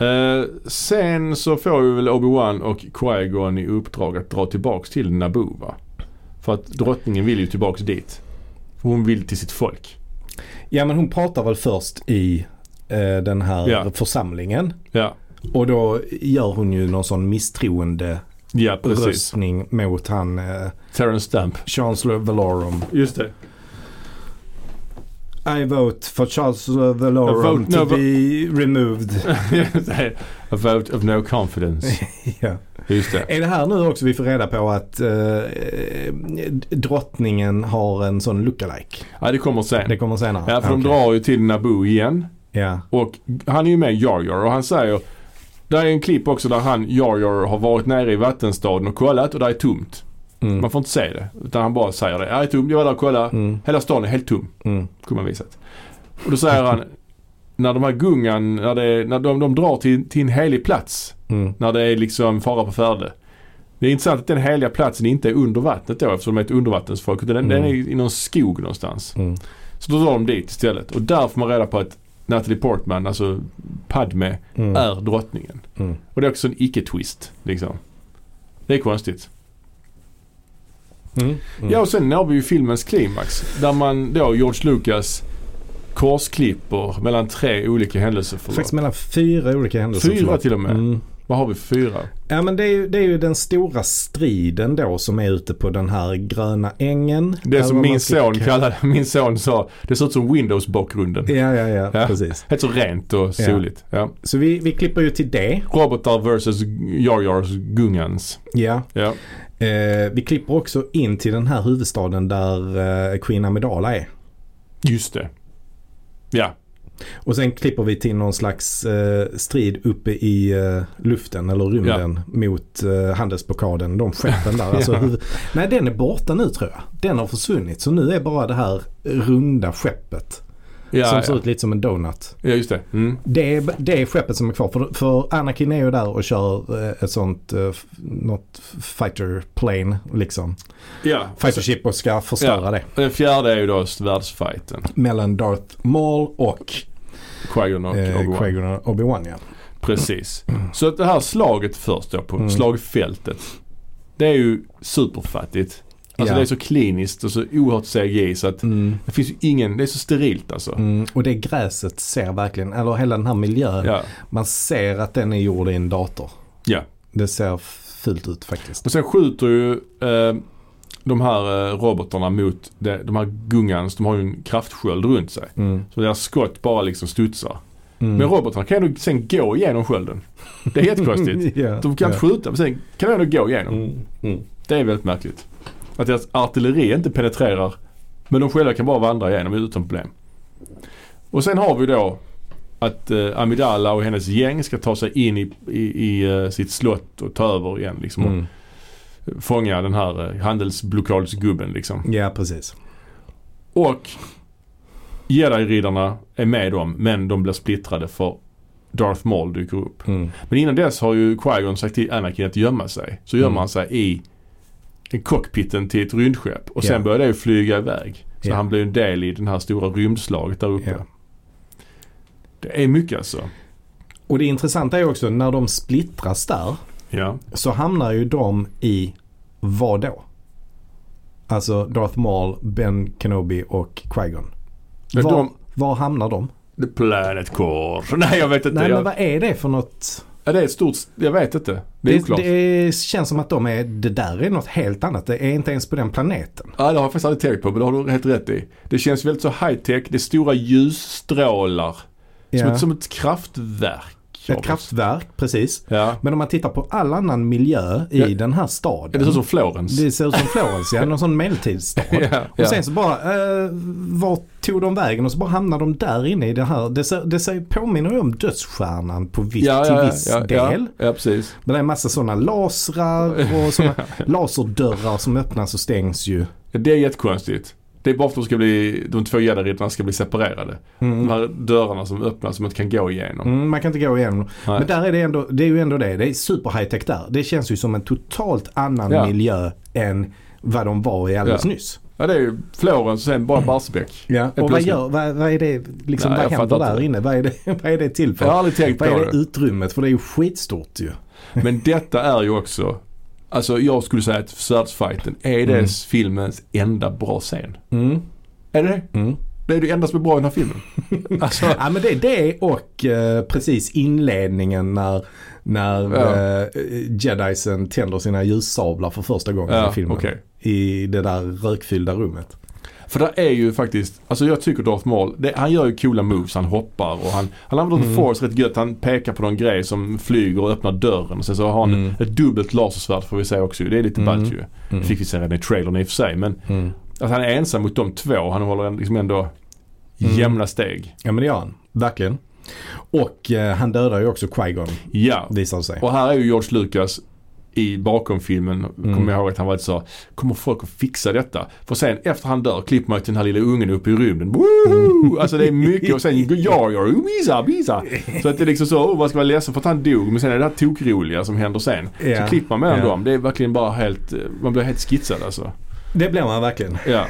Eh, sen så får ju väl Obi-Wan och Qui-Gon i uppdrag att dra tillbaks till Naboo va? För att drottningen vill ju tillbaks dit. Hon vill till sitt folk. ja men hon pratar väl först i eh, den här Ja. församlingen. Ja, Och då gör hon ju någon sån misstroende ja precis. röstning mot han eh, Terrence Stamp. Chancellor Valorum. Just det. I vote for Chancellor Valorum A vote- to no, vo- be removed. A vote of no confidence. ja. Just det. Är det här nu också vi får reda på att eh, drottningen har en sån lookalike? Ja, det kommer Det sen. kommer senare. Ja, för de Okej. drar ju till Naboo igen. Ja. Och han är ju med i Jar Jar och han säger där är en klipp också där han, Jar Jar, har varit nere i vattenstaden och kollat och där är tomt. Mm. Man får inte se det. Utan han bara säger det. Jag är tom, jag var där och kollade. Mm. Hela stan är helt tom. Mm. Kunde man visat. Och då säger han, när de här gungan, när, det, när de, de drar till, till en helig plats. Mm. När det är liksom fara på färde. Det är intressant att den heliga platsen inte är under vattnet då eftersom de är ett undervattensfolk. Utan den, den är i någon skog någonstans. Mm. Så då drar de dit istället. Och där får man reda på att Natalie Portman, alltså Padme, Mm. är drottningen. Mm. Och det är också en icke-twist liksom. Det är konstigt. Mm. Ja och sen når vi ju filmens klimax. Där man då, George Lucas, korsklipper mellan tre olika händelseförlopp. Faktiskt mellan fyra olika händelser. Fyra förlåt. till och med. Mm. Vad har vi för fyra? Ja men det är, ju, det är ju den stora striden då som är ute på den här gröna ängen. Det Eller som vad man min ska son kalla- kallade, min son sa, det ser ut som Windows-bakgrunden. Ja, ja, ja, Ja. precis. Helt så rent och soligt. Ja. Så vi, vi klipper ju till det. Robotar versus Jar Jars Gungans. Ja. Ja. Eh, vi klipper också in till den här huvudstaden där eh, Queen Amidala är. Just det. Ja, Och sen klipper vi till någon slags eh, strid uppe i eh, luften eller rymden mot eh, handelsblockaden. De skeppen där. Alltså, Ja. hur, nej den är borta nu tror jag. Den har försvunnit. Så nu är bara det här runda skeppet. ja, som ja. ser ut lite som en donut. ja just det. Mm. Det är, det är skeppet som är kvar. För, för Anakin är ju där och kör eh, ett sånt, eh, f- något fighter plane liksom. Ja. Fightership och ska förstöra det. Den fjärde är ju då svärdsfighten. Mellan Darth Maul och Qui-Gon och eh, Obi-Wan. Qui-Gon och Obi-Wan. Ja. Precis. Så att det här slaget först då Mm. på slagfältet. Det är ju superfattigt. Alltså Ja. det är så kliniskt och så oerhört CGI så att det finns ju ingen, det är så sterilt alltså. Mm, och det gräset ser verkligen, eller hela den här miljön, Ja. man ser att den är gjord i en dator. ja. Det ser fult ut faktiskt. Och sen skjuter ju eh, de här eh, robotarna mot det, de här gungans, de har ju en kraftsköld runt sig. Mm. Så deras skott bara liksom studsar. Mm. Men robotarna kan ju ändå sen gå igenom skölden. Det är jättekonstigt. Ja, De kan ja. skjuta men sen kan de ändå gå igenom. Mm, mm. Det är väldigt märkligt. Att deras artilleri inte penetrerar. Men de själva kan bara vandra igenom utan problem. Och sen har vi då att eh, Amidala och hennes gäng ska ta sig in i, i, i eh, sitt slott och ta över igen. Liksom, Mm. och fånga den här eh, handelsblockadsgubben. Liksom. Ja, precis. Och Jedi-riddarna är med dem men de blir splittrade för Darth Maul dyker upp. Mm. Men innan dess har ju Qui-Gon sagt till Anakin att gömma sig. Så gömmer Mm. han sig i i cockpiten till ett rymdskepp och sen Ja. börjar det ju flyga iväg. Så Ja. han blir en del i den här stora rymdslaget där uppe. Ja. Det är mycket alltså. Och det intressanta är också när de splittras där Ja. så hamnar ju de i vad då? Alltså Darth Maul, Ben Kenobi och Qui-Gon. Men Var, de- var hamnar de? The planet core. Nej jag vet inte. Nej jag... men vad är det för något? Ja, det är ett stort... Jag vet inte. Det är Det, oklart. det är- känns som att de är, det där är något helt annat. Det är inte ens på den planeten. Ja, det har jag faktiskt aldrig tänkt på, men det har du helt rätt i. Det känns väldigt så high-tech. Det är stora ljusstrålar. Som, Ja. ett, som ett kraftverk. av Ett kraftverk, precis. Ja. Men om man tittar på all annan miljö i Ja. den här staden. Är det så som Florens? Det ser ut som Florens, ja. Någon sån medeltidsstad. Ja, och ja. sen så bara, eh, vart tog de vägen? Och så bara hamnade de där inne i det här. Det, ser, det ser, påminner ju om Dödsstjärnan på viss, till viss del. Ja, ja, precis. Men det är en massa sådana lasrar och sådana laserdörrar som öppnas och stängs ju. Ja, Det är jättekonstigt. Det är bara för att de, ska bli, de två gäddariddarna ska bli separerade. De här dörrarna som öppnas som man inte kan gå igenom. Mm, man kan inte gå igenom. Nej. Men där är det, ändå, det är ju ändå det. Det är super high tech där. Det känns ju som en totalt annan Ja. miljö än vad de var i alldeles Ja. nyss. Ja, det är ju Florens och sen bara Barsebäck. Ja, och vad, plötsligt. gör, vad, vad är det, liksom, Nej, jag vad händer fattar där inte det. inne? Vad är, det, vad är det till för? Jag har aldrig tänkt vad på är det. det utrymmet? För det är ju skitstort ju. Men detta är ju också, alltså jag skulle säga att Svärdsfighten är det Mm. filmens enda bra scen. Mm. Är det det? Mm. Det är det enda som är bra i den här filmen. alltså, Ja men det är det och eh, precis inledningen när, när Ja. eh, jedisen tänder sina ljussablar för första gången Ja, i filmen. okej. I det där rökfyllda rummet. för det är ju faktiskt, alltså jag tycker Darth Maul, det, han gör ju coola moves, han hoppar och han, han använder mm. force rätt gött. Han pekar på någon grej som flyger och öppnar dörren. Och sen så har han Mm. ett dubbelt lasersvärd får vi säga också Det är lite Mm. ballt ju. Det Mm. fick vi se redan i trailern i och för sig. Men att han är ensam mot de två, han håller liksom ändå Mm. jämna steg. Ja men det gör han, verkligen. Och eh, han dödar ju också Qui-Gon Ja, visar det sig. Och här är ju George Lucas i bakom filmen, Mm. kommer jag ihåg att han var lite så kommer folk att fixa detta? För sen efter han dör klipper man ju till den här lilla ungen uppe i rymden. Woo! Alltså det är mycket och sen går jag jag visa, visa. Så att det är liksom så, oh, man ska vara ledsen för att han dog men sen är det här tokroliga som händer sen. Ja. Så klipper man mellan Ja. dem. Det är verkligen bara helt, eh, man blir helt skitsad alltså. Det blir man verkligen. Ja,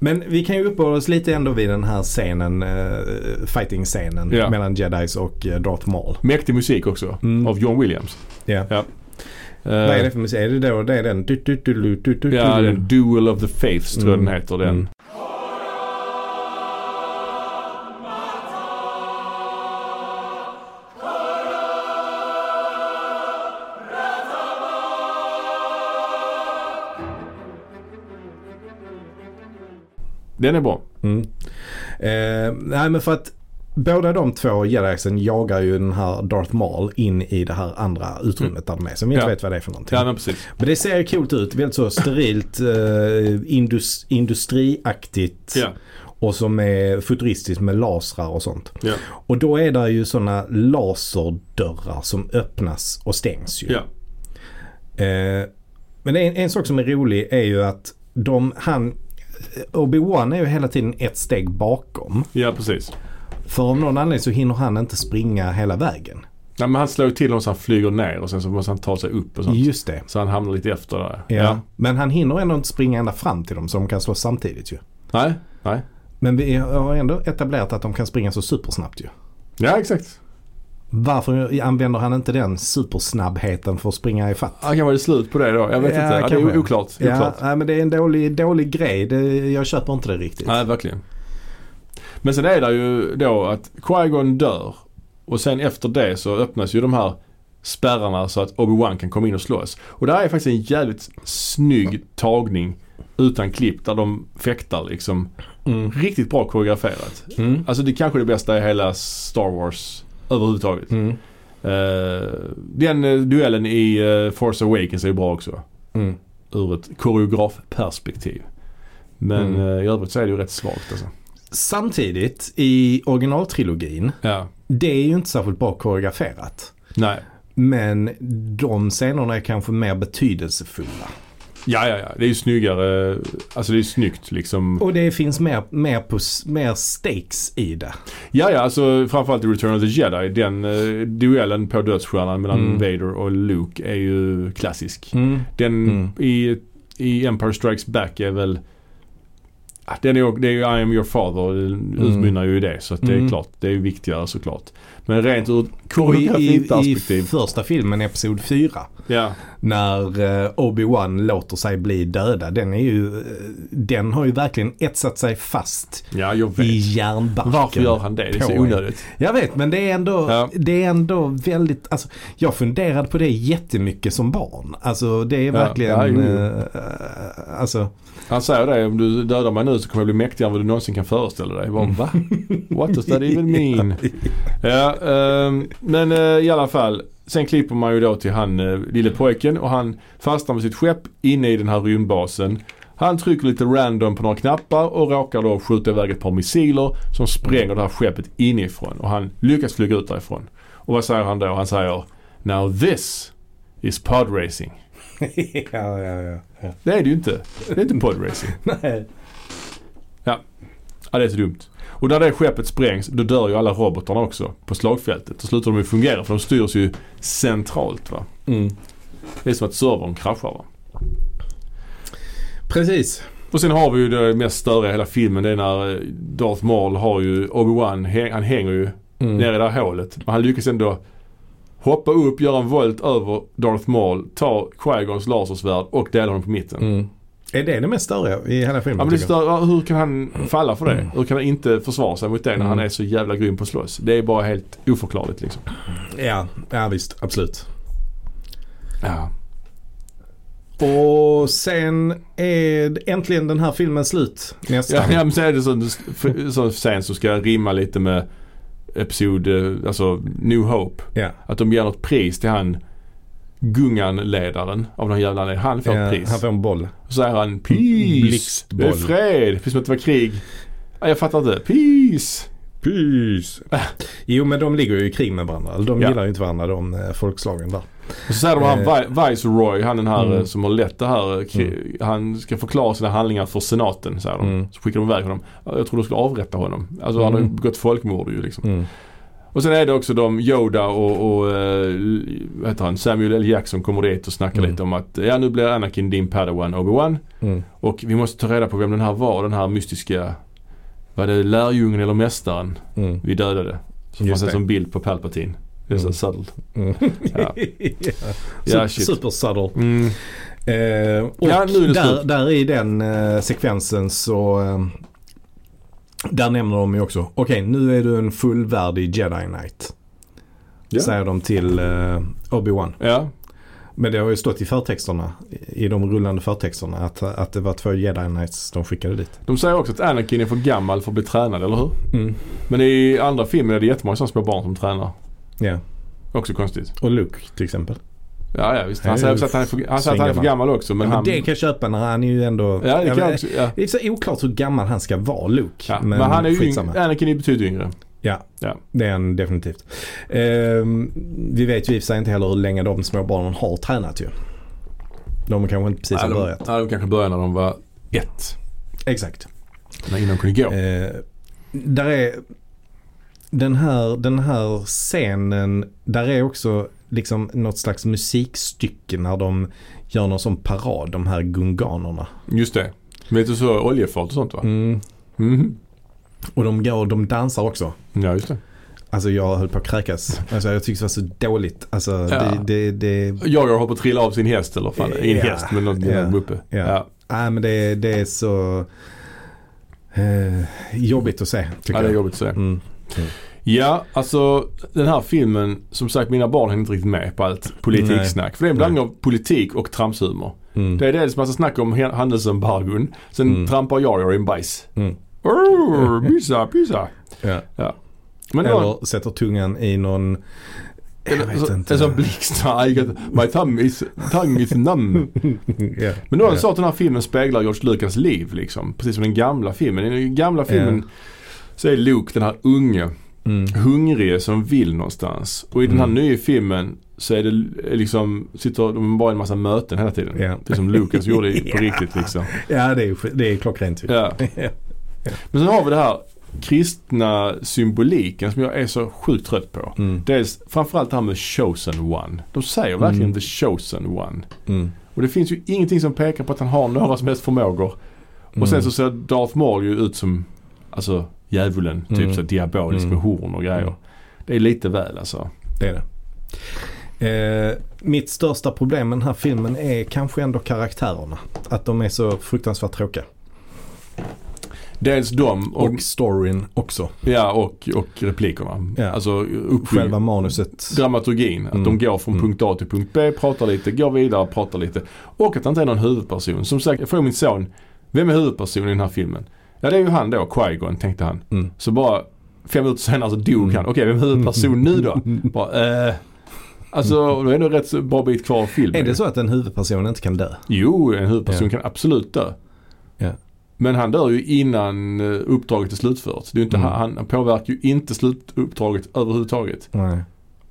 Men vi kan ju uppehålla oss lite ändå vid den här scenen, eh, fighting-scenen Ja. mellan jedis och eh, Darth Maul. mäktig musik också Mm. av John Williams. Ja. Ja. Vad är det för musik? Är det då, det är den... Du, du, du, du, du, du, Ja, den Duel of the Faiths tror jag den heter. Den. Mm. Den är bra. Mm. Eh, nej men för att båda de två jedixen jagar ju den här Darth Maul in i det här andra utrymmet där de är. Som vi inte Ja. vet vad det är för någonting. Ja, men precis. Men det ser ju coolt ut. Väldigt så sterilt, eh, indus- industriaktigt. Ja. Och som är futuristiskt med lasrar och sånt. Ja. Och då är det ju sådana laserdörrar som öppnas och stängs ju. Ja. Eh, men en, en sak som är rolig är ju att de, han, Obi-Wan är ju hela tiden ett steg bakom. ja, precis. För av någon anledning så hinner han inte springa hela vägen. Nej, men han slår ju till honom så han flyger ner och sen så måste han ta sig upp och sånt. Just det. Så han hamnar lite efter där. Ja. Men han hinner ändå inte springa ända fram till dem så de kan slåss samtidigt ju. Nej, nej. Men vi har ändå etablerat att de kan springa så supersnabbt ju. Ja, exakt. Varför använder han inte den supersnabbheten för att springa i fatt? Ja, kan vara det slut på det då? Jag vet inte. Ja, det är kanske. o- oklart. Ja, oklart. nej, men det är en dålig, dålig grej. Det, jag köper inte det riktigt. Nej, verkligen. Men sen är det ju då att Qui-Gon dör och sen efter det så öppnas ju de här spärrarna så att Obi-Wan kan komma in och slåss. Och det här är faktiskt en jävligt snygg tagning utan klipp där de fäktar liksom. Mm. Riktigt bra koreograferat. Mm. Alltså det kanske är det bästa i hela Star Wars överhuvudtaget. Mm. Eh, den eh, duellen i eh, Force Awakens är ju bra också. Mm. Ur ett koreografperspektiv. Men Mm. eh, i övrigt så är det ju rätt svagt alltså. Samtidigt i originaltrilogin, Ja. det är ju inte särskilt bra koreograferat. Nej. Men de scenerna är kanske mer betydelsefulla. Ja, ja, ja. Det är ju snyggare. eh, Alltså det är snyggt liksom. Och det finns mer, mer, på, s- mer stakes i det. Ja, ja. Alltså framförallt i Return of the Jedi. Den eh, duellen på dödsstjärnan mellan Mm. Vader och Luke är ju klassisk. Den Mm. i, i Empire Strikes Back är väl Ah, Mm. den är, ju- det är ju I am your father, det utmynnar ju i det. Så att det är Mm. klart, det är ju viktigare såklart. Men rent ur ett Och i, i, i koreografiperspektiv. första filmen, Episod 4, Ja. när eh, Obi-Wan låter sig bli döda. Den, är ju, eh, den har ju verkligen etsat sig fast ja, jag i vet. hjärnbarken. Varför gör han det? Det är så på en. onödigt. Jag vet men det är ändå, Ja. det är ändå väldigt, alltså, jag funderade på det jättemycket som barn. Alltså det är verkligen, ja, jo, jo. eh, alltså, Han säger det, om du dödar mig nu så kommer jag bli mäktigare än vad du någonsin kan föreställa dig. Jag Bara, Va? What does that even mean? ja, ehm, men eh, i alla fall. Sen klipper man ju då till han eh, lille pojken och han fastnar med sitt skepp inne i den här rymdbasen. Han trycker lite random på några knappar och råkar då skjuta iväg ett par missiler som spränger det här skeppet inifrån och han lyckas flyga ut därifrån. Och vad säger han då? Han säger Now this is podracing. ja, ja, ja. ja. Det är det ju inte. Det är inte podracing. Nej. Ja, det är så dumt. Och när det skeppet sprängs, då dör ju alla robotarna också på slagfältet. Då slutar de ju fungera för de styrs ju centralt va. Mm. Det är som att servern kraschar va. Precis. Och sen har vi ju det mest störiga i hela filmen. Det är när eh, Darth Maul har ju Obi-Wan, häng, han hänger ju nere i det här hålet. Men han lyckas ändå hoppa upp, göra en volt över Darth Maul, ta Qui-Gons lasersvärd och dela honom på mitten. Mm. Är det det mest störiga i hela filmen? Ja, men det tycker du? stör, ja, hur kan han falla för Mm. det? Hur kan han inte försvara sig mot det när han är så jävla grym på att slåss? Det är bara helt oförklarligt liksom. ja, ja, visst. Absolut. Ja. Och sen är äntligen den här filmen slut. Ja, Nästan. ja men så är det sån, f- sån scen som ska rimma lite med episod, eh, alltså New Hope. Ja. Att de ger något pris till han Gungan-ledaren av den här jävla ledaren. Han får Ja, ett pris. han Eh, får en boll. Och så är han Peace! Blixtboll. Det är fred! Precis som att det var krig. Ja, jag fattar inte. Peace! Peace. Jo men de ligger ju i krig med varandra. Eller De Ja. gillar ju inte varandra de eh, folkslagen där. Och så säger de han Vi- Viceroy, han den här Eh. Mm. eh, som har lett det här. eh, kri- Han ska förklara sina handlingar för senaten säger de. Mm. Så skickar de iväg honom. Jag tror de ska avrätta honom. Alltså han har ju Mm. begått folkmord ju liksom. Mm. Och sen är det också de Yoda och, och eh, vad heter han, Samuel L. Jackson kommer dit och snackar Mm. lite om att ja nu blir Anakin din padawan Obi-Wan. Mm. Och vi måste ta reda på vem den här var, den här mystiska, var det lärjungen eller mästaren Mm. vi dödade? Så Just fanns det det. som bild på Palpatine. Det är så Mm. subtle. Mm. Ja. Super, Ja, shit. super subtle. Mm. Eh, och Ja, nu är det där, slut. där i den eh, sekvensen så eh, där nämner de ju också, okej nu är du en fullvärdig jedi knight. Ja. Säger de till eh, Obi-Wan. Ja, Men det har ju stått i förtexterna, i i de rullande förtexterna, att, att det var två jedi knights de skickade dit. de säger också att Anakin är för gammal för att bli tränad, eller hur? Mm. Men i andra filmer är det jättemånga sådana små barn som tränar. Ja. Också konstigt. Och Luke till exempel. Ja, ja visst. Han Nej, säger du också att han är för, han säger att han är för gammal också. Men, Men, han, det kan jag köpa när han är ju ändå... Ja, det kan jag men- också. Ja. Det är så oklart hur gammal han ska vara Luke. Ja, men, han är ju skitsamma. yngre. Anakin är betydligt yngre. Ja, Ja. det är han definitivt. Ehm, vi vet ju i och för sig inte heller hur länge de små barnen har tränat ju. De kanske inte precis har de, börjat. ja, de kanske började när de var ett. Exakt. När innan de kunde gå. Eh, där är den här, den här scenen, där är också liksom något slags musikstycke när de gör någon sån parad, de här gunganerna. Just det. Vet du så oljefat och sånt va? Mm. Mhm. Och de går, de dansar också. Ja, just det. Alltså jag höll på att kräkas. Alltså jag tyckte det var så dåligt. Alltså Ja. det, det, det, Jag har på att trilla av sin häst eller fan, Eh, Ja. en häst men något Ja. yeah. uppe. Ja. Nej, men det, det är så eh, jobbigt att se. Tycker Ja, det är jag. jobbigt att säga. Mm. Ja, alltså den här filmen, som sagt mina barn hänger inte riktigt med på allt politiksnack. För det är en blandning av politik och tramshumor. Mm. Det är dels massa snack om he- handelsembargon. Sen trampar jag och i en bajs. Mm. Åh, pizza, pizza. Ja. Ja. Men det var Eller sätter tungan i någon... Jag vet så- inte. en sån blixt. I got- My tongue is, tongue is numb. Ja. Men någon sa att den här filmen speglar George Lucas liv liksom. Precis som den gamla filmen. I den gamla filmen Ja. så är Luke den här unge, Mm. hungrige som vill någonstans. Och i den här nya filmen så är det l- liksom, sitter de bara i en massa möten hela tiden. Ja. Precis som Lucas gjorde i- på Ja. riktigt liksom. ja, det är, sk- det är klockrent. ju. Ja. Ja. Men sen har vi det här kristna symboliken som jag är så sjukt trött på. Mm. Dels framförallt det här med chosen one. De säger verkligen the chosen one. Mm. Och det finns ju ingenting som pekar på att han har några som helst förmågor. Och Mm. sen så ser Mm. Darth Maul ju ut som alltså djävulen. Typ så diabolisk med horn och grejer. Det är lite väl alltså. Det är det. Eh, mitt största problem med den här filmen är kanske ändå karaktärerna. Att de är så fruktansvärt tråkiga. Dels dem och, Mm. Och storyn också. ja, och, och replikerna. Ja. Alltså uppbygg, Själva manuset. dramaturgin. Att de Mm. går från punkt A till punkt B, pratar lite, går vidare, pratar lite. Och att det inte är någon huvudperson. Som sagt, jag frågade min son, vem är huvudpersonen i den här filmen? Ja det är ju han då, Qui-Gon, tänkte han. Mm. Så bara fem minuter senare så dog han. Okej, vem är huvudperson nu då? Bara, eh. Alltså det är nog rätt så bra bit kvar av filmen. Är det så att en huvudperson inte kan dö? Jo, en huvudperson Ja. kan absolut dö. Ja. Men han dör ju innan eh, uppdraget är slutfört. Det är ju inte, Mm. han, han påverkar ju inte slutuppdraget överhuvudtaget. Nej.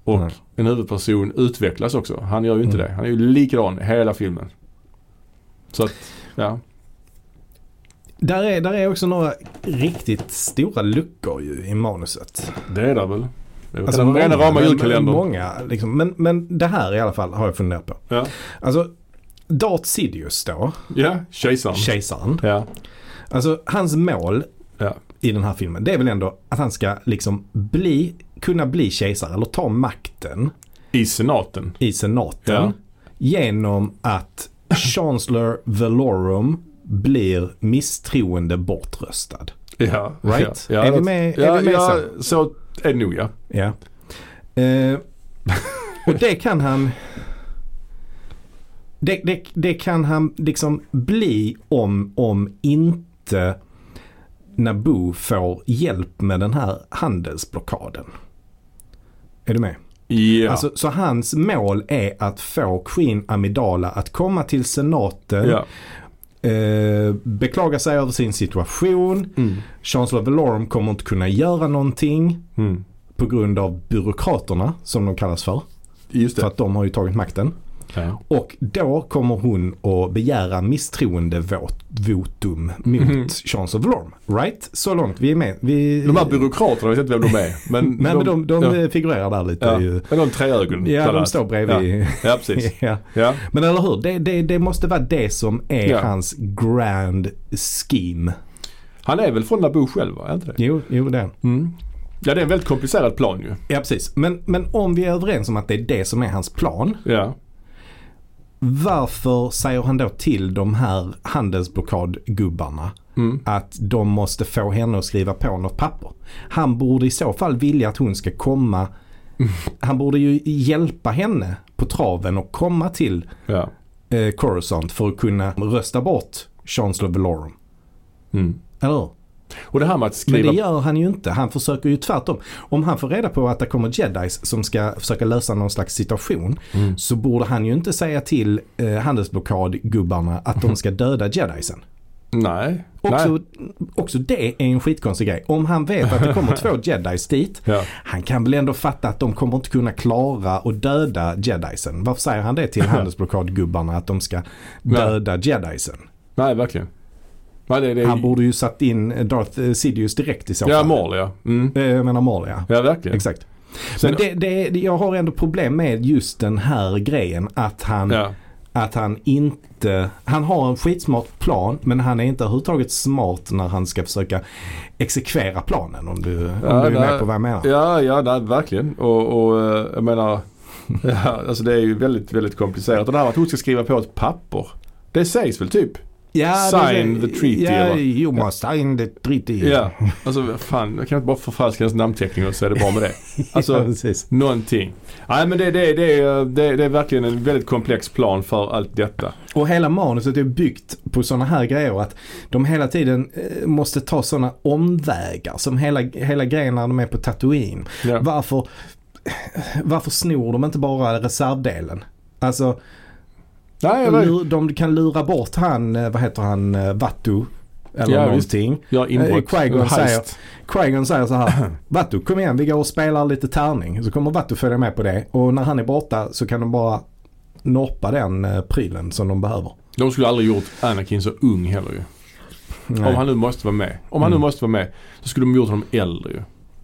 Och Nej. en huvudperson utvecklas också. Han gör ju inte Mm. det. Han är ju likadan hela filmen. Så att, ja. Där är, där är också några riktigt stora luckor ju i manuset. Det är det väl. Det är Alltså, väl rena många, rama men- julkalendern. Många, liksom. men, men det här i alla fall har jag funderat på. Ja, Alltså, Darth Sidious då, ja kejsaren. kejsaren. ja. Alltså hans mål Ja. i den här filmen, det är väl ändå att han ska liksom bli, kunna bli kejsare eller ta makten I senaten. i senaten Ja. genom att Chancellor Valorum blir misstroende bortröstad. Ja. Right? Ja. Ja, Är vi det- med- är ja, vi med ja, så är det nog ja. Ja. Eh, och det kan han... Det, det, det kan han liksom bli om, om inte Naboo får hjälp med den här handelsblockaden. Är du med? Ja. Alltså, så hans mål är att få Queen Amidala att komma till senaten, ja. eh, beklaga sig över sin situation. Mm. Chancellor Valorum kommer inte kunna göra någonting Mm. på grund av byråkraterna som de kallas för. Just För det. att de har ju tagit makten. Ja. Och då kommer hon att begära misstroendevotum mot mm. Chance of Lorm. Right? Så långt vi är med. Vi, De här byråkraterna, jag vet inte vem de är. Men Nej men de, de ja. figurerar där lite Ja. ju. Men de treögonen. Ja, bland de annat. står bredvid. Ja, ja precis. Ja. Ja. Men eller hur, det, det, det måste vara det som är Ja. hans grand scheme. Han är väl från Naboo själv, va? Är inte det? Jo, jo det är han. Ja, det är en väldigt komplicerad plan ju. Ja precis. Men, men om vi är överens om att det är det som är hans plan. Ja. Varför säger han då till de här handelsblockadgubbarna att de måste få henne att skriva på något papper? Han borde i så fall vilja att hon ska komma. Han borde ju hjälpa henne på traven och komma till Ja. eh, Coruscant för att kunna rösta bort Chancellor Valorum. Mm. Eller hur? Och det här med att Men skriva... det gör han ju inte. Han försöker ju tvärtom. Om han får reda på att det kommer jedis som ska försöka lösa någon slags situation Mm. så borde han ju inte säga till eh, handelsblockadgubbarna att de ska döda jedisen. Nej. Nej. Också, också det är en skitkonstig grej. Om han vet att det kommer två jedis dit, Ja. han kan väl ändå fatta att de kommer inte kunna klara och döda jedisen. Varför säger han det till handelsblockadgubbarna att de ska döda jedisen? Nej, verkligen. Nej, det, det är... Han borde ju satt in Darth eh, Sidious direkt i så fall. Ja, Maul ja. Mm. Eh, Jag menar Maul, ja. Ja, verkligen. Exakt. Sen- Men det, det, det- jag har ändå problem med just den här grejen att han, Ja. att han inte... Han har en skitsmart plan men han är inte överhuvudtaget smart när han ska försöka exekvera planen om du, om Ja, du är nej. med på vad jag menar. Ja, ja, nej, verkligen. Och, och eh, jag menar, ja, alltså det är ju väldigt, väldigt komplicerat. Och det här med att hon ska skriva på ett papper. Det sägs väl typ? Ja, Sign the treaty, Ja, eller? you must sign the treaty. Ja. Alltså fan, jag kan inte bara förfalska hennes namnteckning och så är det bra med det. Ja, Alltså, precis. någonting. Nej men det, det, det, är, eh, det, det är verkligen en väldigt komplex plan för allt detta. Och hela manuset är byggt på sådana här grejer att de hela tiden eh, måste ta sådana omvägar som hela, hela grejen när de är på Tatooine. Ja. Varför, varför snor de inte bara reservdelen? Alltså, Nej, jag vet. lur, de kan lura bort han, eh, vad heter han, eh, Vattu. Eller Ja, visst. någonting. Gör Eh, inbrott. Qui-Gon säger, Heist. Qui-Gon säger så här. Vattu kom igen vi går och spelar lite tärning. Så kommer Vattu följa med på det. Och när han är borta så kan de bara norpa den eh, prylen som de behöver. De skulle aldrig gjort Anakin så ung heller ju. Om han nu måste vara med. Om Mm. han nu måste vara med så skulle de gjort honom äldre ju.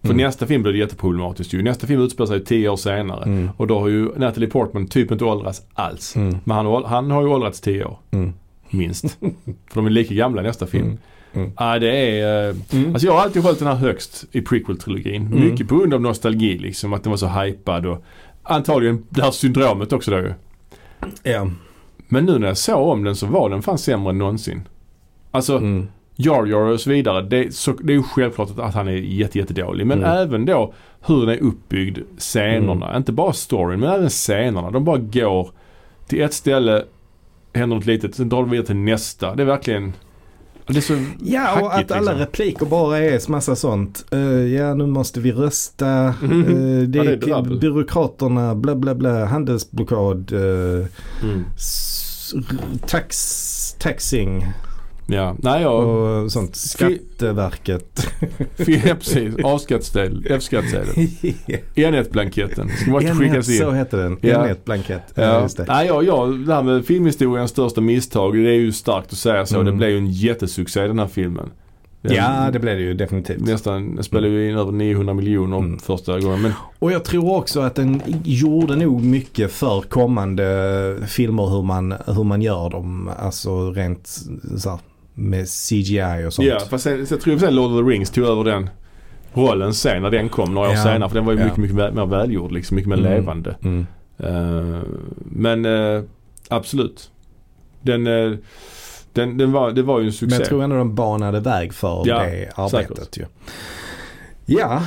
För nästa film blir det jätteproblematiskt ju. Nästa film utspelar sig tio år senare. Mm. Och då har ju Natalie Portman typ inte åldrats alls. Mm. Men han, har- han har ju åldrats tio år. Minst. För de är lika gamla i nästa film. Mm. Ja, det är... eh, Alltså jag har alltid hållit den här högst i prequel-trilogin. Mm. Mycket på grund av nostalgi liksom, att den var så hypad och antagligen det här syndromet också då ju. Ja. Men nu när jag såg om den så var den fan sämre än någonsin. Alltså, Mm. Jar Jar och så vidare. Det, så, det är ju självklart att, att han är jätte, jättedålig. Men även då hur den är uppbyggd, scenerna. Inte bara storyn men även scenerna. De bara går till ett ställe, händer något litet, sen drar de vidare till nästa. Det är verkligen... Det är så Ja, och hackigt, att alla liksom. repliker bara är massa sånt. Eh, ja, nu måste vi rösta. Eh, det Mhm. Ja, det är är drabbel. byråkraterna, bla bla bla, handelsblockad, uh, Mm. tax, taxing Ja, nej jag... och sånt. Skatteverket. Ja, precis. A-skattsedel, F-skattsedel. N1-blanketten. Ska bara skickas Enhet, in. så heter den. Ja. Enhet blankett. Ja, Ja. just det. Nej, jag, jag, det här med filmhistoriens största misstag, det är ju starkt att säga så. Mm. Det blev ju en jättesuccé den här filmen. Den- Ja, det blev det ju definitivt. Nästan, den spelade ju in över 900 miljoner Mm. första gången. Men Och jag tror också att den gjorde nog mycket för kommande filmer hur man, hur man gör dem. Alltså rent så här, med CGI och sånt. ja, fast sen, sen tror jag sen Lord of the Rings tog över den rollen sen när den kom några år Ja. senare. För den var ju Ja. mycket, mycket väl, mer välgjord liksom. Mycket mer Mm. levande. Mm. Eh, men eh, absolut. Den, eh, den, den var, det var ju en Men succé. jag tror ändå de banade väg för Ja, det arbetet ju. Ja,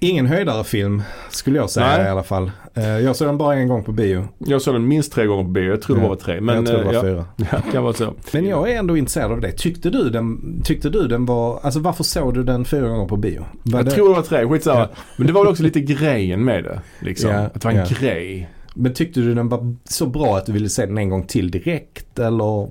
ingen höjdare film skulle jag säga Nej. i alla fall. Eh, Jag såg den bara en gång på bio. Jag såg den minst tre gånger på bio. Jag tror det Ja. var tre. Men, Men, jag tror det var eh, ja, fyra. ja, kan vara så. Men jag är ändå intresserad av det. Tyckte du den, tyckte du den var, alltså varför såg du den fyra gånger på bio? Var Jag det, tror det var tre, skitsamma. Men det var väl också lite grejen med det. Liksom. Ja, Att det var en ja. grej. Men tyckte du den var så bra att du ville se den en gång till direkt eller?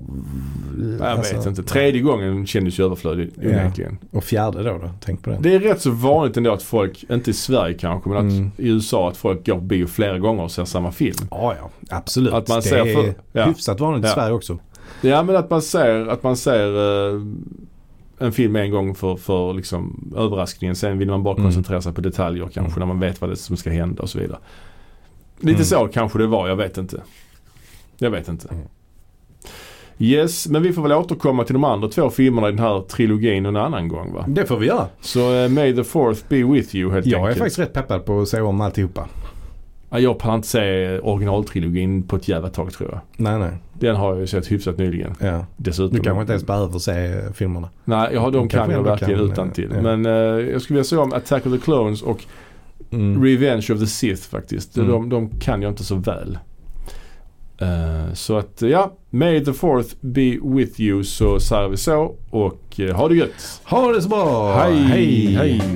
Jag vet inte. Tredje gången kändes ju överflödig Alltså, Ja. onekligen. Och fjärde då, då? Tänk på den. Det är rätt så vanligt ändå att folk, inte i Sverige kanske, men att Mm. i USA att folk går på bio flera gånger och ser samma film. Ja, ja. Absolut. Att man det ser för- är ja. hyfsat vanligt Ja. i Sverige också. Ja men att man ser, att man ser eh, en film en gång för, för liksom överraskningen. Sen vill man bara Mm. koncentrera sig på detaljer kanske när man vet vad det är som ska hända och så vidare. Lite Mm. så kanske det var, jag vet inte. Jag vet inte. Mm. Yes, men vi får väl återkomma till de andra två filmerna i den här trilogin en annan gång va? Det får vi göra. Så eh, May the fourth be with you helt Jag är enkelt. faktiskt rätt peppad på att se om alltihopa. Ja, Jag pallar inte se originaltrilogin på ett jävla tag tror jag. Nej, nej. Den har jag ju sett hyfsat nyligen. Ja. Dessutom. Du kanske inte ens behöver se eh, filmerna. Nej, jag har de Mm, Kanske kan jag ändå verkligen kan, utan till. ja. Men eh, jag skulle vilja se om Attack of the Clones och Mm. Revenge of the Sith faktiskt. Mm. De, de kan jag inte så väl. Eh, så att ja, May the fourth be with you så säger vi så och eh, ha det gött. Ha det så bra! hej. hej.